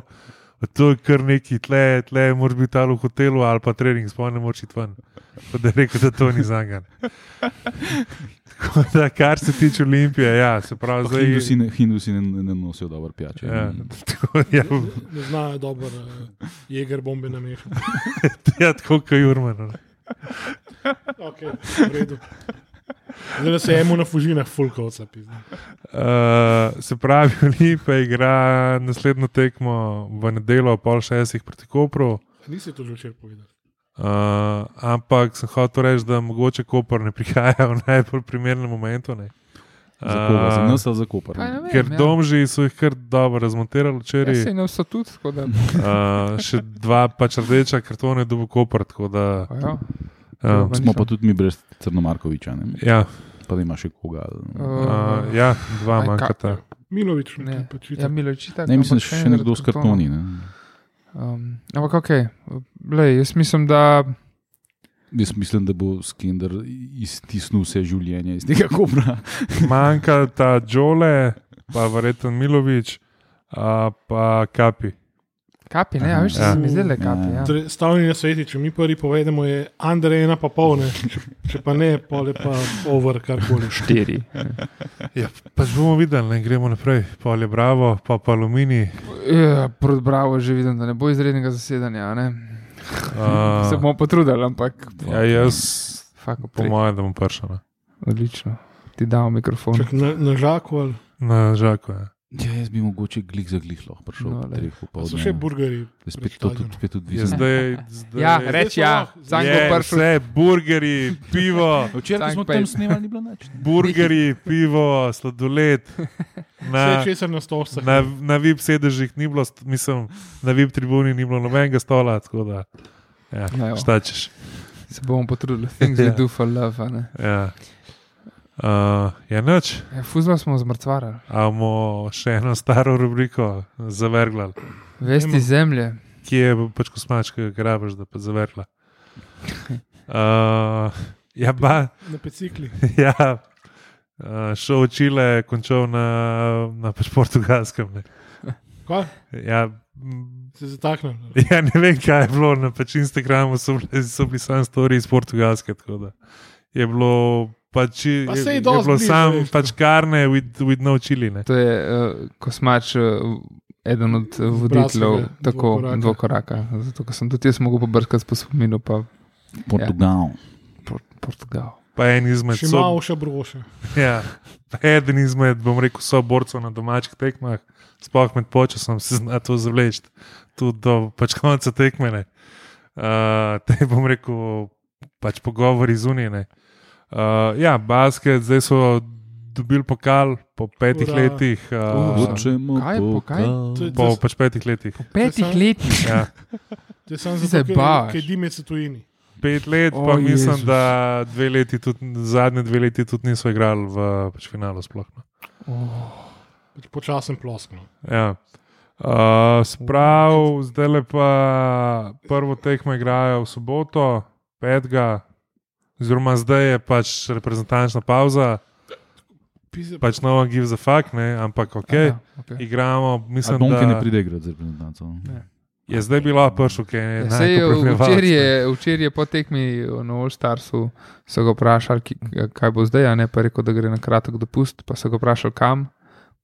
Speaker 2: to je kar neki tle, tle, moraš biti ali v hotelu ali pa trening, sploh ne moreš iti ven. Tako da je rekel, da to ni zangan. Tako da, kar se tiče Olimpije, ja, se pravi,
Speaker 3: Pa
Speaker 2: zdaj.
Speaker 3: Hindusi, ne, Hindusi ne, ne nosijo dobro pijače.
Speaker 2: Ja,
Speaker 3: ne.
Speaker 2: tako, ja,
Speaker 1: Ne znajo dobro, eh, jeger bombe na mehu.
Speaker 2: ja, tako kot Jurman.
Speaker 1: Okay, Zdaj da se je mu na fužinah fulkovca.
Speaker 2: Uh, se pravi, Olimpija igra naslednjo tekmo v nedeljo, ob pol šestih proti Kopru. Eh,
Speaker 1: Nisi to že včeraj povedal.
Speaker 2: Uh, ampak sem hotel reči, da mogoče Koper ne prihaja v najbolj primernem momentu. ne.
Speaker 3: Za koga? Za
Speaker 2: Uh,
Speaker 3: nas ali za Koper?
Speaker 4: Pa ne vem,
Speaker 2: Ker
Speaker 4: ja.
Speaker 2: domži so jih kar dobro razmontirali
Speaker 4: Jaz se
Speaker 2: včeraj.
Speaker 4: ne vstatut, tako da.
Speaker 2: Uh, še dva pač rdeča kartona je dobil Koper. tako Da,
Speaker 4: Pa ja.
Speaker 2: uh,
Speaker 4: Pa
Speaker 3: Smo
Speaker 4: nisem.
Speaker 3: pa tudi mi brez Crnomarkoviča, ne?
Speaker 2: ja,
Speaker 3: pa da ima še koga. ali-
Speaker 2: uh, ja, dva
Speaker 4: Eh, Aj, ka-
Speaker 2: manjkata.
Speaker 1: Milovič,
Speaker 4: Ne.
Speaker 1: ne, pa čitak.
Speaker 4: Ja, Miloči tako.
Speaker 3: Ne, mislim, da še nekdo s kartoni. Ne?
Speaker 4: Um, ampak ok, Lej, jaz mislim, da
Speaker 3: Jaz mislim, da bo Skender iztisnil vse življenje iz tega kobra.
Speaker 2: Manjka ta Džole, pa verjetno Milovič, a pa Kapi.
Speaker 4: kapi, ne, a veš,
Speaker 2: Ja.
Speaker 4: da se mi zdele kapi. Ja.
Speaker 1: Torej, Stavni na svetu, če mi prvi povedemo, je Andrej ena pa polne, če, če pa ne, pole pa over karkoli.
Speaker 4: Štiri.
Speaker 2: Ja, pač bomo videli, ne gremo naprej. Pol je Bravo, pa pa Alumini.
Speaker 4: Ja, Prod bravo, že vidim, da ne bo izrednega zasedanja. a Ne? Se
Speaker 2: Uh,
Speaker 4: bomo potrudili, ampak
Speaker 2: ja, jaz,
Speaker 4: fako
Speaker 2: po
Speaker 4: pomoč.
Speaker 2: mojem, da bom prišel. ne.
Speaker 4: Odlično. Ti dam mikrofon.
Speaker 1: Čak, na, na žaku ali
Speaker 2: Na žaku je.
Speaker 3: Ja, jaz bi mogoče glik za glik lahko prišel.
Speaker 4: No,
Speaker 3: No,
Speaker 4: glej.
Speaker 3: treh
Speaker 1: pa so
Speaker 3: popoldne.
Speaker 1: še burgeri.
Speaker 3: Spet to tudi, spet tudi
Speaker 2: Je
Speaker 3: vi.
Speaker 2: zdaj, zdaj,
Speaker 4: Ja, reči ja,
Speaker 1: Je,
Speaker 4: zanj bo
Speaker 2: je
Speaker 4: prišel.
Speaker 2: vse, burgeri, pivo,
Speaker 3: Včeraj ko smo
Speaker 4: Tank
Speaker 3: tam
Speaker 4: Pej.
Speaker 3: snemali, ni bilo nič.
Speaker 2: burgeri, pivo, sladoled.
Speaker 1: Vse
Speaker 2: Na,
Speaker 1: česar na stolcih.
Speaker 2: na, na VIP sedežih ni bilo, st- mislim, na VIP tribuni ni bilo nobenega stola, tako da
Speaker 4: Ja,
Speaker 2: ja,
Speaker 4: jo.
Speaker 2: štačeš.
Speaker 4: Se bomo potrudili, things we
Speaker 2: Ja.
Speaker 4: do for love. a ne.
Speaker 2: Ja. Uh, je noč,
Speaker 4: Ja, Fuzbal smo zmrtvarali,
Speaker 2: imamo še eno staro rubriko, zavrgla,
Speaker 4: vesti
Speaker 1: Nemo.
Speaker 4: zemlje.
Speaker 2: ki je pač kosmačka, grabiš, da pa zavrgla. Uh, ja, ba,
Speaker 1: Na pecikli.
Speaker 2: ja, uh, šel v Čile, končal na, na pač portugalskem. Ne.
Speaker 1: Kaj?
Speaker 2: Ja, m,
Speaker 1: Se zataknem.
Speaker 2: ja, ne vem, kaj je bilo, na pač Instagramu so bili, so bili sami storiji iz Portugalske. tako da Je bilo pač,
Speaker 1: Pa
Speaker 2: je,
Speaker 1: sej
Speaker 2: je
Speaker 1: dosti
Speaker 2: bilo
Speaker 1: blizu,
Speaker 2: sam,
Speaker 1: veš.
Speaker 2: pač karne, with, with no čili. Ne.
Speaker 4: To je uh, kosmač, uh, eden od eh, voditeljev,
Speaker 1: Brasove,
Speaker 4: tako
Speaker 1: dvokoraka.
Speaker 4: dvokoraka. Zato ker sem tudi jaz mogel pobrskati po spominu, pa
Speaker 3: Portugal.
Speaker 2: Ja.
Speaker 4: por Portugal.
Speaker 2: Pa en izmed
Speaker 1: Še
Speaker 2: so,
Speaker 1: malo še broše.
Speaker 2: ja, pa eden izmed, bom rekel, so borcev na domačih tekmah, sploh med počasom se zna to zavleči, tudi do pač konca tekmene. Uh, te bom rekel, pač pogovori zunine. Uh, ja, basket, zdaj so dobili pokal po petih
Speaker 1: Ura.
Speaker 2: letih. Uh,
Speaker 3: Hočemo
Speaker 4: Kaj je po kaj?
Speaker 3: pokal.
Speaker 1: To je-
Speaker 2: po pač petih letih.
Speaker 4: Petih
Speaker 1: samo-
Speaker 4: letih.
Speaker 2: Ja.
Speaker 1: To je samo
Speaker 4: Ti
Speaker 1: zato,
Speaker 4: se
Speaker 1: ker-
Speaker 4: baš.
Speaker 1: ker dime se tujini.
Speaker 2: Pet let,
Speaker 4: O,
Speaker 2: pa mislim,
Speaker 4: Jezus.
Speaker 2: da dve leti tudi, zadnje dve leti tudi niso igrali v pač finalu sploh. No.
Speaker 4: Oh,
Speaker 1: Pač Počasen ploskno.
Speaker 2: Ja. Uh, Sprav, zdaj le pa prvo tekmo igrajo v soboto, petega, oziroma zdaj je pač reprezentančna pauza, pač no one gives a fuck, ne? ampak ok.
Speaker 4: Aha, okay.
Speaker 3: A
Speaker 2: Igramo, mislim,
Speaker 3: Donke ne
Speaker 2: da
Speaker 3: pride igrati za reprezentanco. no?
Speaker 2: je zdaj bilo prišel, ki je
Speaker 4: Ja, sej,
Speaker 2: najbolj
Speaker 4: včeraj, je, včeraj je po tekmi na Olstarsu so ga vprašali, ki- kaj bo zdaj, a ne pa je rekel, da gre na kratek dopust, pa so ga vprašali kam,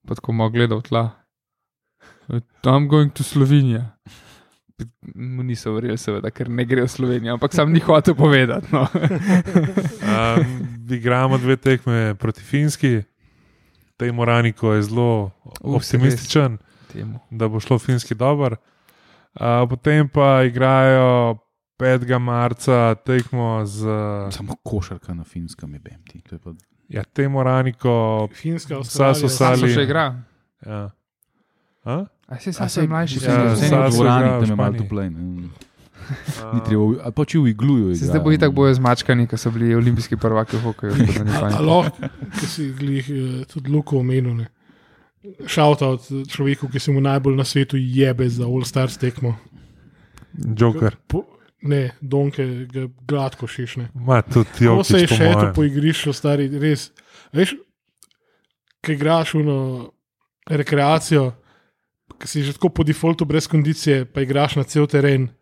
Speaker 4: pa tako mu gledal tla. I'm going to Slovenija. Mu niso verjeli, seveda, ker ne gre v Slovenijo, ampak sam ni hotel povedati. No.
Speaker 2: Um, igramo dve tekme proti Finski, tej Morani, ko je zelo
Speaker 4: Uh, se res.
Speaker 2: optimističen.
Speaker 4: Temu.
Speaker 2: da bo šlo finski dober. A, potem pa igrajo 5. marca tekmo z
Speaker 3: Ja. Samo košarka na finskem je BMT. To je pa
Speaker 2: ja, Temo Raniko.
Speaker 1: Finska,
Speaker 2: Vsa so
Speaker 1: Avstralija,
Speaker 4: Sam so
Speaker 2: Sali-
Speaker 4: še igra.
Speaker 2: Ja. A?
Speaker 4: A si
Speaker 3: A
Speaker 4: sam
Speaker 3: saj-
Speaker 4: sem mlajši,
Speaker 3: vsi
Speaker 4: sem že
Speaker 3: so
Speaker 2: ja,
Speaker 3: v
Speaker 2: Sasa
Speaker 3: dvorani,
Speaker 2: igra v
Speaker 3: tam je malo
Speaker 2: Španiji.
Speaker 3: toplej. ne. Ni treba, v- ali pa če v igluju.
Speaker 4: Se
Speaker 3: igrajo,
Speaker 4: zdaj boji
Speaker 3: ne.
Speaker 4: tako bojo zmačkani, ki so bili olimpijski prvaki v hokeju. tako da ni panike.
Speaker 1: Aloh, ki si jih tudi Luko omenil. Ne. Shout out eh, človeku, ki se mu najbolj na svetu jebe za All Stars tekmo.
Speaker 2: Joker,
Speaker 1: Po, ne, Donke, ga gladko šešne.
Speaker 2: ima tudi
Speaker 1: Ko
Speaker 2: Jokič,
Speaker 1: se je
Speaker 2: po
Speaker 1: še to
Speaker 2: mojem.
Speaker 1: poigrišče, stari, res. Veš, ki igraš uno rekreacijo, ki si že tako po defaultu brez kondicije, pa igraš na cel teren,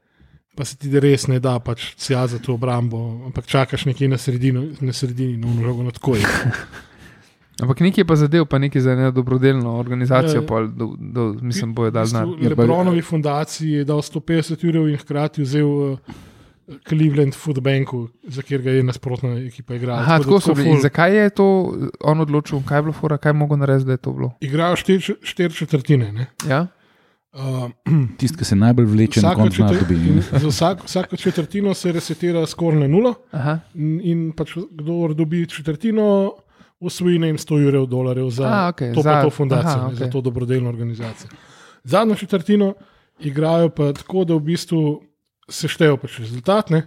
Speaker 1: pa se ti res ne da, pač sija za to obrambo, ampak čakaš nekje na sredini, na sredini, no, mnogo na tako je.
Speaker 4: Ampak nekaj je pa zadev, pa nekaj za nedobrodelno
Speaker 1: Ja.
Speaker 4: organizacijo, pol, do, do, mislim, bojo dal denar.
Speaker 3: Ja, pa-
Speaker 1: Lebronovi fundaciji je dal 150 ur in hkrati vzel uh, Cleveland Foodbanku, za katerega je nasprotna ekipa igrala.
Speaker 4: Aha,
Speaker 1: da
Speaker 4: tako so bili. In
Speaker 1: ful- no.
Speaker 4: Zakaj je to eh, on odločil, kaj je bilo fora, kaj je mogel narediti, da je to bilo?
Speaker 1: Igrajo štiri, čet- štiri četrtine. ne.
Speaker 4: Ja?
Speaker 1: Uh,
Speaker 3: Tisti, ki se najbolj vleče, na
Speaker 1: vsako,
Speaker 3: koncu
Speaker 1: četr...
Speaker 3: četrti... dobi. ne.
Speaker 1: za vsak, vsako četrtino se resetira skoraj na nulo
Speaker 4: Aha.
Speaker 1: in, in pač kdo dobi četrtino, osvoji ne 100 jurjev dolarjev za
Speaker 4: A,
Speaker 1: A,
Speaker 4: okej,
Speaker 1: okay, to,
Speaker 4: za-
Speaker 1: za, to fundacijo,
Speaker 4: aha,
Speaker 1: aha, okay. za
Speaker 4: okej.
Speaker 1: to dobrodelno organizacijo. Zadnjo četrtino igrajo pa tako, da v bistvu seštejejo pač rezultat. Ne?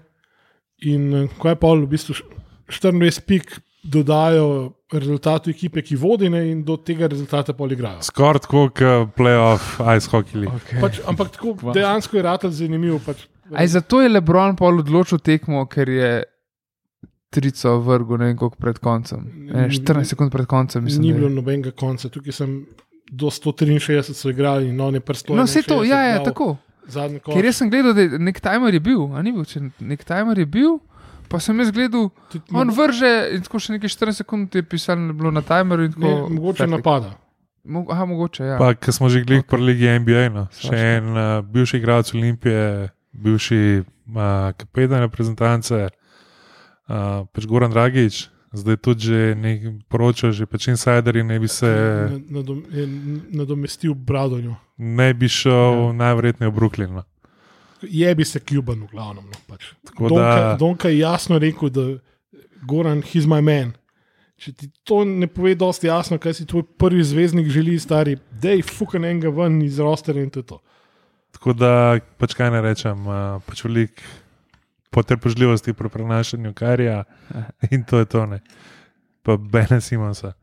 Speaker 1: In eh, ko je pol, v bistvu š- 24 pik dodajo rezultatu ekipe, ki vodi, ne? in do tega rezultata pol igrajo.
Speaker 2: Skoraj tako kot playoff ice hockey league.
Speaker 4: Okay.
Speaker 1: Pač, ampak tako dejansko je ratelj zanimiv. Pač,
Speaker 4: Aj, zato je Lebron pol odločil tekmo, ker je trico vrgel ne vem koliko pred koncem. Ne, 14 sekund pred koncem, mislim.
Speaker 1: Ni
Speaker 4: da je.
Speaker 1: bilo nobenega konca, tukaj sem do 163 so igrali, no ne prstov.
Speaker 4: No, vse to, ja, ja, tako.
Speaker 1: Zadnji konc.
Speaker 4: Ker jaz sem gledal, da je nek timer je bil, a ni bil, če nek timer je bil, pa sem jaz gledal,
Speaker 1: Tudi
Speaker 4: on
Speaker 1: mo-
Speaker 4: vrže in tako še nekaj 14 sekund je pisalo, da je bilo na timerju in tako.
Speaker 1: ne, mogoče
Speaker 4: fertik.
Speaker 1: napada.
Speaker 4: Mo- Aha, mogoče, ja.
Speaker 2: Pa, ki smo že glih okay. pri Ligi NBA, no. še
Speaker 4: Svašta.
Speaker 2: en uh, bivši igralec Olimpije, bivši uh, kapetan reprezentance, uh, pač Goran Dragič, zdaj tudi že nek poroča, že pač insiderji ne bi se,
Speaker 1: Na- nadom- je Nadomestil Bradonjo.
Speaker 2: ne bi šel ja. najverjetneje v Brooklyn. No.
Speaker 1: Je bi se Kuban, v glavnem. No, pač.
Speaker 2: Tako
Speaker 1: Donka,
Speaker 2: da-
Speaker 1: Donka je jasno rekel, da Goran, he's my man. Če ti to ne pove dosti jasno, kaj si tvoj prvi zvezdnik želi, stari, dej fucking enega ven iz rosterja in to je to.
Speaker 2: Tako da, pač kaj ne rečem, uh, pač velik potrpežljivosti pri prenašanju karija in to je to. Ne. Pa Bene Simonsa.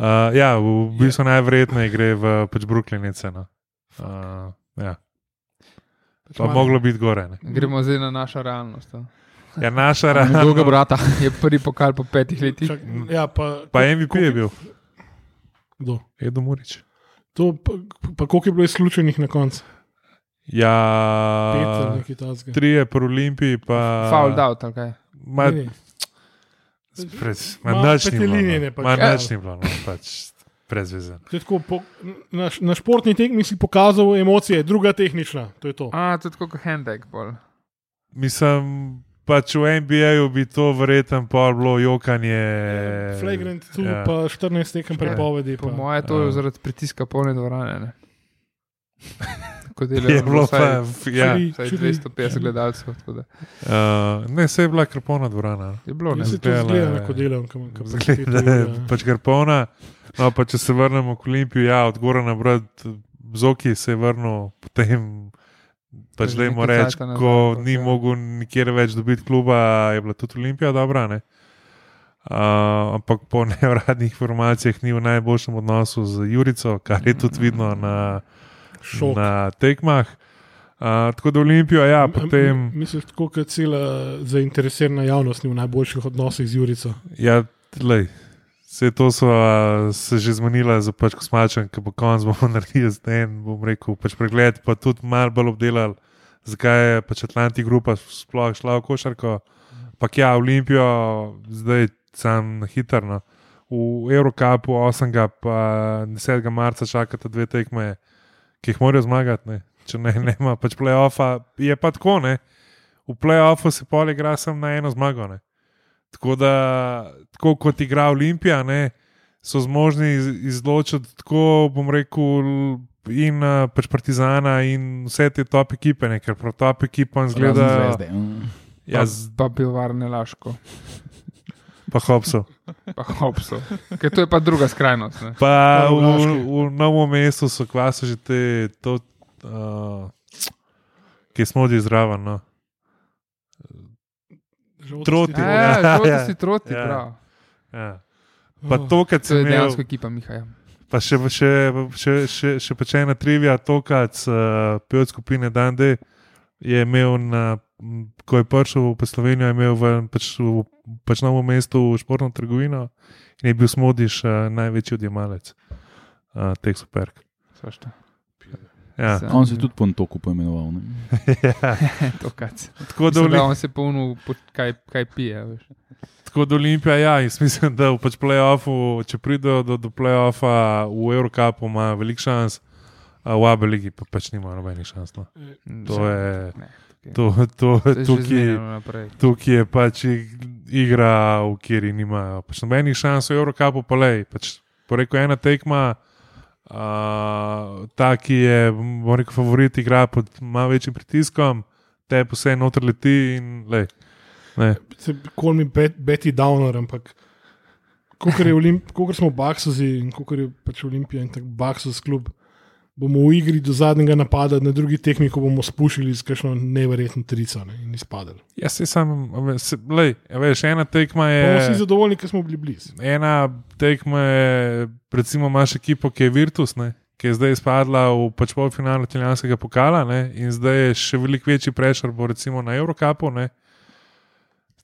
Speaker 2: Uh, ja, v bistvu najverjetneje gre v pač Brooklynice. No. Uh, ja. Pa
Speaker 1: malo-
Speaker 2: moglo biti gore. Ne.
Speaker 4: ja. Gremo zdaj na našo realnost. a.
Speaker 2: Ja, naša
Speaker 3: Na
Speaker 2: realnost.
Speaker 3: Dolga brata.
Speaker 4: Je prvi pokal po petih letih.
Speaker 1: Čak, ja, pa,
Speaker 2: Pa MVP je bil,
Speaker 1: Kdo?
Speaker 2: Edo Murič.
Speaker 1: To, pa, pa koliko je bilo izključenih na koncu? Pet ali
Speaker 2: Ja,
Speaker 1: nekaj takega.
Speaker 2: tri je pri Olimpiji, pa.
Speaker 4: Foul out, ali kaj.
Speaker 2: Ma,
Speaker 1: Ne, ne. Malo
Speaker 2: Manačni
Speaker 1: petelinjenje
Speaker 2: bilo.
Speaker 1: pač.
Speaker 2: Manačni bilo, no, pač prezvezen.
Speaker 1: To je tako, po, na, š- na športni tekmi si pokazal emocije, druga tehnična, to je to.
Speaker 4: A, to je tako kot handbag. Bolj.
Speaker 2: Mislim, pač v NBA-ju bi to verjetno pol bilo jokanje.
Speaker 1: Flagrant tu, ja.
Speaker 2: ja.
Speaker 1: pa 14 tekem prepovedi.
Speaker 4: Po
Speaker 1: pa-
Speaker 4: mojem, to
Speaker 2: Ja.
Speaker 4: je zaradi pritiska polne dvorane. Ne? Kot delajo
Speaker 2: Je bilo pa,
Speaker 4: vsaj,
Speaker 2: ja.
Speaker 1: Free.
Speaker 4: vsaj
Speaker 1: Čili-
Speaker 4: 250 gledalcev. tako da
Speaker 2: Uh, ne, se je bila krpona dvorana.
Speaker 4: Je bilo ne.
Speaker 1: Jaz se to
Speaker 2: Zgleda,
Speaker 1: zgledam,
Speaker 2: ja.
Speaker 1: ko delam, kam
Speaker 2: Zgleda, da je
Speaker 1: ja.
Speaker 2: pač krpona. No, pa če se vrnemo k Olimpiju, ja, od gora na brod, Zoki se je vrnil, potem pač
Speaker 4: Že
Speaker 1: Torej
Speaker 2: da jim
Speaker 4: nekaj
Speaker 2: reč,
Speaker 4: cajta nazaj,
Speaker 2: ko
Speaker 4: ampak
Speaker 2: ni
Speaker 4: ja.
Speaker 2: mogel nikjer več dobiti kluba, je bila tudi Olimpija dobra. Ne? Uh, ampak po neuradnih informacijah ni v najboljšem odnosu z Jurico, kar je tudi vidno na,
Speaker 1: šok.
Speaker 2: na tekmah. Uh, tako da Olimpijo, ja,
Speaker 1: M- m-
Speaker 2: potem.
Speaker 1: Mislim, tako kot cela zainteresirana javnost ni v najboljših odnosih z Jurico.
Speaker 2: Ja, lej, vse to so a, se že zmenila za pač kosmačen, ki bo konc bomo naredili zdaj en, bom rekel, pač pregled, pa tudi malo bolj obdelali, zakaj je pač Atlantik grupa sploh šla v košarko. Pa ja, Olimpijo, zdaj sam hitrno. V Eurocapu 8. in 10. marca čakata dve tekme, ki jih morajo zmagati. Ne? Če ne, nema pač playoffa, je pa tako, ne. V playoffu se pol igra sem na eno zmago. Ne? Tako da, tako kot igra Olimpija, ne, so zmožni iz- izločiti tako, bom rekel, l- in eh, pač Partizana in vse te top ekipe, ne, ker prav top ekipa zgleda.
Speaker 3: Zvezde. mm.
Speaker 2: Ja, z-
Speaker 4: Pa, pa pivovarne laško,
Speaker 2: pa hopsov.
Speaker 4: pa hopsov. Ker to je pa druga skrajnost. Ne?
Speaker 2: Pa
Speaker 1: Pa v Laški.
Speaker 2: v, v novem mestu so kvaso že te, to, uh, ki smo že zraven. No.
Speaker 1: Žolti
Speaker 2: Troti.
Speaker 1: si-
Speaker 2: Ja,
Speaker 4: Ja,
Speaker 2: ja.
Speaker 4: žolti si troti,
Speaker 2: Ja.
Speaker 4: prav.
Speaker 2: Ja.
Speaker 1: Oh.
Speaker 2: Pa to, kar
Speaker 4: Oh, To
Speaker 2: sem
Speaker 4: je
Speaker 2: imel,
Speaker 4: dejansko ekipa Mihaja.
Speaker 2: pa še, še, še, še, še pečena trivija, to, kar uh, pevec skupine Dande je imel, na, m, ko je prišel v Slovenijo, je imel v, pač, v pač novem mestu športno trgovino in je bil smodiš uh, največji odjemalec uh, teh superk.
Speaker 4: Svašta.
Speaker 2: Ja.
Speaker 4: Sam-
Speaker 3: On se je tudi po Antoku poimenoval. Ne?
Speaker 4: To kac.
Speaker 2: Tako da
Speaker 4: Mislim,
Speaker 2: v
Speaker 4: da on se polnil, po- kaj, kaj pije. Veš.
Speaker 2: Tako da Olimpija, ja, jaz mislim, da v pač playoffu, če pridejo do, do playoffa v Eurocupu, ima veliko šans, a v Abu Leiji pa pač nima nobenih šans. No. To je,
Speaker 4: Ne,
Speaker 2: to, to,
Speaker 4: To je že
Speaker 2: tukaj,
Speaker 4: zmenjeno naprej.
Speaker 2: tukaj je pač ig- igra, v kateri nimajo pač nobenih šans, v Eurocupu pa le. Pač, Poreko ena tekma, a, ta, ki je, bom rekel, favorit, igra pod malo večjim pritiskom, te pa vse noter leti in le. Ne.
Speaker 1: se kol mi bet, Betty Downer, ampak kot smo Baksusi in kot je pač Olimpija in tako Baksus klub, bomo v igri do zadnjega napada, na drugi tekmi, ko bomo spušili s kakšno neverjetno trico ne, in izpadali.
Speaker 2: Ja, se sam, a ve- se- glej, a veš, ena tekma
Speaker 4: E.
Speaker 1: Bomo vsi
Speaker 2: je.
Speaker 1: zadovoljni, ker smo bili blizu.
Speaker 2: Ena tekma je, recimo, imaš ekipo, ki je Virtus, ne, ki je zdaj izpadla v pač polfinalu italijanskega pokala ne, in zdaj je še veliko večji prešar, bo recimo na Eurocapu. Ne.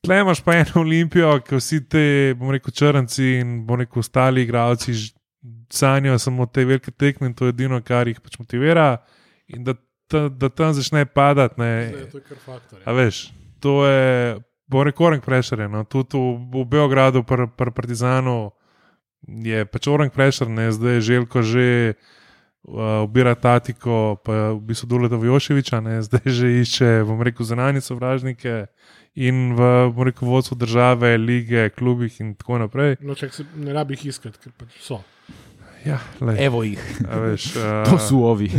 Speaker 2: Tle imaš pa eno olimpijo, ki vsi ti, bom rekel, črnci in bom rekel, ostali igravci ž- sanjajo samo te velike tekme in to je edino, kar jih pač motivira. In da, ta- da tam začne padati.
Speaker 4: E.
Speaker 2: ne.
Speaker 1: Zdaj, to je kar faktor. ja.
Speaker 2: A veš, to je bo rekorden prešer. No? Tudi v, v Beogradu, pri pr Partizanu, je pač orang prešer, ne zdaj je želko že. Uh, ubira tatiko, pa v bistvu Duleta Vojoševiča, ne, zdaj že išče, bom rekel, zunanje sovražnike in v, bom rekel, vodstvu države, lige, klubih in tako naprej.
Speaker 1: No, čak, se, ne rabi jih iskati, ker pač so.
Speaker 2: Ja, lej,
Speaker 3: Evo jih,
Speaker 2: a veš,
Speaker 3: to
Speaker 2: uh,
Speaker 3: so ovi.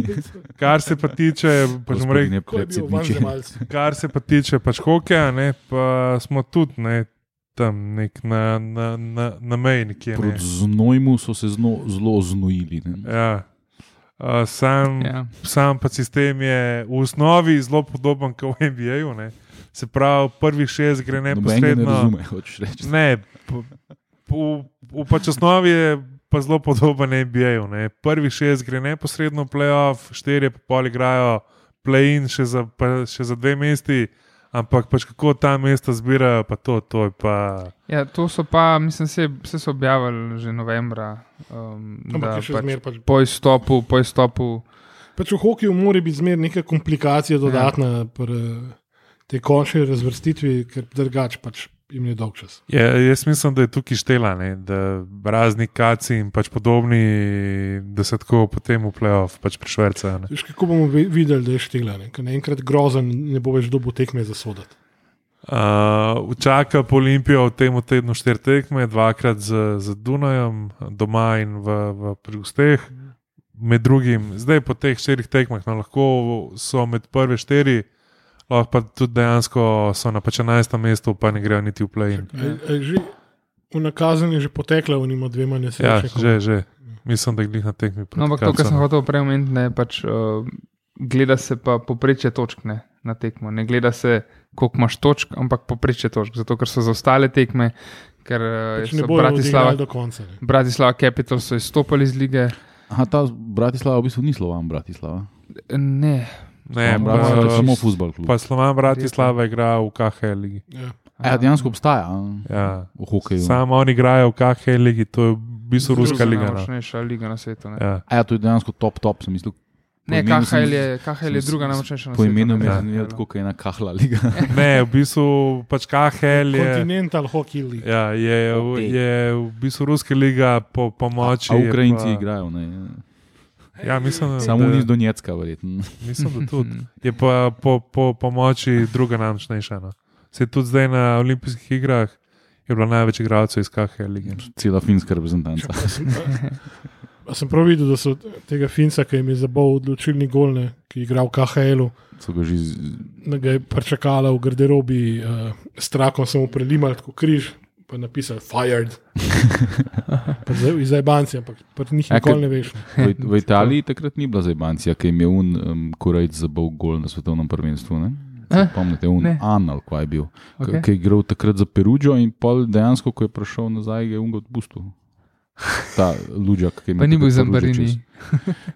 Speaker 2: kar se pa tiče, pač bom rekel,
Speaker 3: Gospodine
Speaker 1: Ko je bil van
Speaker 3: predsedniče.
Speaker 1: zemalci.
Speaker 2: Kar se pa tiče pač hokeja, ne, pa smo tudi ne, tam nek na, na, na, na meji nekje. Ne.
Speaker 3: Proti znojmu so se zno, zelo znojili. Ne?
Speaker 2: Ja. Uh, sam, yeah.
Speaker 4: Ja.
Speaker 2: sam pa sistem je v osnovi zelo podoben kot v NBA-ju. ne. Se pravi, prvih šest gre
Speaker 3: Noben ga ne
Speaker 2: neposredno.
Speaker 3: razume, hočeš reči.
Speaker 2: Ne, po- po- v pač osnovi je pa zelo podoben NBA-ju. ne. Prvih šest gre neposredno v playoff, štirje pa pol igrajo play-in še za, pa, še za dve mesti, ampak pač kako ta mesta zbirajo, pa to, to je pa.
Speaker 4: Ja, to so pa, mislim, se, se so objavili že novembra. Um,
Speaker 1: Ampak
Speaker 4: da
Speaker 1: je še
Speaker 4: pač
Speaker 1: zmer pač
Speaker 4: po izstopu, po izstopu
Speaker 1: Pač v hokeju mora biti zmeraj neka komplikacija dodatna ja. pri eh, tej končni razvrstitvi, ker drugače pač jim je dolg čas.
Speaker 2: Je, Ja, jaz mislim, da je tukaj štela, ne, da razni kaci in pač podobni, da se tako potem v playoff pač prišvercajo. ne.
Speaker 1: Veš, kako bomo vi- videli, da je štela, ne? ker naenkrat grozen ne bo več dobo tekme za soditi.
Speaker 2: Uh, čaka po Olimpijo v tem tednu štiri tekme, dvakrat z, z Dunajem, doma in v, v Prigusteh. Med drugim, zdaj po teh štirih tekmah, no, lahko so med prve štiri, lahko pa tudi dejansko so na pač 11. mestu, pa ne grejo niti v play.
Speaker 1: Že v nakazen je že potekla, unima dvema
Speaker 2: Ja,
Speaker 1: nesrečama.
Speaker 2: že, že. Mislim, da jih na tekmi proti
Speaker 4: No, ampak to, kar sem
Speaker 2: Cavsonu.
Speaker 4: hotel prej omeniti, ne, pač, uh, gleda se pa poprečje točk ne, na tekmo. Ne gleda se, koliko imaš točk, ampak poprečje točk. Zato, ker so za ostale tekme, ker uh,
Speaker 1: Pač
Speaker 4: so
Speaker 1: ne bo
Speaker 4: Bratislava,
Speaker 1: do konca. Ne.
Speaker 4: Bratislava Capital so izstopali iz lige.
Speaker 3: Aha, ta Bratislava v bistvu ni Slovan, Bratislava.
Speaker 4: Ne,
Speaker 2: Ne,
Speaker 3: Slovan
Speaker 2: pa,
Speaker 3: Bratislava je samo
Speaker 4: čist-
Speaker 3: futbol klub.
Speaker 2: pa Slovan Bratislava igra v KHL ligi.
Speaker 1: Ja.
Speaker 3: Ja, dejansko obstaja a,
Speaker 2: Ja.
Speaker 3: v hokeju.
Speaker 2: Samo oni igrajo v KHL ligi, to je v bistvu
Speaker 1: Zelo
Speaker 2: ruska liga. no.
Speaker 4: Najmočnejša liga na svetu. Ne, ja.
Speaker 2: Ja.
Speaker 3: A ja, to je dejansko top, top, sem mislil.
Speaker 4: ne
Speaker 3: Po imenu sem-
Speaker 4: KHL, je, KHL je
Speaker 3: sem-
Speaker 4: druga najmočnejša na svetu.
Speaker 3: Po imenu
Speaker 4: ne, Ja.
Speaker 3: mi je
Speaker 4: ne,
Speaker 3: zanimivo,
Speaker 4: ne.
Speaker 3: tako kot ena kahla liga.
Speaker 2: Ne, v bistvu pač KHL je.
Speaker 1: Continental hockey league.
Speaker 2: Ja, je, v- je v bistvu ruska liga po pomoči.
Speaker 3: A Ukrajinci
Speaker 2: je pa,
Speaker 3: igrajo, ne. ja.
Speaker 2: Ja, mislim,
Speaker 3: Samo
Speaker 2: da,
Speaker 3: ni iz Donetska, verjetno.
Speaker 2: mislim, da tudi.
Speaker 4: Mm.
Speaker 2: Je pa po, po pomoči druga najmočnejša. No. Se tudi zdaj na olimpijskih igrah je bilo največ igralcev iz KHL lige.
Speaker 3: Cela finska reprezentanca.
Speaker 1: A sem, a, a sem prav videl, da so tega Finca, ki jim je zabal odločilni golne, ki je igral v KHL-u,
Speaker 3: So ga že iz-
Speaker 1: da ga je prečakala v garderobi, uh, s trakom samo prelimal kot križ, pa napisal fired. Pa zdaj izajbanci, ampak pri njih
Speaker 3: Ja, ker-
Speaker 1: nikoli ne veš. ne.
Speaker 3: v, v Italiji takrat ni bila zajbancija, ki je imel un um, korajc za bol gol na svetovnem prvenstvu. Ne?
Speaker 4: Eh?
Speaker 3: Spomnite, un
Speaker 4: Ne.
Speaker 3: Anal, kaj je bil, okay.
Speaker 4: Okej.
Speaker 3: ki je igral takrat za Perugio in pol dejansko, ko je prišel nazaj, je ungo odpustil. Ta luđak, ki je
Speaker 4: Pa ni bil
Speaker 3: takrat Perugio
Speaker 4: Zamparini.
Speaker 3: čez.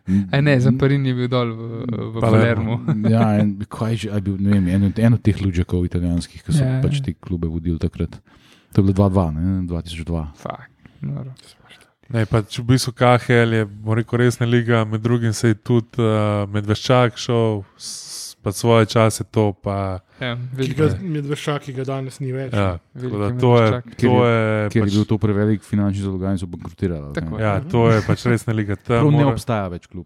Speaker 3: Mm,
Speaker 4: A ne, Zamparini je bil dol v, v Palermo.
Speaker 3: Ja, en, kaj že, a je bil, ne vem, en, en od teh luđakov italijanskih, ki so
Speaker 4: Ja,
Speaker 3: ja,
Speaker 4: ja.
Speaker 3: pač te klube vodili takrat. To je bilo 2-2, ne, 2002.
Speaker 4: Fak, noro.
Speaker 2: Ne, pač v bistvu KHL je bom rekel, resna liga, med drugim se je tudi uh, Medveščak šel, s- pa svoje čase to. Pa,
Speaker 4: Ja,
Speaker 1: Ki ga-
Speaker 4: velika,
Speaker 1: Medveščak, ki ga danes ni več.
Speaker 2: ja, tako da
Speaker 4: velika
Speaker 2: to je,
Speaker 4: Medveščak.
Speaker 2: to je,
Speaker 3: Ker
Speaker 2: pač,
Speaker 3: je bil to prevelik finančni zalogaj in so bankrotirali.
Speaker 4: Tako je.
Speaker 3: ne.
Speaker 2: ja, to je pač resna liga. Tam
Speaker 3: Prav ne
Speaker 2: mora,
Speaker 3: obstaja več klub.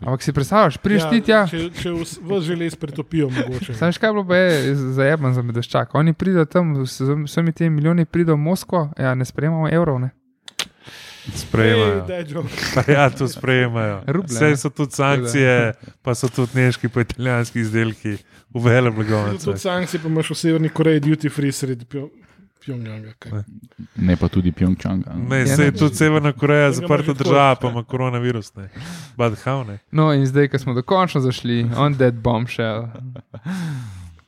Speaker 4: Ampak si predstavljaš, priješ
Speaker 2: Ja,
Speaker 4: ti tja.
Speaker 1: Ja, Če, če vs- vas že les pretopijo, mogoče.
Speaker 4: Sam še kaj je bilo, pa je zajeman za medveščak. Oni pridejo tam, s z vsemi temi milijoni pridejo v Moskvo, ja, ne sprejemamo evrov. Ne?
Speaker 1: Ej,
Speaker 2: Sprejemajo.
Speaker 1: daj, Joe.
Speaker 2: Pa Ja, to sprejemajo.
Speaker 4: Ruble, ne.
Speaker 2: Vse so tudi sankcije, pa so tudi nemški, pa italijanski izdelki v vele blagovnice.
Speaker 1: Tudi sankcije pa imaš v Severni Koreji duty free sredi Pjo- Pjongjanga. kaj.
Speaker 2: Ne.
Speaker 3: Ne pa tudi Pjongčang.
Speaker 2: Ne,
Speaker 4: Ja,
Speaker 2: se je
Speaker 4: ne.
Speaker 2: tudi Severna Koreja
Speaker 1: Tega ima že
Speaker 2: zaprta
Speaker 1: toliko.
Speaker 2: država, pa ima koronavirus. ne. Badhav ne.
Speaker 4: No, in zdaj, ko smo dokončno zašli, on dead bombshell.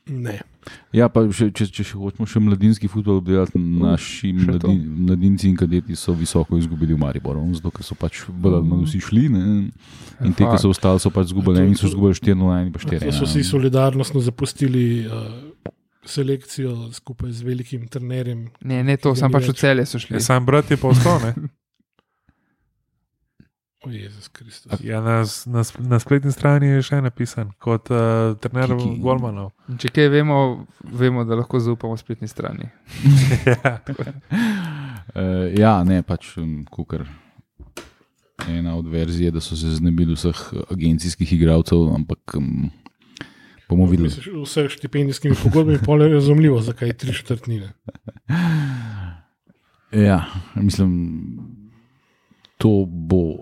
Speaker 1: Ne.
Speaker 3: Ja, pa še, če, če še hočemo še mladinski futbol obdelati, naši
Speaker 4: še to.
Speaker 3: mladin, mladinci in kadeti so visoko izgubili v Mariboru, zato ker so pač bolj ali manj vsi šli. Ne?
Speaker 4: Ja,
Speaker 3: In te, ki so ostali, so pač izgubili.
Speaker 1: To-
Speaker 3: Eni so
Speaker 1: to-
Speaker 3: izgubili 4-0, eni pa
Speaker 1: To so
Speaker 3: 4-1.
Speaker 1: vsi solidarnostno zapustili uh, selekcijo skupaj z velikim trenerjem.
Speaker 4: Ne, ne, to sem pač v celje so šli.
Speaker 2: Ja, sam brat je pa ostal. ne.
Speaker 1: O Jezus Kristus.
Speaker 2: Ja, na, s- na, s- na spletni strani je še napisan kot uh, trener
Speaker 3: Kiki.
Speaker 2: Golmanov.
Speaker 4: In Če kaj vemo, vemo, da lahko zaupamo spletni strani.
Speaker 2: Ja.
Speaker 3: Uh, ja, ne, pač kukar. Ena od verzij je, da so se znebili vseh agencijskih igralcev, ampak um, bomo videli.
Speaker 1: Misliš, Vse s štipendijskimi pogodbami pol je razumljivo, zakaj je tri četrtine.
Speaker 3: Ja, mislim, to bo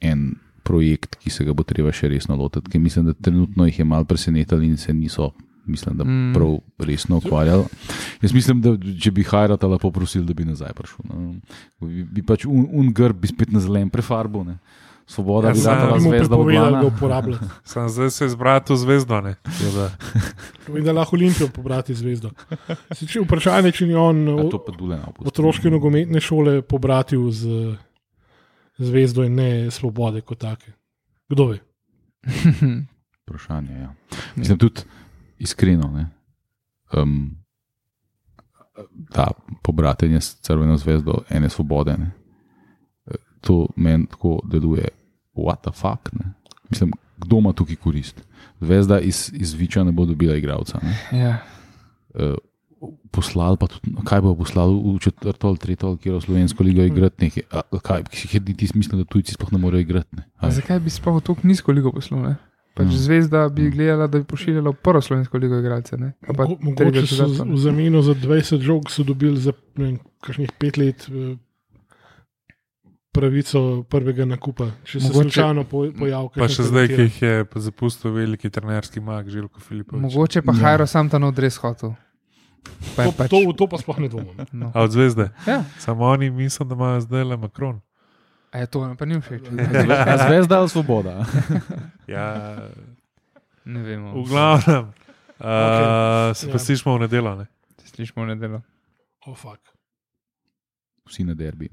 Speaker 3: en projekt, ki se ga bo treba še resno lotiti. ker Mislim, da trenutno jih je malo presenetili in se niso. Mislim, da
Speaker 4: Mm.
Speaker 3: prav resno ukvarjali. Jaz mislim, da če bi Hajrata lahko prosil, da bi nazaj prišel. No. Bi, bi pač un, un grb, bi spet na zelen prefarbo. Ne. Svoboda,
Speaker 2: Ja,
Speaker 3: bi
Speaker 2: sam
Speaker 3: dala
Speaker 2: bi
Speaker 1: Mu
Speaker 3: zvezda v
Speaker 1: prepovedali, da ga
Speaker 3: glavo.
Speaker 1: uporablja.
Speaker 2: Sam zdaj se je zbral to zvezdo. ne. Tako da-
Speaker 1: In da lahko Olimpijo pobrati zvezdo. Se če- Vprašanje je, če ni on
Speaker 3: Ja,
Speaker 1: o-
Speaker 3: to pa dule na opust.
Speaker 1: otroške nogometne šole pobratil z eh, zvezdo in ne svobode kot take. Kdo ve?
Speaker 3: Vprašanje. Ja. Mislim, tudi iskreno. Um, ta pobratenje s crveno zvezdo, ene svobode, ne? to meni tako deluje, what the fuck. Ne? Mislim, kdo ima tukaj korist? Zvezda iz, iz Viča ne bo dobila igralca. ne.
Speaker 4: Ja.
Speaker 3: Eh, Poslal pa tudi, kaj bo poslal v četrto ali tretjo, ali kjer v slovensko ligo igrati nekaj. A, Kaj, ki ti misliš, da tujci sploh ne morejo igrati? ne? A
Speaker 4: A
Speaker 3: veš?
Speaker 4: Zakaj bi sploh tako nizko ligo poslal? Ne? Pač
Speaker 3: Mm.
Speaker 4: zvezda bi
Speaker 3: Mm.
Speaker 4: gledala, da bi pošiljala v prvo slovensko ligo igralce. ne? Ali pa
Speaker 1: Mogo-
Speaker 4: tretjo,
Speaker 1: Mogoče so z-
Speaker 4: četrto, ne?
Speaker 1: v zameno za 20 žog so dobili za ne vem, kakšnih pet let eh, pravico prvega nakupa, če se
Speaker 4: Mogoče-
Speaker 1: slučajno po- pojavi.
Speaker 2: Pa
Speaker 1: kakšen
Speaker 2: še zdaj, ki
Speaker 1: talentiran.
Speaker 2: jih je pa zapustil veliki trenerski mag Žilko Filipovič.
Speaker 4: Pač, Mogoče pa
Speaker 3: Ja.
Speaker 4: Hajro sam ta nov dres hotel. Pa je
Speaker 1: To,
Speaker 4: pač,
Speaker 1: to, v to pa sploh ne dvomim.
Speaker 4: no.
Speaker 2: A od zvezde.
Speaker 4: ja.
Speaker 2: Samo oni mislim, da imajo zdaj le Makron.
Speaker 4: A je to nam pa ni všeč.
Speaker 1: Ja.
Speaker 3: A Zvezda ali svoboda?
Speaker 2: Ja,
Speaker 4: Ne
Speaker 2: v
Speaker 4: vemo.
Speaker 2: glavnem. Uh, se
Speaker 1: Ja.
Speaker 2: pa slišmo v nedelo. Ne?
Speaker 4: Slišmo v nedeljo.
Speaker 1: Oh, fuck.
Speaker 3: Vsi na derbi.